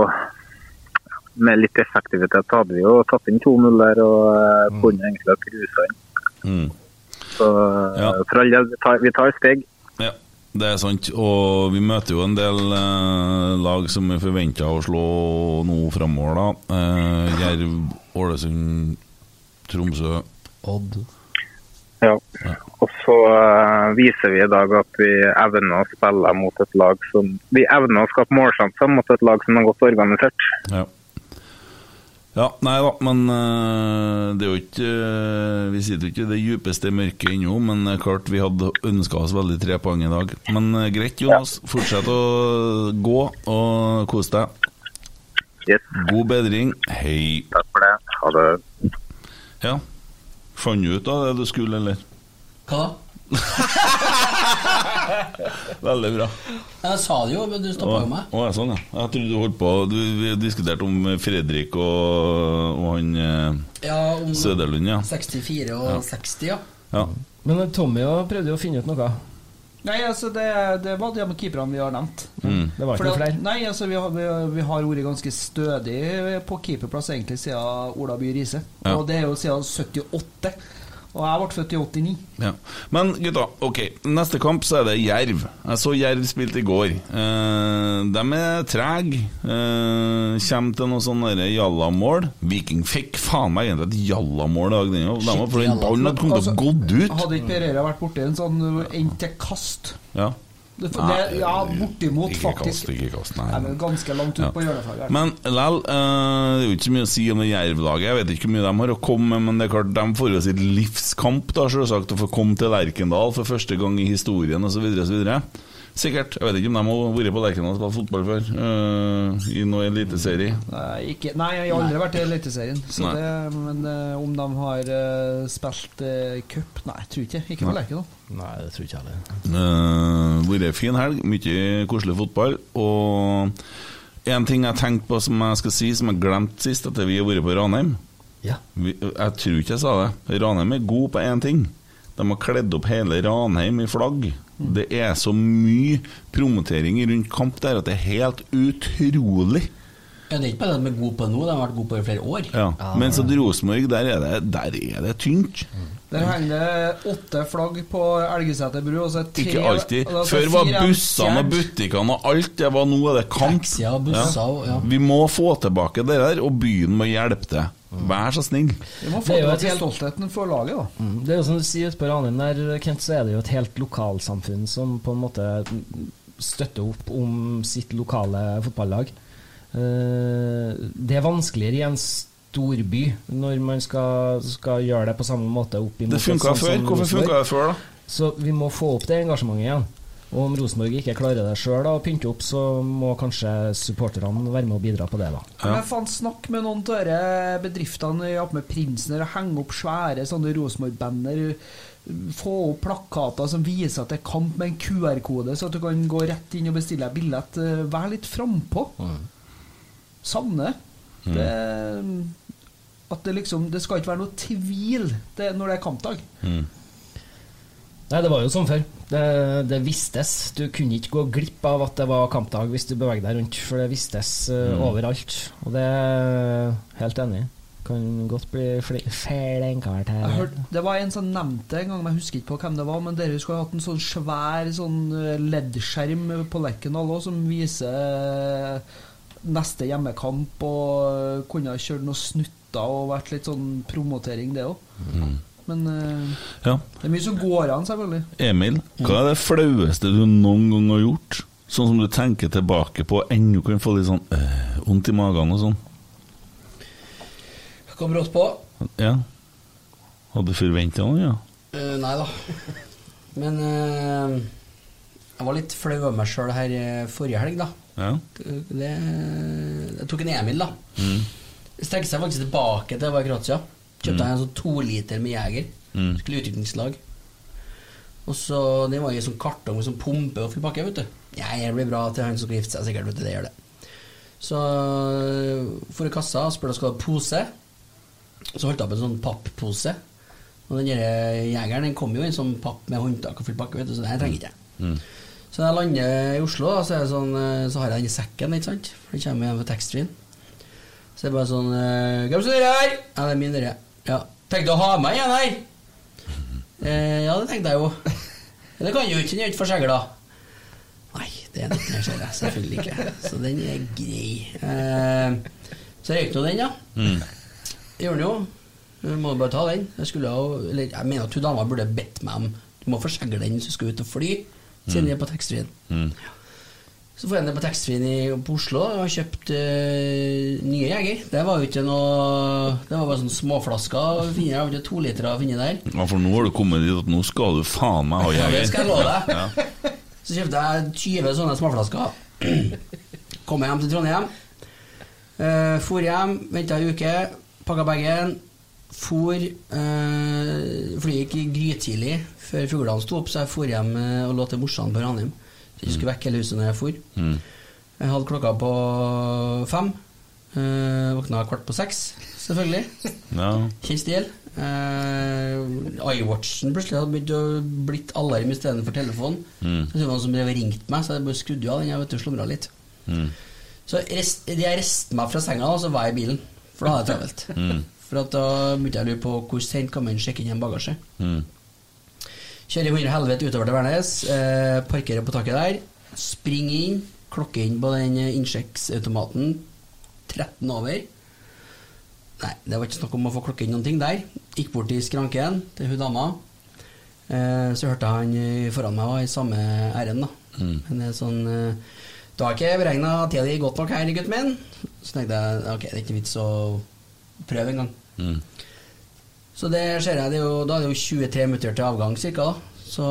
Speaker 12: Med litt effektivitet så hadde vi jo tatt inn 2-0 der og eh, kunne egentlig ha cruisa inn.
Speaker 3: mm.
Speaker 12: Så eh, for all del, vi tar- vi tar steg.
Speaker 3: Ja, det er sant. Og vi møter jo en del eh, lag som vi forventer å slå nå framover, da. Eh, Jerv, Ålesund, Tromsø Odd.
Speaker 12: Ja. Og så eh, viser vi i dag at vi evner å spille mot et lag som Vi evner å skape målsjanser mot et lag som er godt organisert.
Speaker 3: Ja. ja nei da, men eh, det er jo ikke eh, Vi sitter jo ikke i det djupeste mørket ennå, men det er klart vi hadde ønska oss veldig tre poeng i dag. Men eh, greit, Jonas. Fortsett å gå og kos deg. God bedring. Hei.
Speaker 12: Takk for det. Ha det.
Speaker 3: Ja. Fant du ut av det du skulle, eller?
Speaker 4: Hva da?
Speaker 3: Veldig bra.
Speaker 4: Jeg sa det jo, men du stoppa jo meg.
Speaker 3: Å, ja, sånn, ja. Jeg trodde du holdt på du, Vi diskuterte om Fredrik og, og han eh,
Speaker 4: Ja, om
Speaker 3: Søderlund, ja.
Speaker 4: 64 og
Speaker 3: Ja.
Speaker 4: 60, ja.
Speaker 3: ja.
Speaker 6: Men eh, Tommy også prøvde jo å finne ut noe.
Speaker 5: Nei, altså det, det var de keeperne vi har nevnt.
Speaker 6: Mm. Det var ikke
Speaker 5: Fordi
Speaker 6: noe
Speaker 5: at-
Speaker 6: flere.
Speaker 5: Nei, altså vi har, vi, vi har vært ganske stødig på keeperplass egentlig siden Ola By Riise.
Speaker 3: Ja.
Speaker 5: Og det er jo siden 78. Og jeg ble født i 89.
Speaker 3: Ja. Men gutta, ok, neste kamp så er det Jerv. Jeg så Jerv spilte i går. Eh, de er trege. Eh, Kjem til noe sånn derre jallamål. Viking fikk faen meg egentlig et jallamål i dag, den òg. De var- For den ballen hadde kommet til å gått ut.
Speaker 5: Altså, Hadde ikke Pereira vært borti en sånn endt til kast
Speaker 3: Ja.
Speaker 5: det, for-
Speaker 3: Nei,
Speaker 5: det, Ja, bortimot,
Speaker 3: ikke
Speaker 5: faktisk.
Speaker 3: kast, ikke kast, nei.
Speaker 5: Nei, men ganske langt ut
Speaker 3: Ja.
Speaker 5: på hjørnefaget.
Speaker 3: Men lell, eh, det er jo ikke så mye å si om det Jerv-laget. Jeg vet ikke hvor mye de har å komme med, men det er klart de får jo sitt livskamp, da, selvsagt, å få komme til Lerkendal for første gang i historien osv. Sikkert. Jeg vet ikke om de har vært på Lerkendal og spilt fotball før, eh, i noen eliteserie.
Speaker 5: Nei, ikke, nei, jeg har aldri vært i Eliteserien. så
Speaker 3: Nei.
Speaker 5: det- Men eh, om de har eh, spilt eh, cup Nei, jeg tror ikke. Ikke på
Speaker 3: Nei.
Speaker 5: Lerkendal.
Speaker 6: Nei, det tror ikke jeg heller.
Speaker 3: Uh, vært en fin helg, mye koselig fotball. Og en ting jeg tenkte på som jeg skal si, som jeg glemte sist, at vi har vært på Ranheim.
Speaker 6: Ja.
Speaker 3: Vi, jeg tror ikke jeg sa det. Ranheim er god på én ting. De har kledd opp hele Ranheim i flagg. Det er så mye promotering rundt kamp der at det er helt utrolig.
Speaker 4: Ja, det er ikke bare at de er gode på det nå, de har vært gode på det i flere år.
Speaker 3: Ja. Mens at Rosenborg, der er det, der er det tynt.
Speaker 5: Der henger det åtte flagg på Elgeseter bru. Og så er tre,
Speaker 3: Ikke alltid.
Speaker 4: altså,
Speaker 5: og så er
Speaker 3: Før var
Speaker 5: fire
Speaker 3: bussene og
Speaker 5: fjert.
Speaker 3: butikkene og alt, det var nå er det kamp.
Speaker 4: og busser og- ja.
Speaker 3: Vi må få tilbake det der, og byen må hjelpe til.
Speaker 4: Mm.
Speaker 3: Vær så snill.
Speaker 5: Vi må
Speaker 6: Det
Speaker 5: få
Speaker 6: er jo
Speaker 5: tilbake
Speaker 6: et helt-
Speaker 5: stoltheten for laget, da.
Speaker 6: Mm, Det er jo som du sier ute på Ranheim der, Kent, så er det jo et helt lokalsamfunn som på en måte støtter opp om sitt lokale fotballag. Eh, Det er vanskeligere i en storby når man skal, skal gjøre det på samme måte opp imot
Speaker 3: Det
Speaker 4: sånn
Speaker 3: funka
Speaker 6: et sånt
Speaker 3: før.
Speaker 6: som
Speaker 3: Hvorfor
Speaker 6: Rosenborg.
Speaker 3: funka det før, da?
Speaker 6: Så vi må få opp det engasjementet igjen. Og om Rosenborg ikke klarer det sjøl og pynter opp, så må kanskje supporterne være med og bidra på det, da.
Speaker 5: Men faen, snakk med noen av disse bedriftene oppe med Prinsen her og henge opp svære sånne Rosenborg-banner. Få opp plakater som viser at det er kamp med en QR-kode, så at du
Speaker 3: Mm.
Speaker 5: kan gå rett inn og bestille deg billett. Eh, Vær litt frampå. Savner det. Det, at det liksom Det skal ikke være noe tvil det, når det er kampdag.
Speaker 6: Nei, det var jo sånn før. Det, det vistes. Du kunne ikke gå glipp av at det var kampdag hvis du beveget deg rundt, for det vistes eh,
Speaker 11: Mm.
Speaker 6: overalt. Og det er helt enig i. Kan godt bli flenkart
Speaker 5: Jeg
Speaker 6: her.
Speaker 5: hørte, det var en som nevnte det en gang, men jeg husker ikke på hvem det var, men dere skulle ha hatt en sånn svær sånn eh, LED-skjerm på Lerkendal òg, som viser eh, neste hjemmekamp, og eh, kunne ha kjørt noen snutter og vært litt sånn promotering, det òg. Men eh,
Speaker 3: Ja.
Speaker 5: det er mye som går an, selvfølgelig.
Speaker 3: Emil, hva er det flaueste du noen gang har gjort? Sånn som du tenker tilbake på og ennå kan få litt sånn øh, vondt i magen og sånn?
Speaker 4: Kom brått på.
Speaker 3: Ja. Hadde du forventa noe, ja?
Speaker 4: Eh, nei da. *laughs* Men eh, jeg var litt flau over meg sjøl her eh, forrige helg, da.
Speaker 3: Ja.
Speaker 4: Det, jeg tok en Emil, da.
Speaker 3: Mm.
Speaker 4: Strekker seg faktisk tilbake til jeg var i Kroatia. Kjøpte
Speaker 3: Mm.
Speaker 4: jeg en sånn to liter med Jeger.
Speaker 3: Mm.
Speaker 4: Skulle i utviklingslag. Og så Det var i en sånn kartong med sånn pumpe og full pakke, vet du. Ja, det blir bra til han som skal gifte seg, sikkert. Vet du, det gjør det. Så øh, for i kassa og spurte om jeg skulle ha pose. Så holdt jeg opp en sånn papppose. Og den der jegeren den kom jo i en sånn papp med håndtak og full pakke, vet du, så det her trenger ikke jeg.
Speaker 3: Mm.
Speaker 4: Så når jeg lander i Oslo, da, så, er det sånn, eh, så har jeg den i sekken, ikke sant? For den kommer igjen på taxfree-en. Så det er bare sånn eh, Hvem som er det her? Ja, det er min, dere. Ja. Tenkte å ha meg igjen her? Eh, ja, det tenkte jeg jo. Men det kan jo ikke, den er jo ikke for segla. Nei, det er den ikke, ser jeg. Selvfølgelig ikke. Så den er grei. Eh, så røyk nå den, ja.
Speaker 3: Mm.
Speaker 4: Det gjør den jo. Du må bare ta den. Jeg, skulle jo, eller, jeg mener at hun dama burde bedt meg om Du må forsegle den hvis du skal ut og fly, siden
Speaker 3: Mm.
Speaker 4: den er på taxfree-en.
Speaker 3: Mm.
Speaker 4: Så får jeg den på taxfree-en i- på Oslo og har kjøpt eh, nye Jeger. Det var jo ikke noe Det var bare sånne småflasker. å finne. Jeg har ikke to liter å finne der.
Speaker 3: Ja, for nå har du kommet dit at nå skal du faen meg ha
Speaker 4: Ja,
Speaker 3: jeger.
Speaker 4: det skal jeg love deg.
Speaker 3: Ja.
Speaker 4: Så kjøpte jeg 20 sånne småflasker. Kom hjem til Trondheim. Uh, for hjem, venta ei uke, pakka bagen. For eh, Flyet gikk grytidlig før fuglene sto opp, så jeg for hjem eh, og lå til morsan på Ranheim. Så jeg ikke skulle vekke hele huset når jeg for.
Speaker 3: Mm.
Speaker 4: Jeg hadde klokka på fem. Eh, våkna kvart på seks, selvfølgelig.
Speaker 3: Ja.
Speaker 4: Kjent stil. Eh, iWatchen plutselig hadde begynt å blitt alarm istedenfor telefon.
Speaker 3: Mm.
Speaker 4: Så det var noen som drev og ringte meg, så jeg bare skrudde av den. Jeg vet du, slumra litt.
Speaker 3: Mm.
Speaker 4: Så rest, jeg reiste meg fra senga, og så var jeg i bilen. For da hadde jeg travelt.
Speaker 3: Mm.
Speaker 4: For at da begynte jeg å lure på hvor sent kan man sjekke inn en bagasje.
Speaker 3: Mm.
Speaker 4: Kjører i hundre helvete utover til Værnes, eh, parkerer på taket der, springer inn, klokker inn på den eh, innsjekksautomaten, 13 over. Nei, det var ikke snakk om å få klokke inn noen ting der. Gikk bort til skranken til hun dama. Eh, så hørte jeg han eh, foran meg var i samme ærend, da.
Speaker 3: Mm.
Speaker 4: Men det er sånn eh, Du har ikke beregna tida di godt nok her, gutten min. Så tenkte jeg ok, det er ikke vits å prøve engang.
Speaker 3: Mm.
Speaker 4: Så det ser jeg, det er jo, da er det jo 23 minutter til avgang cirka da. Så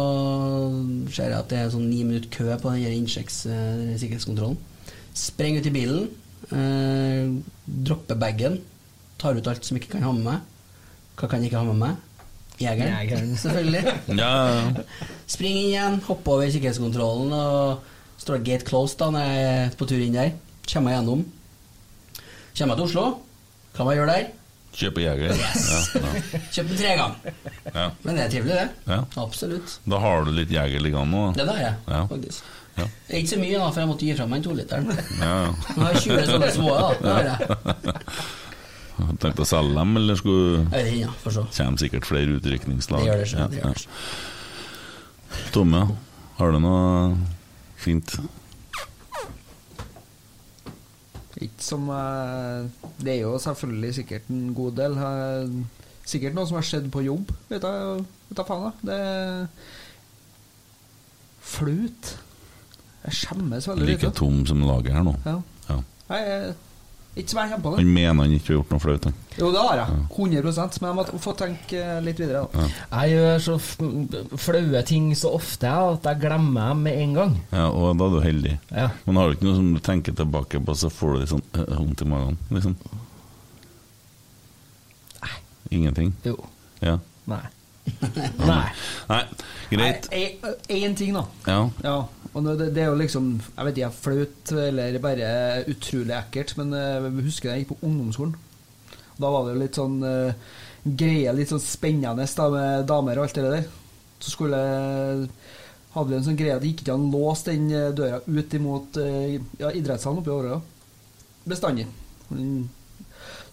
Speaker 4: ser jeg at det er sånn 9 minutter kø på den her innsjekks, eh, sikkerhetskontrollen. Spreng ut i bilen, eh, dropper baggen, tar ut alt som ikke kan ha med meg. Hva kan jeg ikke ha med meg? Jegeren,
Speaker 6: Jegeren.
Speaker 4: *laughs* selvfølgelig.
Speaker 3: *laughs* Ja, ja, ja.
Speaker 4: Spring inn igjen, hoppe over sikkerhetskontrollen og står gate closed da når jeg er på tur inn der. Kommer meg gjennom. Kommer meg til Oslo. Hva må jeg gjøre der?
Speaker 3: Kjøpe jeger. Ja, ja.
Speaker 4: Kjøpt den tre ganger.
Speaker 3: Ja.
Speaker 4: Men det er trivelig, det.
Speaker 3: Ja.
Speaker 4: Absolutt.
Speaker 3: Da har du litt jeger liggende nå? da.
Speaker 4: Det der, jeg,
Speaker 3: Ja.
Speaker 4: faktisk.
Speaker 3: Ja.
Speaker 4: Det er Ikke så mye, da, for jeg måtte gi fra meg en toliteren.
Speaker 3: Ja, ja.
Speaker 4: *laughs* Jeg har 20 sånne små, da. Det har jeg.
Speaker 3: Har du tenkt å selge dem, eller skulle
Speaker 4: Jeg vet ikke, ja, får se.
Speaker 3: Kommer sikkert flere utrykningslag.
Speaker 4: Det gjør det, sjø, det gjør det,
Speaker 3: ja. Tomme, har du noe fint?
Speaker 5: Ikke som eh, Det er jo selvfølgelig sikkert en god del. eh, Sikkert noe som har skjedd på jobb. Vet jeg, vet jeg faen, da. Det er flaut. Jeg skjemmes veldig
Speaker 3: Like tom som laget her nå.
Speaker 5: Ja.
Speaker 3: Ja.
Speaker 5: Nei, jeg- Ikke som jeg kommer på
Speaker 3: Han
Speaker 5: det.
Speaker 3: mener han ikke har gjort noe flaut, han.
Speaker 5: Jo, det har jeg. 100 Men jeg må t- få tenke eh, litt videre, da.
Speaker 6: Jeg gjør så f- flaue ting så ofte jeg, at jeg glemmer dem med en gang.
Speaker 3: Ja, og da er du heldig.
Speaker 6: Ja.
Speaker 3: Men har du ikke noe som du tenker tilbake på, så får du litt sånn øh, vondt i magen? Liksom. Ingenting?
Speaker 6: Jo.
Speaker 3: Ja.
Speaker 6: Nei.
Speaker 3: Nei. Nei. Greit.
Speaker 5: Én ting, da.
Speaker 3: Ja.
Speaker 5: Ja, Og nå, det, det er jo liksom Jeg vet ikke, flaut eller bare utrolig ekkelt, men eh, jeg husker jeg gikk på ungdomsskolen. Da var det jo litt sånn eh, greie, litt sånn spennende da, med damer og alt det der. Så skulle eh, hadde vi en sånn greie at det gikk ikke an å låse den eh, døra ut imot eh, ja, idrettshallen oppe i Årøya. Bestandig. Mm.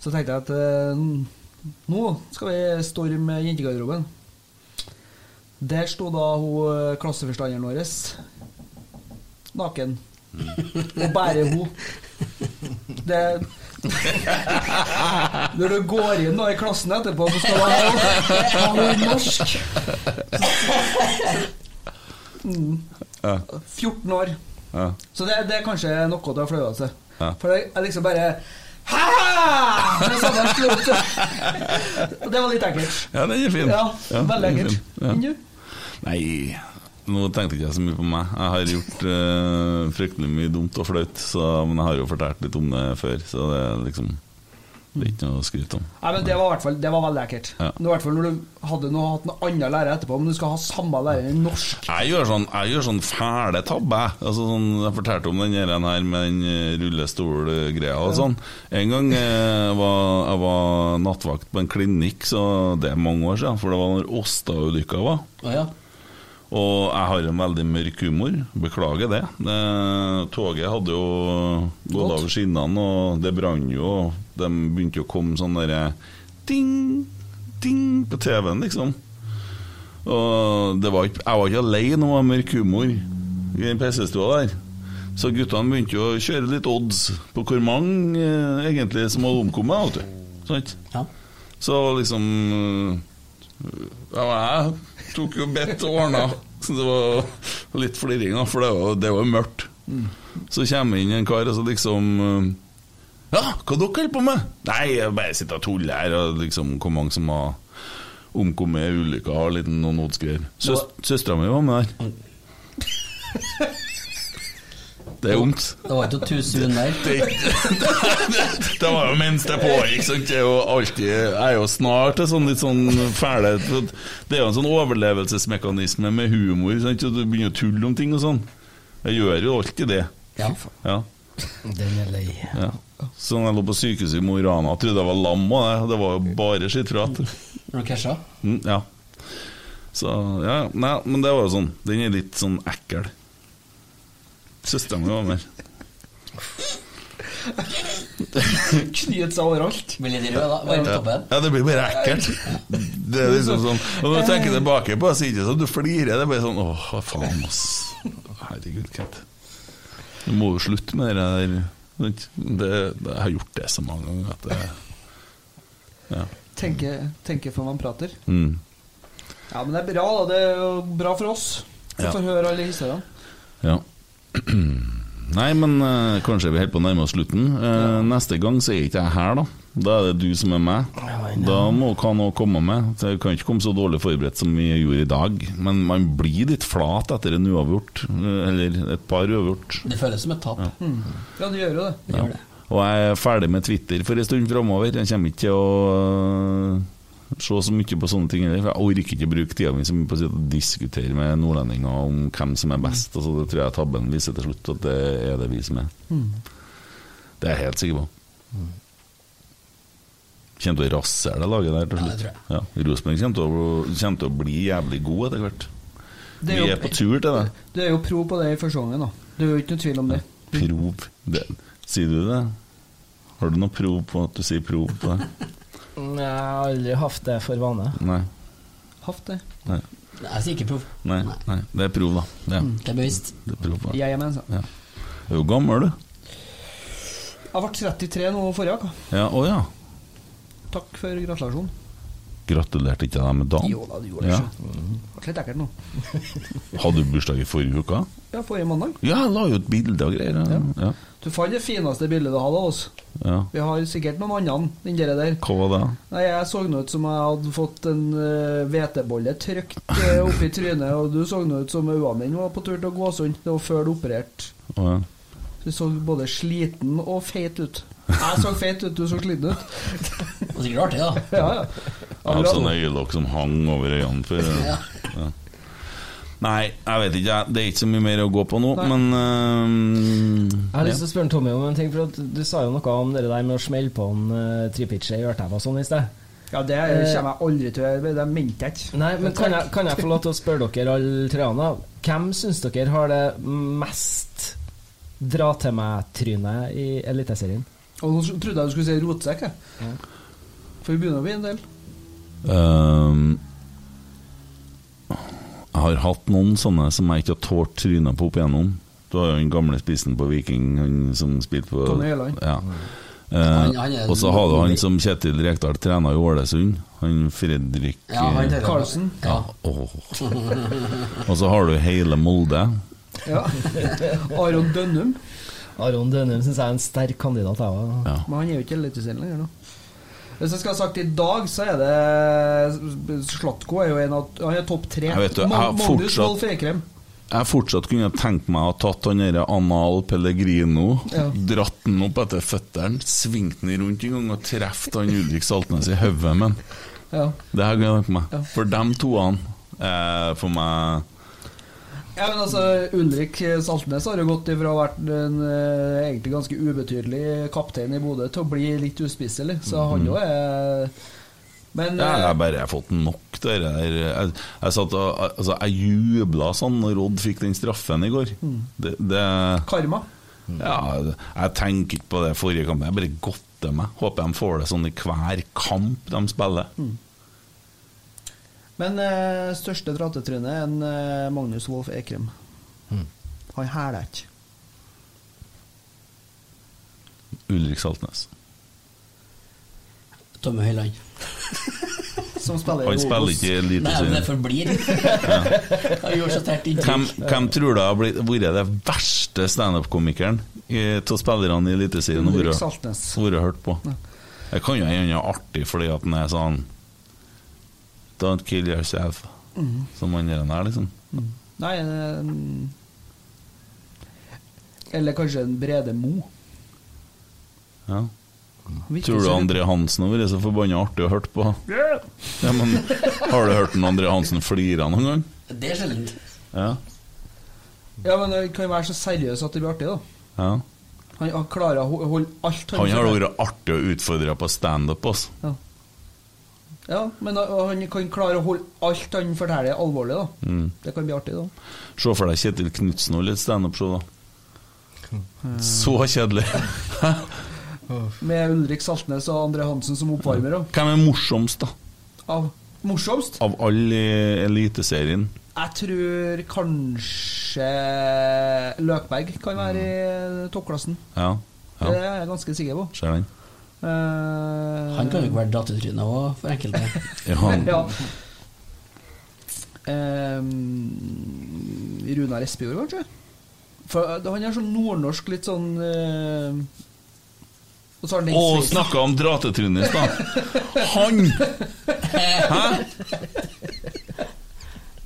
Speaker 5: Så tenkte jeg at eh, nå skal vi storme jentegarderoben. Der sto da hun eh, klasseforstanderen vår naken.
Speaker 3: Mm.
Speaker 5: Og bærer hun. Det Når du går inn da i klassen etterpå, så skal du ha ha hun norsk. Mm.
Speaker 3: Ja.
Speaker 5: 14 år.
Speaker 3: Ja.
Speaker 5: Så det, det er kanskje noe til å flaue av seg.
Speaker 3: Ja.
Speaker 5: For jeg, jeg liksom bare Ha-ha! Det, er sånn jeg slo ut. Og det var litt ekkelt.
Speaker 3: Ja, den er fin.
Speaker 5: Ja,
Speaker 3: Ja, den
Speaker 5: veldig
Speaker 3: er
Speaker 5: ekkelt.
Speaker 3: fin. Ja.
Speaker 5: Enn du?
Speaker 3: Nei, nå tenkte ikke jeg så mye på meg. Jeg har gjort eh, fryktelig mye dumt og flaut, så- men jeg har jo fortalt litt om det før, så det er liksom Det er ikke noe å skryte om.
Speaker 5: Nei, men det var, i hvert fall, det var veldig ekkelt.
Speaker 3: Ja.
Speaker 5: Men I hvert fall når du hadde noe, hatt en annen lærer etterpå, men du skal ha samme lærer i norsk.
Speaker 3: *laughs* Jeg gjør sånn, jeg gjør sånn fæle tabbe. jeg. Altså sånn, jeg fortalte om den her, den her med den eh, rullestolgreia og sånn. En gang eh, var, jeg var nattvakt på en klinikk, så det er mange år siden, for det var når Åsta-ulykka var. Og jeg har en veldig mørk humor, beklager det. Eh, toget hadde jo gått over skinnene, og det brant jo, og de begynte jo å komme sånn derre Ding, ding på TV-en, liksom. Og det var ikke, jeg var ikke alene om å ha mørk humor i den pissestua der. Så guttene begynte jo å kjøre litt odds på hvor mange eh, egentlig som hadde omkommet. Vet du. Sant? Så liksom eh, Ja, jeg tok jo bedt og ordna. Så det var litt fliring, da, for det var, det var jo mørkt. Så kommer inn en kar og så liksom eh, ja, hva dere holder på med? Nei, jeg bare sitter og tuller her, og liksom hvor mange som har omkommet i ulykker, har litt noen oddsgreier. Søs Søstera mi var med der. Det er vondt.
Speaker 4: Det var ikke noe tusen der.
Speaker 3: Det var jo mens det pågikk, sant. Jeg er jo alltid Jeg er jo snart en sånn litt sånn fæle Det er jo en sånn overlevelsesmekanisme med humor, sant. og Du begynner å tulle om ting og sånn. Jeg gjør jo alltid det.
Speaker 4: Ja.
Speaker 3: ja.
Speaker 6: Den er lei.
Speaker 3: Ja. Så når jeg lå på sykehuset i Mo i Rana, jeg trodde jeg var lam og det. Det var jo bare skittprat.
Speaker 4: Har du casha?
Speaker 3: Mm, ja. Så ja, nei, men det var jo sånn. Den er litt sånn ekkel. Søstera mi var med.
Speaker 5: Knyter seg overalt.
Speaker 4: Veldig rød, da. Varm
Speaker 3: Ja.
Speaker 4: toppen.
Speaker 3: ja, det blir bare ekkelt. Det er liksom sånn Og når du tenker tilbake på det, så er det ikke sånn at du flirer. Det er bare sånn åh, hva faen, ass. Herregud, Kent. Du må jo slutte med det der. sant? Det, det, jeg har gjort det så mange ganger at det Ja.
Speaker 5: Tenke, tenke før man prater.
Speaker 3: Mm.
Speaker 5: Ja, men det er bra, da. Det er jo bra for oss. Vi
Speaker 3: Ja.
Speaker 5: får høre alle historiene.
Speaker 3: Ja. *clears throat* Nei, men eh, kanskje vi holder på å nærme oss slutten. Eh, Neste gang så er ikke jeg her, da. Da er det du som er meg. Da må han òg komme med. Så jeg kan ikke komme så dårlig forberedt som vi gjorde i dag. Men man blir litt flat etter en uavgjort, eh, eller et par uavgjort.
Speaker 4: Det føles som et tap.
Speaker 5: Ja, du gjør jo det.
Speaker 3: Ja. Og jeg er ferdig med Twitter for en stund framover. Jeg kommer ikke til å øh, se så mye på sånne ting heller. For jeg orker ikke å bruke tida mi så mye på å sitte og diskutere med nordlendinger om hvem som er
Speaker 5: Mm.
Speaker 3: best. Altså, det tror jeg tabben viser til slutt, at det er det vi som er.
Speaker 5: Mm.
Speaker 3: Det er jeg helt sikker på. Kommer til å rasere det laget der til
Speaker 4: Ja, det
Speaker 3: slutt. Ja, Rosenborg kommer til å- kommer til å bli jævlig god etter hvert.
Speaker 5: Det
Speaker 3: Vi
Speaker 5: er jo-
Speaker 3: er på tur til det.
Speaker 5: Du er jo pro på det i første gangen, da. Det er jo ikke noe tvil om det.
Speaker 3: Prov det. Sier du det? Har du noe prov på at du sier prov på det?
Speaker 6: Nei, Mm, Jeg har aldri hatt det for vane.
Speaker 3: Nei.
Speaker 5: Haft det.
Speaker 3: Nei.
Speaker 4: Jeg sier ikke prov.
Speaker 3: Nei, nei, det er prov, da. Det er,
Speaker 4: Det er bevisst.
Speaker 3: det er prov, da.
Speaker 5: Jeg er med, altså.
Speaker 3: Ja. Du er jo gammel, du.
Speaker 5: Jeg ble 33 nå forrige uke.
Speaker 3: Ja, Å ja.
Speaker 5: Takk for gratulasjonen.
Speaker 3: Gratulerte ikke jeg deg med dagen?
Speaker 5: Jo da, du gjorde det.
Speaker 3: ja.
Speaker 5: så. Det ble litt ekkelt nå.
Speaker 3: Hadde du bursdag i forrige uke?
Speaker 5: Ja, forrige mandag.
Speaker 3: Ja, jeg la jo ut bilde og greier. Ja. Ja.
Speaker 5: Du fant det fineste bildet du hadde av oss.
Speaker 3: Ja.
Speaker 5: Vi har sikkert noen andre enn dere der.
Speaker 3: Hva var det?
Speaker 5: Nei, Jeg så nå ut som jeg hadde fått en eh, hvetebolle trykt eh, opp oppi trynet, og du så nå ut som øynene mine var på tur til å gå sund. Det var før du opererte.
Speaker 3: Å, ja.
Speaker 5: Du så både sliten og feit ut. Jeg så feit ut, du så sliten ut.
Speaker 4: Det var sikkert artig, da.
Speaker 5: Ja, sånn ja.
Speaker 3: Jeg hadde sånne øyelokk som hang over øynene før.
Speaker 4: Ja.
Speaker 3: Ja. Nei, jeg vet ikke. jeg. Det er ikke så mye mer å gå på nå, men ehm, øhm,
Speaker 6: Jeg har lyst til å spørre Tommy om en ting, for at du sa jo noe om det der med å smelle på en uh, tripitcher i ørtæva og sånn i sted.
Speaker 5: Ja, det kommer jeg aldri til å gjøre, det mente jeg ikke.
Speaker 6: Nei, men kan jeg, kan jeg få lov til å spørre dere alle treene? Hvem syns dere har det mest dra-til-meg-trynet i Eliteserien?
Speaker 5: Og nå trodde jeg du skulle si rotsekk, jeg. For vi begynner å bli en del.
Speaker 3: øhm, Jeg Ehm, har hatt noen sånne som jeg ikke har tålt trynet på opp igjennom. Du har jo den gamle spissen på Viking, han som spilte på
Speaker 5: Tommy Øyland.
Speaker 3: Ja. Eh,
Speaker 4: Han- han er-
Speaker 3: og så har du han som Kjetil Rekdal trena i Ålesund. Han Fredrik
Speaker 4: Ja, han
Speaker 3: eh,
Speaker 4: teller. Karlsen.
Speaker 3: Ja. Åh. Og så har du hele Molde.
Speaker 5: Ja. Aron Dønnum.
Speaker 6: Aron Dønum syns jeg er en sterk kandidat, jeg òg.
Speaker 5: Men han er jo ikke i Eliteserien lenger nå. Hvis jeg skal ha sagt i dag, så er det Slatko er jo en av Han er topp tre.
Speaker 3: Jeg vet du, jeg har
Speaker 5: Ma- Magnus
Speaker 3: fortsatt-
Speaker 5: Wolff Ekrem.
Speaker 3: Jeg fortsatt kunne tenkt meg å ha tatt han derre Anal Pellegrino,
Speaker 5: Ja.
Speaker 3: dratt den opp etter føttene, svingt den rundt en gang og truffet han Ulrik Saltnes i hodet med den.
Speaker 5: Ja.
Speaker 3: Det har jeg gledet meg. For dem toene, eh, for meg
Speaker 5: Ja, men altså, Ulrik Saltnes har jo gått ifra å ha vært en eh, egentlig ganske ubetydelig kaptein i Bodø til å bli litt uspisselig, så han jo er
Speaker 3: Mhm.
Speaker 5: Men
Speaker 3: Ja, jeg
Speaker 5: eh,
Speaker 3: har bare fått nok det der. Jeg, jeg, satt og, altså, jeg jubla sånn når Odd fikk den straffen i går.
Speaker 5: Mm.
Speaker 3: Det, det,
Speaker 5: Karma.
Speaker 3: Ja, jeg tenker ikke på det forrige kampen. Jeg bare godter meg. Håper de får det sånn i hver kamp de spiller.
Speaker 5: Men eh, største dratetrynet er en eh, Magnus Wolff Ekrem.
Speaker 3: Mm.
Speaker 5: Han hæler ikke.
Speaker 3: Ulrik Saltnes.
Speaker 4: Tommy Høiland.
Speaker 5: Som spiller
Speaker 3: Han spiller ikke i Eliteserien.
Speaker 4: Nei, men det forblir. *laughs* Han gjorde så sterkt
Speaker 3: Hvem,
Speaker 4: inntrykk.
Speaker 3: hvem tror du har blitt- vært det verste standup-komikeren av spillerne i Eliteserien og
Speaker 5: Ulrik
Speaker 3: vært-
Speaker 5: Saltnes.
Speaker 3: vært hørt på? Det kan jo hende han er artig fordi at han er sånn Don't kill yourself,
Speaker 5: Mhm.
Speaker 3: som han der er, liksom.
Speaker 5: Nei eh, Eller kanskje en Brede Mo.
Speaker 3: Ja.
Speaker 5: Virker
Speaker 3: Tror du
Speaker 5: så-
Speaker 3: André Hansen har vært så forbanna artig å høre på?
Speaker 2: Ja.
Speaker 3: Ja, men, har du hørt den André Hansen flire noen gang?
Speaker 4: Det er sjeldent.
Speaker 3: Ja.
Speaker 5: Ja, men det kan jo være så seriøs at det blir artig, da.
Speaker 3: ja.
Speaker 5: Han, han klarer å ho- holde alt
Speaker 3: Han har da vært artig å utfordre på standup, altså.
Speaker 5: Ja, men da- han kan klare å holde alt han forteller, alvorlig, da.
Speaker 3: Mm.
Speaker 5: Det kan bli artig, da.
Speaker 3: Se for deg Kjetil Knutsen og litt standup-show, da. Så kjedelig.
Speaker 5: Med Ulrik Saltnes og André Hansen som oppvarmer. Da.
Speaker 3: Hvem er morsomst, da?
Speaker 5: Av morsomst?
Speaker 3: Av alle i Eliteserien?
Speaker 5: Jeg tror kanskje Løkberg kan være i toppklassen.
Speaker 3: Ja. Mm. ja.
Speaker 5: Det er jeg ganske sikker på.
Speaker 3: Ser den.
Speaker 5: Eh,
Speaker 4: Han kan jo ikke være datetrynet òg, for enkelte.
Speaker 3: Ja, han-
Speaker 5: ja. Ehm, Runar Espejord, kanskje? For eh, han er sånn nordnorsk, litt sånn eh, Og så har han den
Speaker 3: Og
Speaker 5: sveisen.
Speaker 3: snakka om dratetrynet i stad. Han!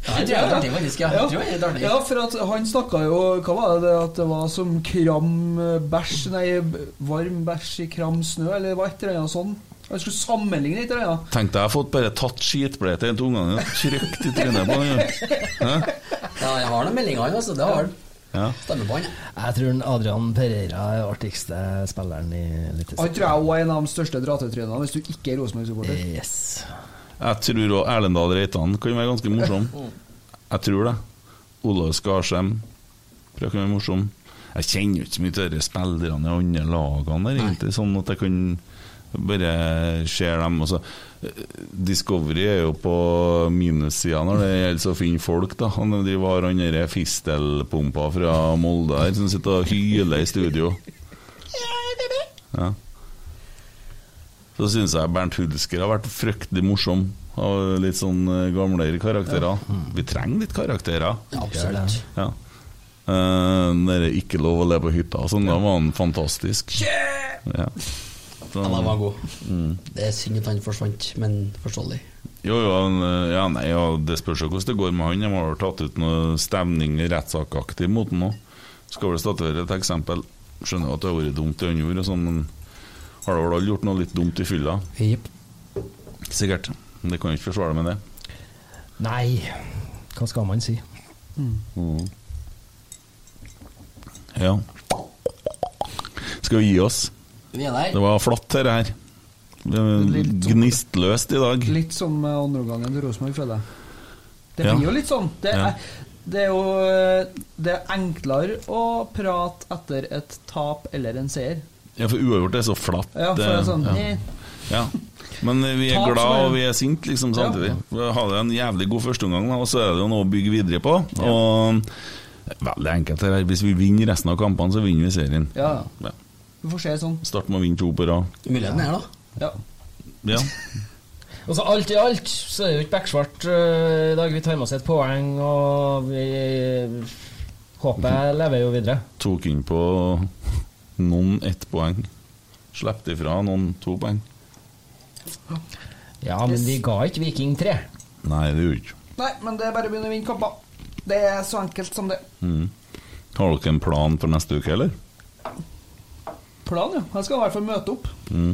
Speaker 4: Jeg tror jeg er artig, faktisk. Ja. Jeg tror jeg er artig.
Speaker 5: Ja, for at han snakka jo Hva var det at det var som kram eh, bæsj Nei, b- varm bæsj i kram snø, eller hva et eller annet sånt. Han skulle sammenligne et eller annet.
Speaker 3: Tenk deg, jeg har fått bare tatt skitbleie til en av ungene og trykt i trynet på den. Hæ?
Speaker 4: Ja, jeg har noen meldinger, han, altså. Det har han.
Speaker 3: Ja.
Speaker 4: Stemmer på han.
Speaker 6: Jeg tror den Adrian Pereira er den artigste spilleren i
Speaker 5: Han tror
Speaker 6: Eliteserien.
Speaker 5: jeg også er en av de største dratetrynene, hvis du ikke er Rosenborg-supporter.
Speaker 6: Yes.
Speaker 3: Jeg tror òg Erlendal Reitan kan være ganske morsom. Jeg tror det. Olav Skarsheim tror jeg kan være morsom. Jeg kjenner jo ikke så mye til de spillerne i andre lagene der, egentlig, sånn at jeg kan bare se dem. Og så. Discovery er jo på minussida når det gjelder å finne folk, da. Han driver og har han derre fistelpumpa fra Molde her, som sitter og hyler i studio. Ja. Så syns jeg Bernt Hulsker har vært fryktelig morsom. Og litt sånn eh, gamlere karakterer. Vi trenger litt karakterer.
Speaker 4: Ja, absolutt.
Speaker 3: Ja. Eh, det er ikke lov å le på hytta og sånn. Da var han fantastisk. Ja. Så-
Speaker 4: Han var god.
Speaker 3: Mm.
Speaker 4: Det er synd at han forsvant, men forståelig.
Speaker 3: Jo, jo, han, eh, ja, nei, ja, det spørs jo hvordan det går med han. De har jo tatt ut noe stevning rettssakaktig mot han òg. Skal vel statuere et eksempel. Skjønner jo at det har vært dumt det han gjorde, og sånn, men har da vel alle gjort noe litt dumt i fylla? Sikkert. Men det kan jo ikke forsvare med det.
Speaker 6: Nei, hva skal man si?
Speaker 3: Ja. Skal vi gi oss?
Speaker 4: Vi er der.
Speaker 3: Det var flatt her. her. Det var Gnistløst i dag.
Speaker 5: Litt som eh, andreomgangen til Rosenborg, føler jeg. Det
Speaker 3: Ja.
Speaker 5: blir jo litt sånn. Det
Speaker 3: Ja.
Speaker 5: er, det er jo eh, det er enklere å prate etter et tap eller en seier.
Speaker 3: Ja, for uavgjort er så flatt.
Speaker 5: Ja, for det er sånn,
Speaker 3: ja.
Speaker 5: eh.
Speaker 3: Ja. Men eh, vi er
Speaker 5: Tap som
Speaker 3: glad
Speaker 5: er-
Speaker 3: og vi er sint liksom samtidig. Ha det en jævlig god førsteomgang, da, og så er det jo noe å bygge videre på. Og veldig enkelt her. Hvis vi vinner resten av kampene, så vinner vi serien.
Speaker 5: Ja, Du får se sånn.
Speaker 3: Start med å vinne to på rad.
Speaker 4: Muligheten er, da.
Speaker 5: Ja.
Speaker 3: Ja.
Speaker 6: Altså Alt i alt så er det jo ikke beksvart øh, i dag. Vi tar med oss et poeng, og vi håpet lever jo videre.
Speaker 3: *laughs* Tok inn på noen ett poeng. Slapp ifra noen to poeng.
Speaker 6: Ja, men vi ga ikke Viking 3. *laughs*
Speaker 3: Nei, det gjorde vi ikke.
Speaker 5: Nei, men det er bare å begynne å vinne kamper. Det er så enkelt som det.
Speaker 3: Mm. Har dere en plan for neste uke, eller?
Speaker 5: Plan, ja. Jeg skal i hvert fall møte opp
Speaker 3: Mm.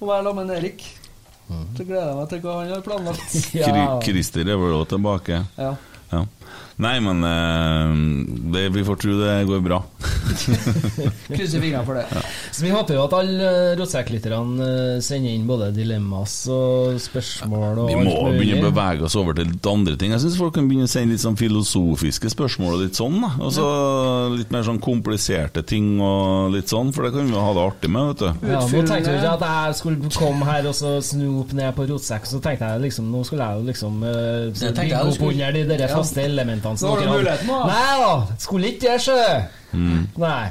Speaker 5: og være sammen med Erik. Så gleder jeg meg til hva han har planlagt. *laughs*
Speaker 3: Kri- Christer er vel også tilbake.
Speaker 5: Ja.
Speaker 3: Ja. Nei, men eh, det, vi får tro det går bra.
Speaker 5: Krysser fingrene for det.
Speaker 6: Så vi håper jo at alle øh, rotsekklytterne øh, sender inn både dilemmas og spørsmål og
Speaker 3: Vi må begynne å bevege oss over til litt andre ting. Jeg syns folk kan begynne å sende litt sånn filosofiske spørsmål og litt sånn. da Og så litt mer sånn kompliserte ting og litt sånn, for det kan vi jo ha det artig med, vet du.
Speaker 6: Ja, nå tenkte jeg ikke at jeg skulle komme her og så snope ned på rotsekk, så tenkte jeg liksom Nå skulle jeg jo liksom øh,
Speaker 4: Det tenkte jeg
Speaker 6: bygge
Speaker 4: du
Speaker 6: opp
Speaker 4: skulle-
Speaker 6: under de der
Speaker 4: Ja.
Speaker 6: faste elementene. som
Speaker 4: Nå har du
Speaker 6: dere hadde.
Speaker 4: muligheten, da.
Speaker 6: Nei da, skulle ikke det skje!
Speaker 3: Mm.
Speaker 6: Nei.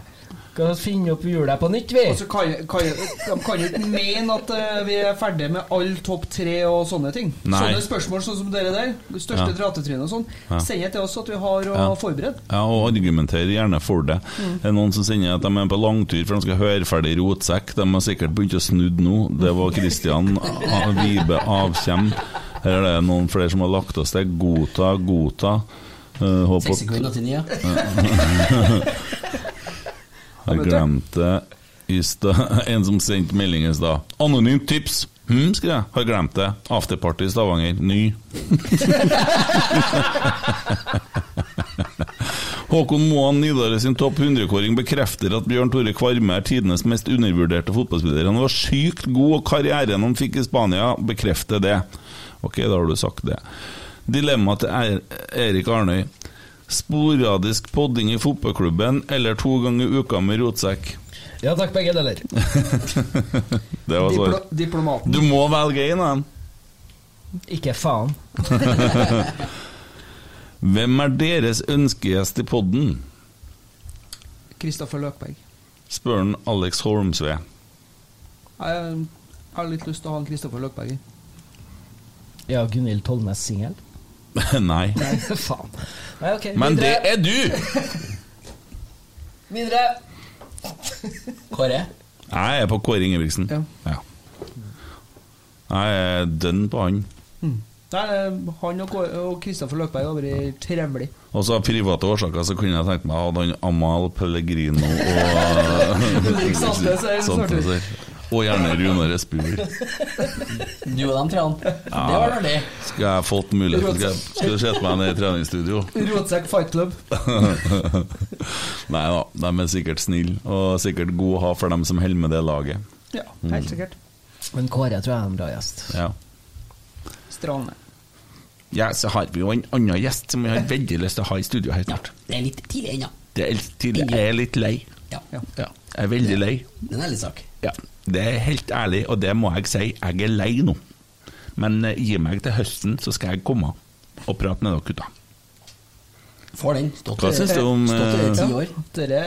Speaker 6: Skal vi finne opp hjulet på nytt, vi.
Speaker 5: Og så kan, kan, de kan jo ikke mene at eh, vi er ferdige med all topp tre og sånne ting.
Speaker 3: Nei.
Speaker 5: Sånne spørsmål sånn som dere der, det største
Speaker 3: Ja.
Speaker 5: ratetrynet og sånn,
Speaker 3: Ja.
Speaker 5: send det til oss at vi har eh, å
Speaker 3: Ja.
Speaker 5: forberede.
Speaker 3: Ja, og argumentere gjerne for det.
Speaker 5: Mm.
Speaker 3: Det er noen som sender at de er på langtur for de skal høre ferdig Rotsekk. De har sikkert begynt å snudde nå. Det var Kristian A- Vibe Avkjem. Her er det noen flere som har lagt oss til. Godta, godta. Uh, håper
Speaker 4: Seks sekunder til ni, ja.
Speaker 3: Jeg glemte i stad *laughs* En som sendte melding i stad. 'Anonymt tips'. Hm, skrev jeg. Har glemt det. Afterparty i Stavanger. Ny. *laughs* Håkon Moan Nidare sin topp 100-kåring bekrefter at Bjørn Tore Kvarme er tidenes mest undervurderte fotballspiller. Han var sykt god, og karrieren han fikk i Spania, bekrefter det. Ok, da har du sagt det. Dilemma til er Erik Arnøy. Sporadisk podding i fotballklubben eller to ganger i uka med rotsekk?
Speaker 6: Ja takk, begge deler.
Speaker 3: Det var svaret.
Speaker 5: diplomaten.
Speaker 3: Du må velge en av dem.
Speaker 6: Ikke faen.
Speaker 3: Hvem er deres ønskegjest i podden?
Speaker 5: Kristoffer Løkberg.
Speaker 3: Spør han Alex Holmsve. *laughs*
Speaker 5: Jeg har litt lyst til å ha en Kristoffer Løkberg i.
Speaker 6: Ja, Gunhild Tollnes singel? *laughs*
Speaker 3: Nei.
Speaker 6: faen. Nei, ok.
Speaker 3: Men det
Speaker 6: videre.
Speaker 3: er du!
Speaker 6: Videre.
Speaker 4: Kåre?
Speaker 3: Jeg er på Kåre Ingebrigtsen. Ja. Jeg er dønn på han.
Speaker 5: Nei, eh, han og Kå- og Kristoffer Løkberg over i trevlig.
Speaker 3: Og så av private årsaker så kunne jeg tenkt meg å ha han Amal Pellegrino og Sånn
Speaker 5: Ulrik Saltnes er
Speaker 3: Saltnes
Speaker 5: en sorter.
Speaker 3: her. Og gjerne Runar Espejord.
Speaker 4: Du og dem tre han. Det var artig.
Speaker 3: Skal jeg fått muligheten Skal jeg- Skal du sette meg ned i treningsstudio? *laughs*
Speaker 5: Rotsekk Fight Club.
Speaker 3: Nei da, de er sikkert snille, og sikkert gode å ha for dem som holder med det laget.
Speaker 5: Ja,
Speaker 3: Mm.
Speaker 5: helt sikkert.
Speaker 6: Men Kåre tror jeg er en bra gjest.
Speaker 3: Ja.
Speaker 5: Strålende.
Speaker 3: ja, så har vi jo en annen gjest som vi har veldig lyst til å ha i studio her snart.
Speaker 4: Det er litt tidlig ennå.
Speaker 3: Det er litt tidlig. Jeg er litt lei.
Speaker 4: Ja.
Speaker 3: Ja, jeg er veldig lei.
Speaker 4: Det er en ærlig sak.
Speaker 3: Ja, det er helt ærlig, og det må jeg si. Jeg er lei nå. Men eh, gi meg til høsten, så skal jeg komme og prate med dere gutta.
Speaker 4: Får den. Stått
Speaker 3: Hva
Speaker 4: i-
Speaker 3: synes du om,
Speaker 4: Stått i det i ti
Speaker 3: eh,
Speaker 4: år.
Speaker 5: Dere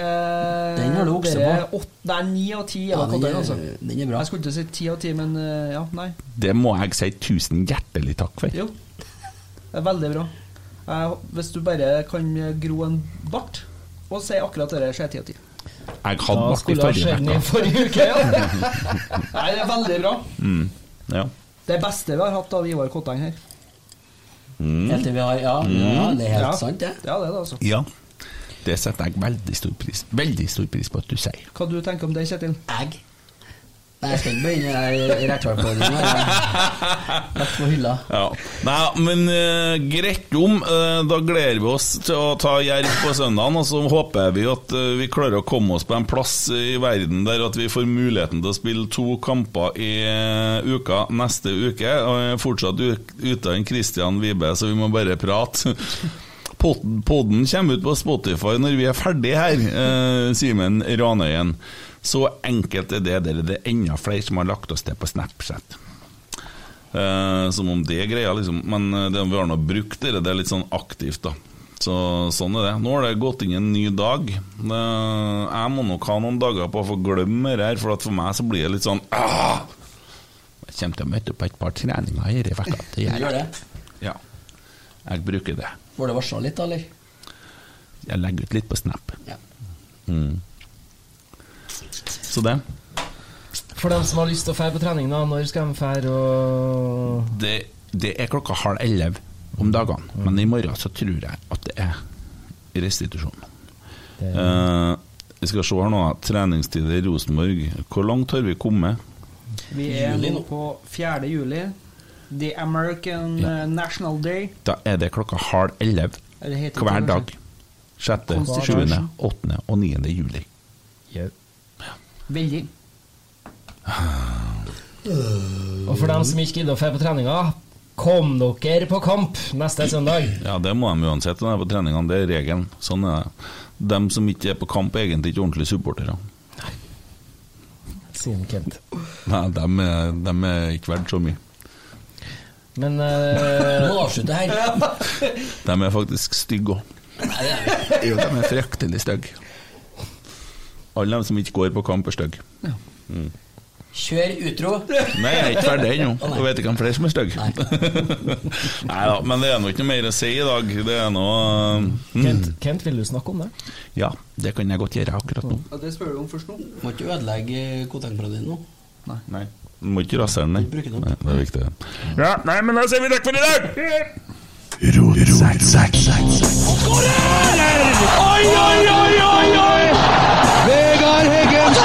Speaker 4: Den har du okse
Speaker 5: dere-
Speaker 4: på.
Speaker 5: åt- Det er ni av ti.
Speaker 4: Ja,
Speaker 5: Ja,
Speaker 4: den
Speaker 5: den,
Speaker 4: er-
Speaker 5: altså.
Speaker 4: den er bra.
Speaker 5: Jeg skulle ikke si ti av ti, men eh, ja, nei.
Speaker 3: Det må jeg si tusen hjertelig takk for.
Speaker 5: Jo. Det er veldig bra. Jeg- hvis du bare kan gro en bart og si akkurat det der, så er ti av ti.
Speaker 3: Jeg hadde
Speaker 6: Da
Speaker 3: vært i
Speaker 6: skulle ha
Speaker 3: forrige
Speaker 6: skjedd den i
Speaker 3: uke.
Speaker 6: forrige uke, ja.
Speaker 5: Nei, det er veldig bra.
Speaker 3: Mm, ja.
Speaker 5: Det beste vi har hatt av Ivar Kotteng her.
Speaker 3: Mm.
Speaker 4: Helt til vi har Ja, ja det er helt
Speaker 5: Ja.
Speaker 4: sant, det.
Speaker 5: Ja, det er det, altså.
Speaker 3: ja. Det setter jeg veldig stor pris Veldig stor pris på at du sier.
Speaker 5: Hva du tenker om det, Kjetil?
Speaker 4: Jeg Nei, jeg skal ikke begynne i rettvarpåringen.
Speaker 3: *laughs*
Speaker 4: Lagt på hylla.
Speaker 3: Ja. Nei, men eh, greit om. eh, da gleder vi oss til å ta jerv på søndagen, og så håper vi at eh, vi klarer å komme oss på en plass i verden der at vi får muligheten til å spille to kamper i eh, uka neste uke. Og jeg er fortsatt u- uten Christian Vibe, så vi må bare prate. Pod- Podden kommer ut på Spotify når vi er ferdig her, eh, Simen Ranøyen. Så enkelt er det. Det er det enda flere som har lagt oss til på Snapchat. Eh, som om det er greia, liksom. Men eh, det, vi har nå brukt det, det er litt sånn aktivt, da. Så sånn er det. Nå har det gått inn en ny dag. Eh, jeg må nok ha noen dager på å få glemme det her, for at for meg så blir det litt sånn ah! Jeg kommer til å møte opp på et par treninger her i vekka. jeg.
Speaker 4: Gjør det?
Speaker 3: Ja. Jeg bruker det.
Speaker 4: Får det varsla litt, da, eller?
Speaker 3: Jeg legger ut litt på Snap. Mm. Så det.
Speaker 6: For dem som har lyst til å fære på trening, da, når skal de fære og
Speaker 3: det. Det er klokka halv elleve om dagene, men i morgen så tror jeg at det er restitusjon. Eh, Vi skal se her nå. Treningstid i Rosenborg. Hvor langt har vi kommet?
Speaker 5: Vi er nå på 4. juli. The American eh, National Day.
Speaker 3: Da er det klokka halv elleve
Speaker 5: Eller heter det
Speaker 3: hver dag.
Speaker 5: kanskje?
Speaker 3: 6.,
Speaker 5: Konstitusjon.
Speaker 3: 7., 8. og 9. juli.
Speaker 5: Veldig.
Speaker 6: Og for dem som ikke gidder å fære på treninga, kom dere på kamp neste søndag.
Speaker 3: Ja, det må de uansett når de er på treningene. Det er regelen. Sånn er det. De som ikke er på kamp, er egentlig ikke ordentlige supportere.
Speaker 6: Sier Kent.
Speaker 3: Nei, de er, dem er ikke verdt så mye.
Speaker 6: Men eh,
Speaker 4: Nå avslutter jeg her.
Speaker 3: De er faktisk stygge òg. Jo, de er fryktelig stygge. Alle de som ikke går på kamp, er stygge. Mm.
Speaker 4: Kjør utro.
Speaker 3: Nei, jeg er ikke ferdig ennå. Jeg vet ikke om flere som er stygge. Nei da, men det er nå ikke noe mer å si i dag. Det er nå mm.
Speaker 6: Kent, Kent, vil du snakke om det?
Speaker 3: Ja, det kan jeg godt gjøre akkurat nå.
Speaker 5: Ja, det spør du om først nå.
Speaker 4: Må ikke ødelegge Koteng-brødet ditt nå.
Speaker 3: Nei. Du må ikke rasere den, nei. nei. Det er viktig.
Speaker 7: Ja, nei, men da sier vi takk for i dag!
Speaker 1: Vegard Heggen